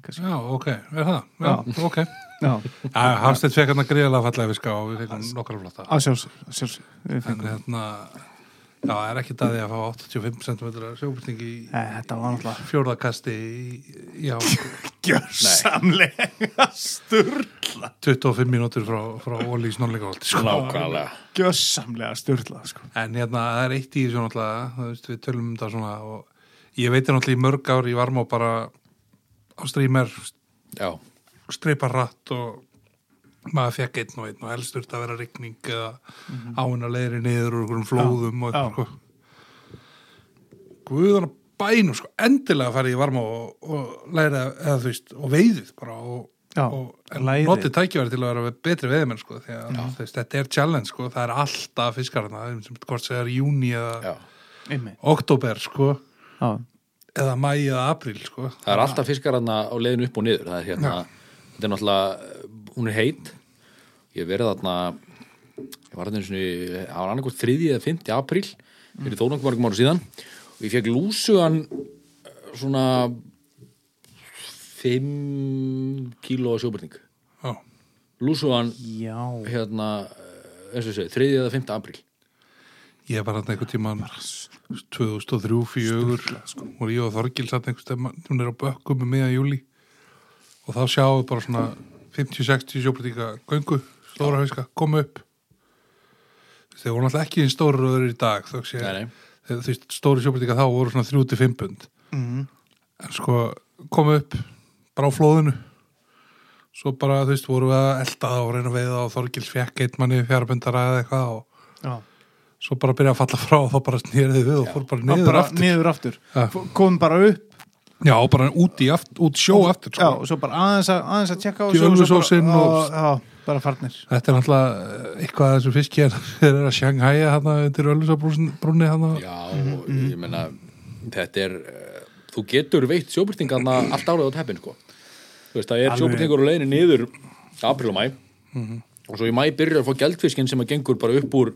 A: kannski,
B: Já, ok, er það? Já, ok.
A: já,
B: Já, Hafsteinn fekk hann að gríðlega fallega fiska og við fekkum nokkra flotta.
A: að sjálfs, sjálfs eh, við
B: En
A: fengum.
B: hérna, já, það er ekki dæði að fá 85 cm sjóbyrting í
A: Nei, Eh, þetta var náttúrulega
B: fjórðakasti í, já,
A: gjörsamlega sturla
B: 25 mínútur frá, frá Óli í snónleikaholti, sko.
C: Nákvæmlega
A: gjörsamlega sturla sko.
B: En hérna, það er eitt í þessu náttúrulega, þú veist, við tölum um þetta svona og ég veit náttúrulega í mörg ár, ég var má bara á streamer,
C: Já,
B: streipa rætt og maður fekk einn og einn og helst þurft að vera rigning eða mm -hmm. áinna leiðri niður úr einhverjum flóðum og
A: Mhm. já.
B: eitthvað, sko. Guðan að bænum, sko, endilega farið í varma og, og læra, eða þú veist, og veiðið bara og,
A: Já,
B: og en
A: lærið.
B: notið tækjafæri til að vera betri veiðimenn, sko, því að þú veist, þetta er challenge, sko, það er alltaf fiskarna, sem- hvort sem það er í júni eða
C: já
A: einmitt
B: oktober sko
A: já,
B: eða mæ eða apríl sko
C: Það er alltaf fiskar hana á leiðinu upp og niður það er hérna, þetta er náttúrulega hún er heit ég hef verið þarna ég var þarna einu sinni, það var annarkoð 3. eða 5. apríl fyrir þó nokkuð margum ára síðan og ég fekk lúsugan eh, svona 5 kíló sjóbyrning
B: Já.
C: lúsugan
A: já,
C: hérna eh, eins og ég segi, 3. eða 5. apríl
B: ég var hann einhver tíma 2003 fjögur sko. og ég og Þorgil satt einhvers tíma hún er á bökkum með miða júli og þá sjáum við bara svona 50-60 sjóbritíka göngu stóra hauska, koma upp þeir voru náttúrulega ekki einn stóru röður í dag þó sé
C: Nei, nei.
B: þeir, þeir stóri sjóbritíka þá voru svona 3-5 pund
A: Mhm.
B: en sko kom upp bara á flóðinu svo bara, þú veist, vorum við að elda það og reyna að veiða og Þorgils fekk einn manni fjárbundara eða eitthvað og
A: Já.
B: svo bara byrja að falla frá og þá bara snýrði við og fór bara
A: Niður,
B: niður
A: bara,
B: aftur
A: niður aftur.
B: Ja.
A: Komum bara upp
B: já, og bara út í aftur, út sjó aftur
A: já,
B: sko.
A: og svo bara aðeins að, aðeins að tjekka á
B: Djöfulsósinn
A: þessu og svo bara-
B: og-
A: Já, bara farnir.
B: þetta er náttúrulega eh, eitthvað að þessu fiski er þeir eru að sjanghæja hann undir Öllusabrúnni hann
C: Já, og ég meina þetta er, eh, þú getur veitt sjóbyrtingarna allt árið á teppin sko. þú veist, það er sjóbyrtingur á leiðinu niður april og mæ og svo í mæ byrjar að fá geldfiskinn sem að gengur bara upp úr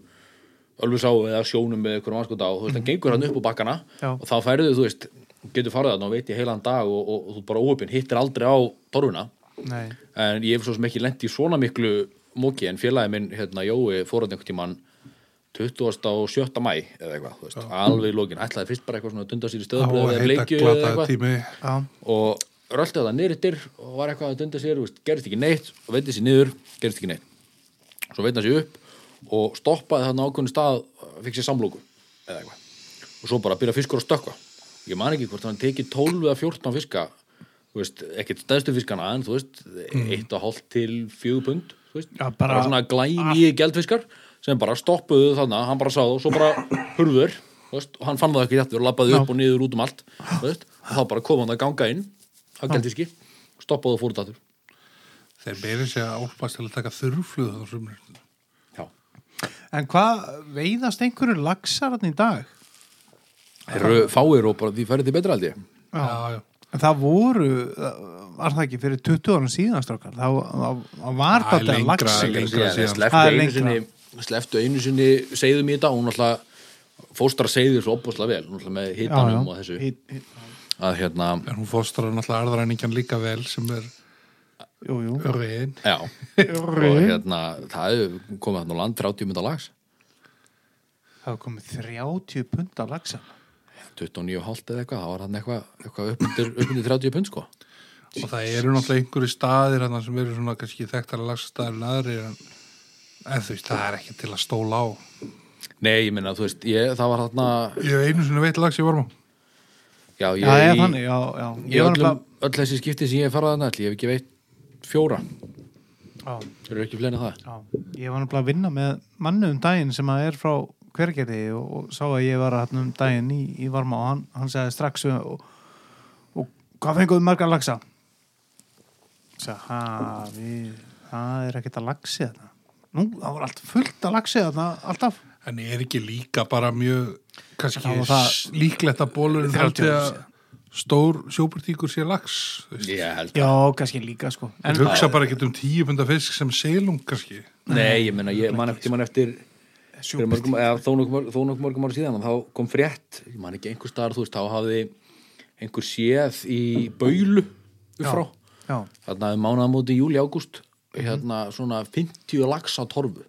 C: Ölfusá eða sjónum með einhverjum anskota og þú veist, hann gengur hann upp úr bakkana
A: Já.
C: og þá færðu, þú veist, getur farið þarna og veit í heilan dag og, og, og þú bara óöpinn hittir aldrei á torfuna
A: Nei.
C: en ég hef svo sem ekki lent í svona miklu móki en félagi minn, hérna, Jói fóraðin einhvern tímann 27. mæ eða eitthvað, þú veist, alveg í lokin ætlaði fyrst bara eitthvað svona að dunda sér í stöðabrið eða bleikju eða
B: glata
C: eitthvað
B: tími
A: Já,
C: og röldi það nýrittir og var eitthvað að dunda sér, þú veist, gerist ekki neitt og veitði sér niður, gerist ekki neitt svo veitði hann sér upp og stoppaði þarna ákveðin stað, fikk sér samlóku eða eitthvað, og svo bara byrja fiskur að stökkva ég man ekki hvort hann tekið 12 eða 14 fiska þú veist, ekkert stæðstu fiskana en þú veist, eitt og hálft til 4 pund, þú veist,
A: Mm. Já, bara-
C: svona glæni geldfiskar sem bara stoppuðu þannig hann bara sá það og svo bara hurður veist, og hann fann það ekki rétt og labbaði upp og niður út um allt þú veist, og þá bara kom hann að ganga inn á geldfiski, stoppaði og fór út aftur
B: þeir byrja sér að álpast til að taka þurrflöð á sumrin
C: já,
A: En hvað veiðast einhverju laxar hann í dag?
C: þeir eru fáir og bara því færið því betra held ég
B: já, já,
A: En það voru, eh, var það ekki fyrir 20 árum síðan strákar, það, það, það var
B: Æ,
A: þetta
B: lengra,
A: laxi.
B: lengra.
C: Þeir
B: síðan.
C: slepptu
A: Það er
C: einu
A: lengra.
C: sinni slepptu einu sinni seiðum í þetta og hún alltaf fóstra seiður svo opaslega vel hún alltaf með hitanum og þessu
A: Hitt- hitt-
C: að hérna,
B: en hún fóstrar náttúrulega arðræningjan líka vel sem er
A: Jú, jú.
B: öriðin
C: já og hérna, það hefur komið hann á land 30 mynda lags
A: Það var komið 30 pund af laxa.
C: 29,5 eða eitthvað, það var hann eitthvað, eitthvað upp, undir, upp undir 30 pund sko
B: og það eru náttúrulega einhverju staðir hann sem eru svona kannski þekktara lagstaðir en aðri en, en þú veist, það er ekki til að stóla á
C: Nei, ég minna, þú veist, ég, það var þarna
B: ég hef einu sinni veit lags í varma
C: Já, ég,
A: Já, ég,
C: í-
A: þannig, já, já.
C: í
A: Ég var
C: öllum, öll þessi skipti sem ég hef farað þarna ætli, ég hef ekki veitt fjóra
A: nefnilega- já,
C: Þeir eru ekki fleina það
A: já. Ég var náttúrulega að vinna með mannu um daginn sem að er frá hvergerði og, og sá að ég var hann um daginn í, í varma og hann, hann segði strax og, og, og hvað fenguðu margar laxa? Sæ, ha, við, það er ekkert að laxi þetta. Nú, það var allt fullt að laxi þetta, alltaf.
B: en er ekki líka bara mjög kannski
A: Það var það-
B: s- líklegt að bólur
A: Þrjátíu
B: þátti að stór sjópartíkur sé lags
C: Ég held
A: Já, kannski líka sko. En,
B: hugsa bara ekki um tíu punda fisk sem selum kannski
C: Nei, ég meina, ég man eftir, man eftir fyrir mörgum, eða, þó nokkuð mörg- þó nokkuð mörgum ára síðan og þá kom frétt, ég man ekki einhver staðar þú veist, þá hafði einhver séð í baulu frá,
A: já,
C: þarna um mánaðamóti júli ágúst, hérna svona 50 lax á torfu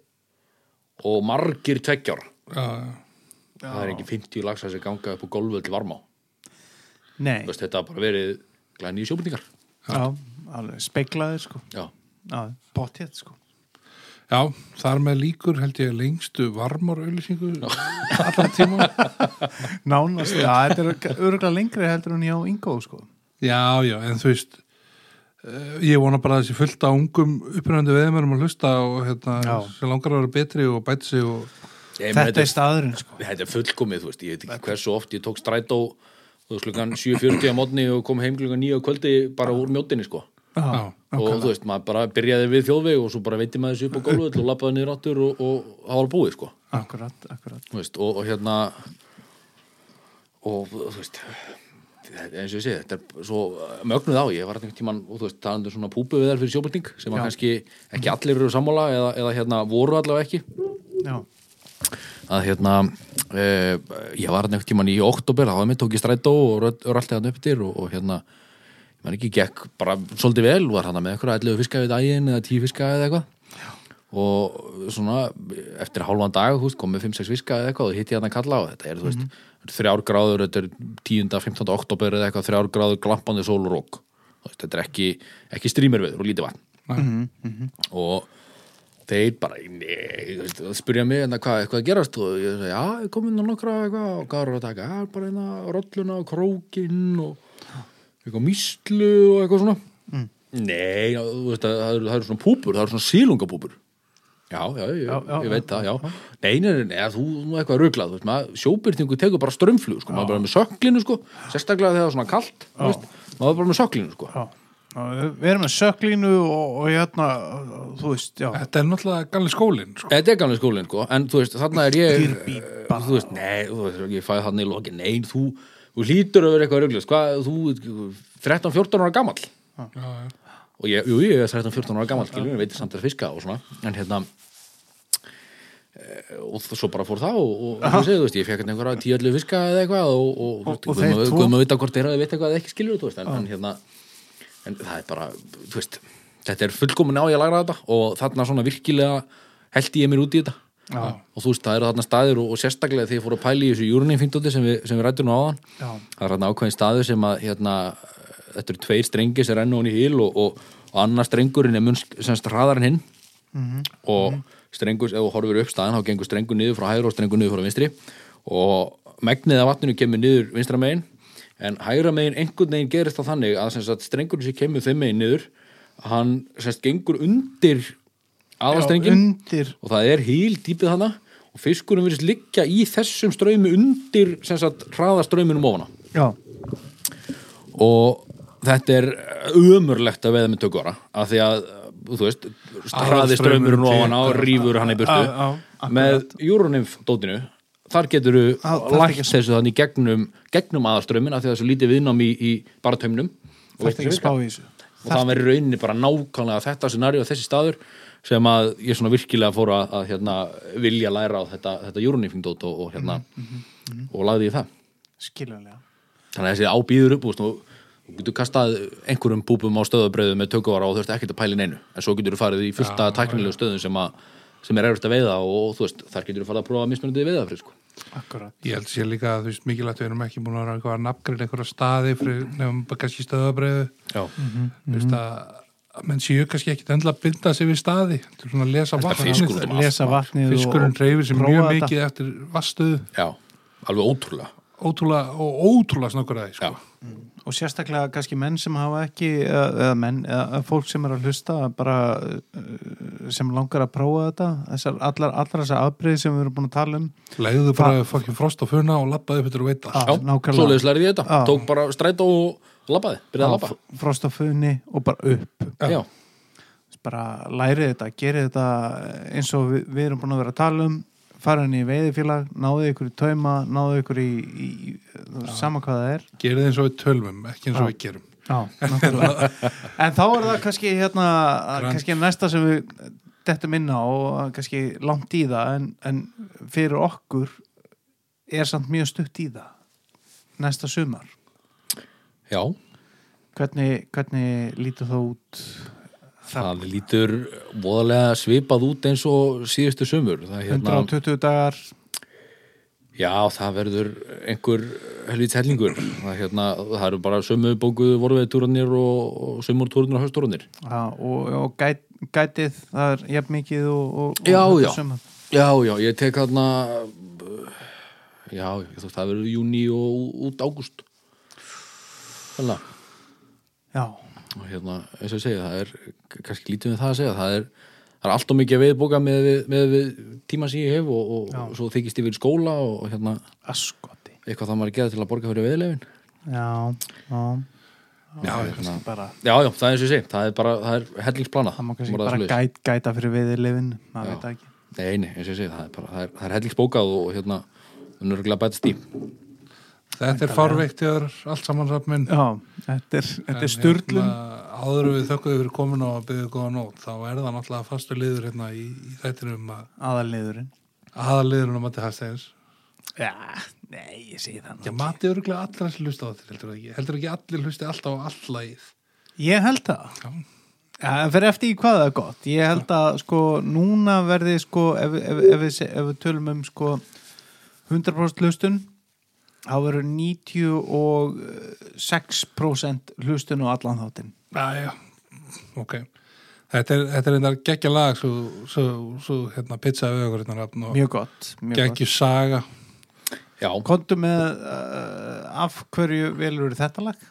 C: og margir tveggjára
B: já,
C: það er ekki 50 laxar sem ganga upp á golfu til varmá,
A: nei,
C: þú veist, þetta hafa bara verið glænýju sjóbyrningar
A: já, alveg speiklaðir sko.
C: Já,
A: Já, potið sko.
B: já þar með líkur held ég lengstu varmar auðlýsingu allan tíma
A: Nánast, já, þetta er örgulega lengri heldur en hjá Ingo sko.
B: Já, já, en þú veist eh, ég vona bara að þessi fullt á ungum upprænandi veðmörum að hlusta og hérna,
A: Já.
B: sem langar að vera betri og bæti sig og
C: Ég meina,
A: Þetta er staðurinn sko.
C: þetta er fullkomið, þú veist, ég veit ekki hversu oft ég tók strætó þú veist, klukkan 7.40 á mótni og kom heim klukkan 9 á kvöldi bara úr mjótinni, sko
B: já,
C: og þú veist, maður bara byrjaði við þjóðveg og svo bara veitir maður þessu upp á gólfið og lappaði niður áttur og, og það var búið, sko
A: Akkurat, akkurat.
C: þú veist, og, og hérna og þú veist þetta- eins og ég segi, þetta er svo mögnuð á, ég var einhvern tímann og þú veist, það er svona púpu við þær fyrir sjóbyrting sem að kannski ekki allir eru sammála eða, eða hérna voru allavega ekki
A: Já,
C: að hérna eh, ég var hann einhvern tímann í oktober þá með tók ég strætó og röldi hann upp til og, og hérna, ég menn ekki, gekk bara svolítið vel, var hann með einhverja 11 fiska við daginn eða 10 fiska eða eitthvað og svona eftir hálfan dag, þú veist, kom með 5-6 fiska eða eitthvað og hitti hann að kalla á þetta er, þú veist, þrjár gráður, þetta er 10. 15. oktober eða eitthvað, þrjár gráður glampandi sól og rók, þú veist, þetta er ekki ekki strýmirveður og lítið vatn og þeir bara nei, þú veist, það spyrja mig hérna hvað eitthvað að gerast og ég sagði, já, ég kom inn á nokkra eitthvað og hvað er að taka, já, bara hérna rolluna og krókinn og eitthvað míslu og eitthvað svona
A: Mm.
C: Nei, já, þú veist að það eru, það eru svona púpur, það eru svona sílungapúpur Já, já, ég,
A: Já, já,
C: ég veit það, já Nei, nei, nei, nei, þú nú eitthvað ruglað þú veist, maður, sjóbyrtingu tekur bara strömmflug sko, maður bara með söklinu, sko, sérstaklega þegar það er svona kalt þú veist, maður bara með söklinu, sko
A: Já. Já, Við erum með söklínu og, og hérna, þú veist, já,
B: Þetta er náttúrulega galli skólinn, sko.
C: Þetta er gamlega skólinn, sko, en þú veist, þarna er ég eh,
A: Dýrbípa.
C: Þú veist, nei, þú veist, ég fæði þarna í loki Nei, þú, þú hlýtur að vera eitthvað ruglist Hvað, þú, 13-14 ára gamall
B: Já, já.
C: Og ég, jú, ég er 13-14 ára gamall Skiljum, ég veitir samt að fiska og svona En hérna eh, og þ- svo bara fór það og, og þú segir, þú veist, ég fekk hérna einhverja tíallu fiska eða eitthvað og, og,
A: Og- og
C: þú veist, guð
A: þeir
C: maður-
A: tvo?
C: guð maður vita hvort þeirra þið veit eitthvað eða ekki skilur þú veist, en, en hérna en það er bara, þú veist þetta er fullkomin á ég að læra þetta og þarna svona virkilega held ég mér út í þetta
A: Já.
C: og þú veist, það eru þarna staðir og, og sérstaklega þegar ég fór að pæla í þessu júrunin fíndóti sem við, sem við rættum á áðan
A: Já.
C: það er þarna ákveðin staður sem að hérna, þetta eru tveir strengir sem renna hún í hýl og, og, og annar strengurinn er mun semst hraðar en hinn og strengur, ef þú horfir upp staðan þá gengur strengur niður frá hægra og strengur niður frá vinstri og megnið af vatninu kemur niður vinstra megin en hægra megin einhvern veginn gerist það þannig að sem sagt, strengurinn sem kemur þeim megin niður hann semst gengur undir aðastrengin
A: undir,
C: og það er hýl dýpið hana og fiskurinn virðist liggja í þessum ströymi undir sem sagt hraðaströyminum ofana
A: já,
C: og þetta er ömurlegt að veiða með tökvara af því að, þú veist, hraði strömmurinn
B: Aðalstraumurinn
C: ofan á og rýfur hann í
A: Á, á,
C: burtu með Euronymf dótinu þar getur
A: Á, það
C: þú
A: er
C: lagt
A: ekki-
C: þessu þannig gegnum, gegnum aðaströmmin af því að þessu lítið viðnám í, í bara taumnum
A: það er ekki að spá í þessu.
C: og það verður rauninni bara nákvæmlega þetta scenari og þessi staður sem að ég svona virkilega fór að, að hérna, vilja læra á þetta, þetta júrunýfingdót og, og hérna og lagði ég það
A: Skiljanlega.
C: þannig að þessi ábýður upp úr, og þú getur kastað einhverjum búbum á stöðabröðu með tökuvara og þú veist ekkert að pæli neinu en svo getur þú farið í fullta tæknilegu stöðum sem, að, sem er erfitt að veiða og, þú veist þar getur þú farið að prófa mismunandi veiða fyrir sko.
A: Akkurat.
B: Ég held sér líka að þú veist mikilvægt við erum ekki búin að vera eitthvað að nafngreina einhverja staði fyrir nefnum bara kannski stöðabreyðu
C: Já,
A: Mm,
B: þú veist að að menn séu kannski ekkit endla að binda sig við staði til svona að lesa
C: fiskur
B: vatnið
C: út um allt.
A: Lesa vatnið og-
B: fiskurinn
A: og
B: dreifir sér
A: prófa
B: mjög
A: þetta.
B: mikið eftir vastuð
C: já, alveg ótrúlega
B: ótrúlega, og ótrúlega snökkur að því sko.
C: Já,
A: og sérstaklega kannski menn sem hafa ekki eða, eða menn, eða fólk sem er að hlusta bara eh, sem langar að prófa þetta þessar, allar, allar þessar afbreyð sem við erum búin að tala um
B: legðu bara fokkin frost á funa og lappaðu upp eftir að veita
A: Já,
C: já
A: nákvæmlega.
C: svoleiðis lærið ég þetta
A: Já.
C: tók bara stræt og labbaði, byrjaði að labba
A: Af frost á funni og bara upp
C: já,
A: bara lærið þetta, gerið þetta eins og við, við erum búin að vera að tala um fara henni í veiðifélag, náðu ykkur í tauma náðu ykkur í, í, í sama hvað það er
B: gerið eins og við tölvum, ekki eins og við gerum
A: Já, náttúrulega. en þá er það kannski hérna, kannski næsta sem við dettum inn á og kannski langt í það en, en fyrir okkur er samt mjög stutt í það næsta sumar
C: já
A: hvernig, hvernig lítur það út
C: það hérna- lítur voðalega svipað út eins og síðustu sömur það, er hérna-
A: 120 dagar
C: Já, það verður einhver helvits hellingur. Það, hérna, það eru bara sömu bókuðu vorveðtúranir og, og sömurtúranir og haustúranir.
A: ja, og, og gæt, gætið það er jafn mikið og, og,
C: Já,
A: og þetta
C: já.
A: sumar.
C: Já, já, ég tek þarna, já, ég þú veist, það verður júni og út ágúst. Þannig að,
A: já,
C: og hérna, eins og ég segja, það er kannski lítið með það að segja, það er, það er allt og mikið að viðbóka með, við- með við tíma sem ég hef og, og, og svo þykist ég fyrir skóla og, og hérna,
A: askoti
C: eitthvað það maður að gera til að borga fyrir veðlefin.
A: já, já,
C: Já, hérna.
A: kannski bara
C: Já, já, það er eins og ég segi, það er bara, það er hellingsplana
A: það má kannski
C: Bara
A: bara
C: svoleiðis.
A: gæt, gæta fyrir veiðilefin maður
C: Já.
A: veit það ekki
C: Nei, nei, eins og ég segi, það er bara, það er, það er hellingsbókað og hérna, hún er örgulega bætast í.
B: þetta er farveikt yfir allt saman safminn
A: Já, þetta er, þetta er sturglun
B: hérna- áður en við þökkum fyrir komin og að byggja góða nót þá er það náttúrulega fastu liður hérna í, í þættinu um að
A: aðalniðurinn
B: aðaliðurinn á Matti Hafsteins
A: Já, nei, ég segi það
B: Já, Matti er örgulega allra sem hlusta á þetta heldur það ekki, heldur ekki allir hlusti alltaf á allagið
A: Ég held það
B: Já.
A: Já, en fyrir eftir í hvað það er gott Ég held að sko núna verði sko ef, ef, ef, við, se- ef við tölum um sko 100% hlustun þá verður 96% hlustun og allan þáttinn
B: Næja, ok Þetta er, þetta er einnig geggja lag svo, svo, svo hérna pizza við okkur hérna rafn og
A: Mjög gott, mjög gott.
B: geggju saga
C: Já,
A: Kontu með uh, af hverju velur þetta lag?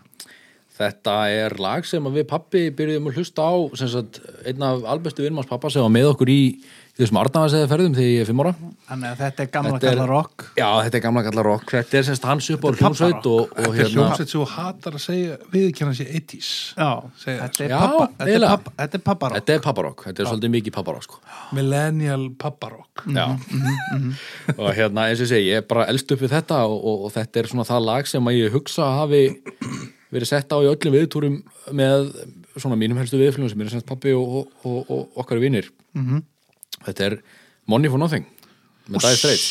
C: Þetta er lag sem að við pappi byrjuðum að hlusta á sem sagt, einn af albestu vinnmanns pappa sem var með okkur í, í þessum Arnavarsæði ferðum þegar ég er fimm ára.
A: Þannig að þetta er gamla
C: Þetta er-
A: kalla rock
C: Já, þetta er gamla kallar rock. Þetta er semst hans upp á
A: Þetta er
C: hljómsveit og, og
B: Þetta er
C: hérna,
B: hljómsveit sem þú hatar að segja viðkjanna sér 80s
A: Já,
B: Segja
A: þetta er
C: Já,
A: pappa- þetta er
C: eiginlega.
A: pappa- þetta er papparokk
C: þetta er papparokk. Þetta er svolítið mikið papparokk, sko.
B: Millennial papparokk
C: Já. Mhm, og hérna, eins og ég segi, ég er bara elst upp við þetta og, og, og þetta er svona það lag sem að ég hugsa að hafi verið sett á í öllum viðtúrum með svona mínum helstu viðflugum sem er semst pappi og, og, og, og okkar vinnir. Þetta er Money for Nothing með Dæði Streit.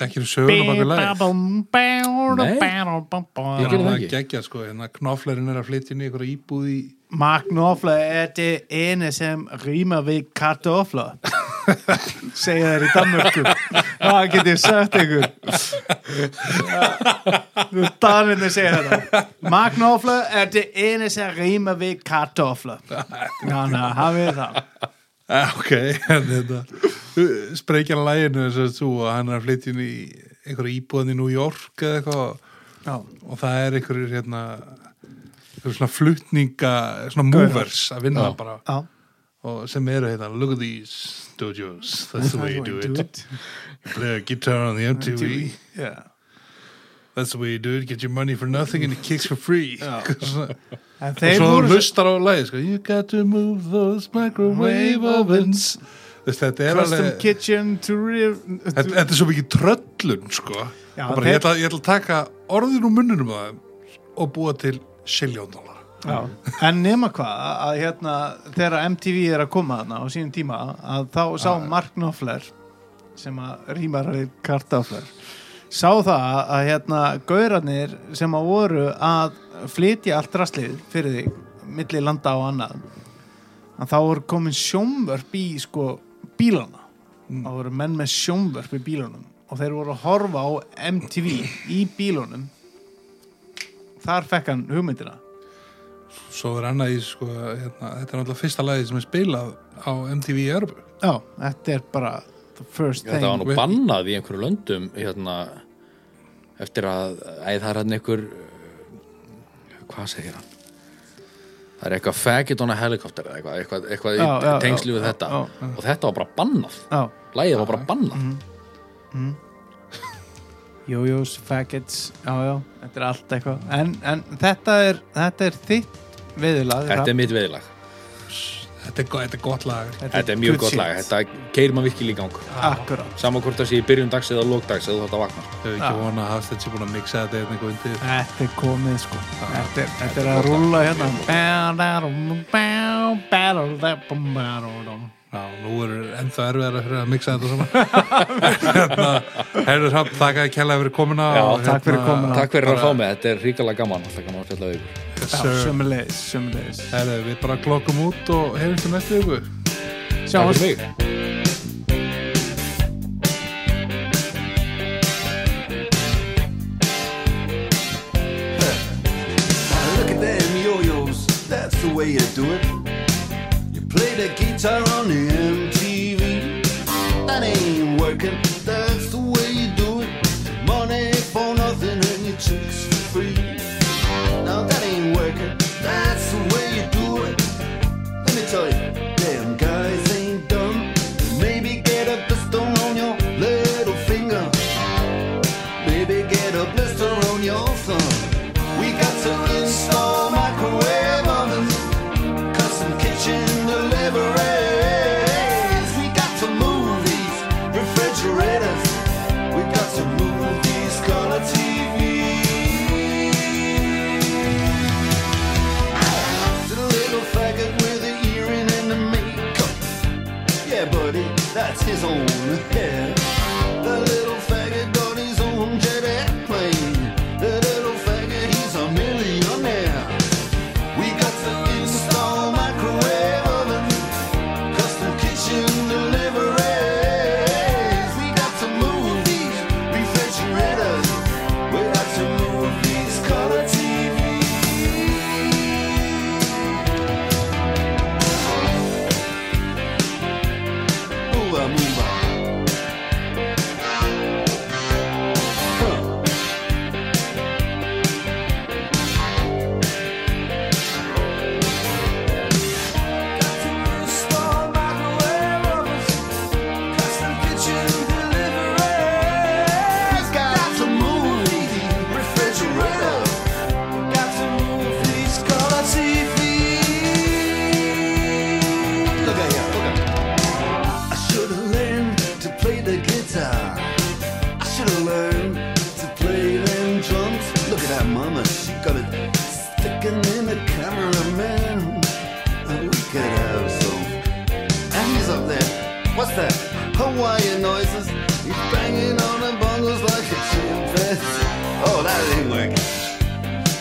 B: Þekkir þú söguna bak við lagið Það
C: Ég
B: er
C: gerði
B: að
C: það ekki.
B: gegja sko, hérna knoflerinn er að flytja inn í einhverja íbúð í
A: Magnofla er þetta eini sem rýma við kartofla segja þær í Danmörku það get ég sagt ykkur Danvinni segja þetta Magnofla er þetta eini sem rýma við kartofla þannig að hafið það
B: Ah, Ok, en þetta Spreikjan læginu þess að þú að hann er að flytja inn í einhverja íbúðan í New York eða eitthvað
A: Já.
B: og það er einhverjir hérna einhverjir svona flutninga svona movers að vinna
C: Já.
B: bara
A: Já.
B: og sem eru hérna look at these studios, that's the way you do it play a guitar on the MTV
A: Já.
B: that's the way you do it, get your money for nothing and it kicks for free Eitthvað svona.
A: En
B: og
A: þeir
B: svo
A: voru
B: hann hlustar á lagi sko, you got to move those microwave ovens Þess, þetta er
A: Custom
B: alveg
A: Kitchen to re-
B: Þetta, þetta er svo mikið tröllun sko.
A: Já,
B: Og bara, ég,
A: þeir-
B: ætla, ég ætla að taka orðin úr munninum á þeim og búa til siljón-dólar
A: Já. En nema hvað að hérna þegar MTV er að koma þarna á sínum tíma að þá sá Mark Knopfler sem að rýmar við kartafler sá það að hérna gaurarnir sem að voru að flytja allt rastlið fyrir þig milli landa og annað að þá voru komin sjómvörp í sko bílana þá voru menn með sjómvörp í bílunum og þeir voru að horfa á MTV í bílunum þar fekk hann hugmyndina
B: Svo er annað í sko, hérna, þetta er náttúrulega fyrsta lagið sem er spilað á MTV í Örbu
A: Já, þetta er bara the first
C: Þetta var
A: thing
C: nú bannað í einhverju löndum hérna, eftir að æ, það er hann einhver eh, hvað segir hann það er eitthvað faggot on a helicopter eða eitthvað, eitthvað, eitthvað
A: Já,
C: í
A: já,
C: tengslu
A: já,
C: við
A: já,
C: þetta
A: já,
C: og þetta var bara bannað
A: Já, Mhm.
C: lægið var bara bannað
A: Jojos, faggots, já, já, þetta er allt eitthvað En, en þetta, er, þetta er þitt veðulag
C: þetta er mitt veðilag,
B: Þetta er, go- þetta er gott lag
C: þetta er mjög gott lag þetta keirir maður virkilega í gang
A: Akkurát
C: saman hvort það sé í byrjun dags eða lókdags eða þú þátt að vakna
B: Þau ekki vona að Hafstedt sé búin að mixa þetta eða einhver undir
A: Þetta er komið sko Þetta er, þetta er að rúlla hérna
B: Já, nú er ennþá erfiðar að fyrir að mixa þetta saman hérna, Herður Hafn, þakka að kella fyrir komuna
C: Já,
B: og, hérna,
A: takk fyrir komuna.
C: takk fyrir að fá mig, þetta er ríkala gaman alltaf gaman að fjalla við ykkur
B: Sir.
A: Sjömmulegis, sjömmulegis
B: Herðu, við bara klokkum út og heyrjum til næstu ykkur
C: takk
A: Sjáumst
C: fyrir mig
D: Now Look at them yo-yos, that's the way you do it. You play the guitar on the MTV. That ain't working, that's the way you do it. Money for nothing and your chicks for free. Now that ain't working, that's the way you do it. Let me tell you, them guys ain't dumb. Maybe get a pistol on your little finger. Baby, get a blister on your thumb. We got to install microwave ovens, custom kitchen deliveries. We got to move these refrigerators. We got to move these color TVs. The little faggot with the earring and the makeup. Yeah, buddy, that's his own hair. The little faggot got his own jet airplane. The little faggot, he's a millionaire. We got to install microwave ovens, custom kitchen deliveries. We got to move these refrigerators. We got to move these color TVs. Boomba, boomba. Oh, Oh, that ain't working.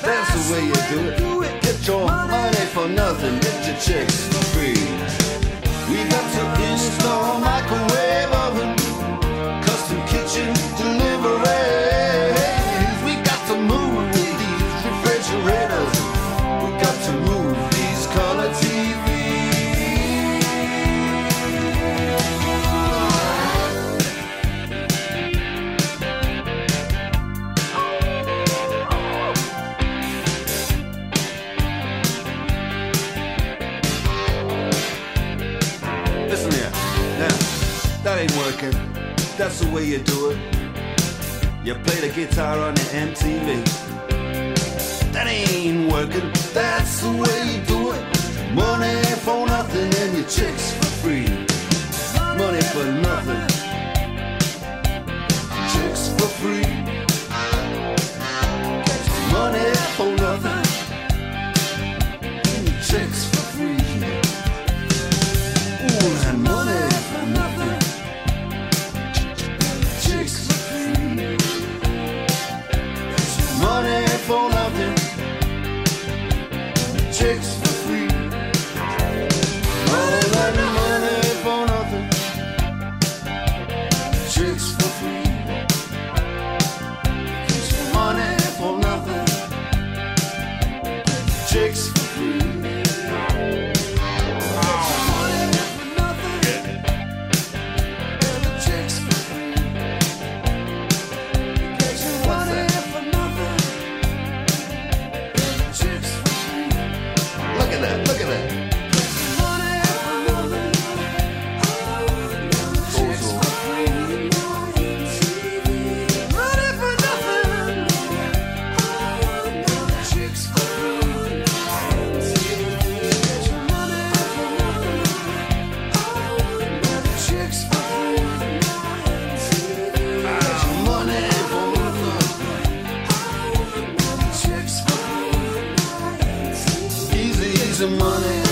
D: That's the way you do it. Get your money for nothing, get your chicks for free. We got to install microwave oven, custom kitchen deliveries. We got to move these refrigerators. We got to move these color TVs. Listen here. Now, that ain't working. That's the way you do it. You play the guitar on the MTV. That ain't working. That's the way you do it. Money for nothing and your chicks for free. Money for nothing. Chicks for free. Money for nothing. Chicks for free. Ooh, and money for nothing. Chicks for free. Money for nothing. Chicks for free. All that money for nothing. Chicks for free. Money for nothing. Chicks for free. Look at that, look at that. Money for nothing. Easy, easy money.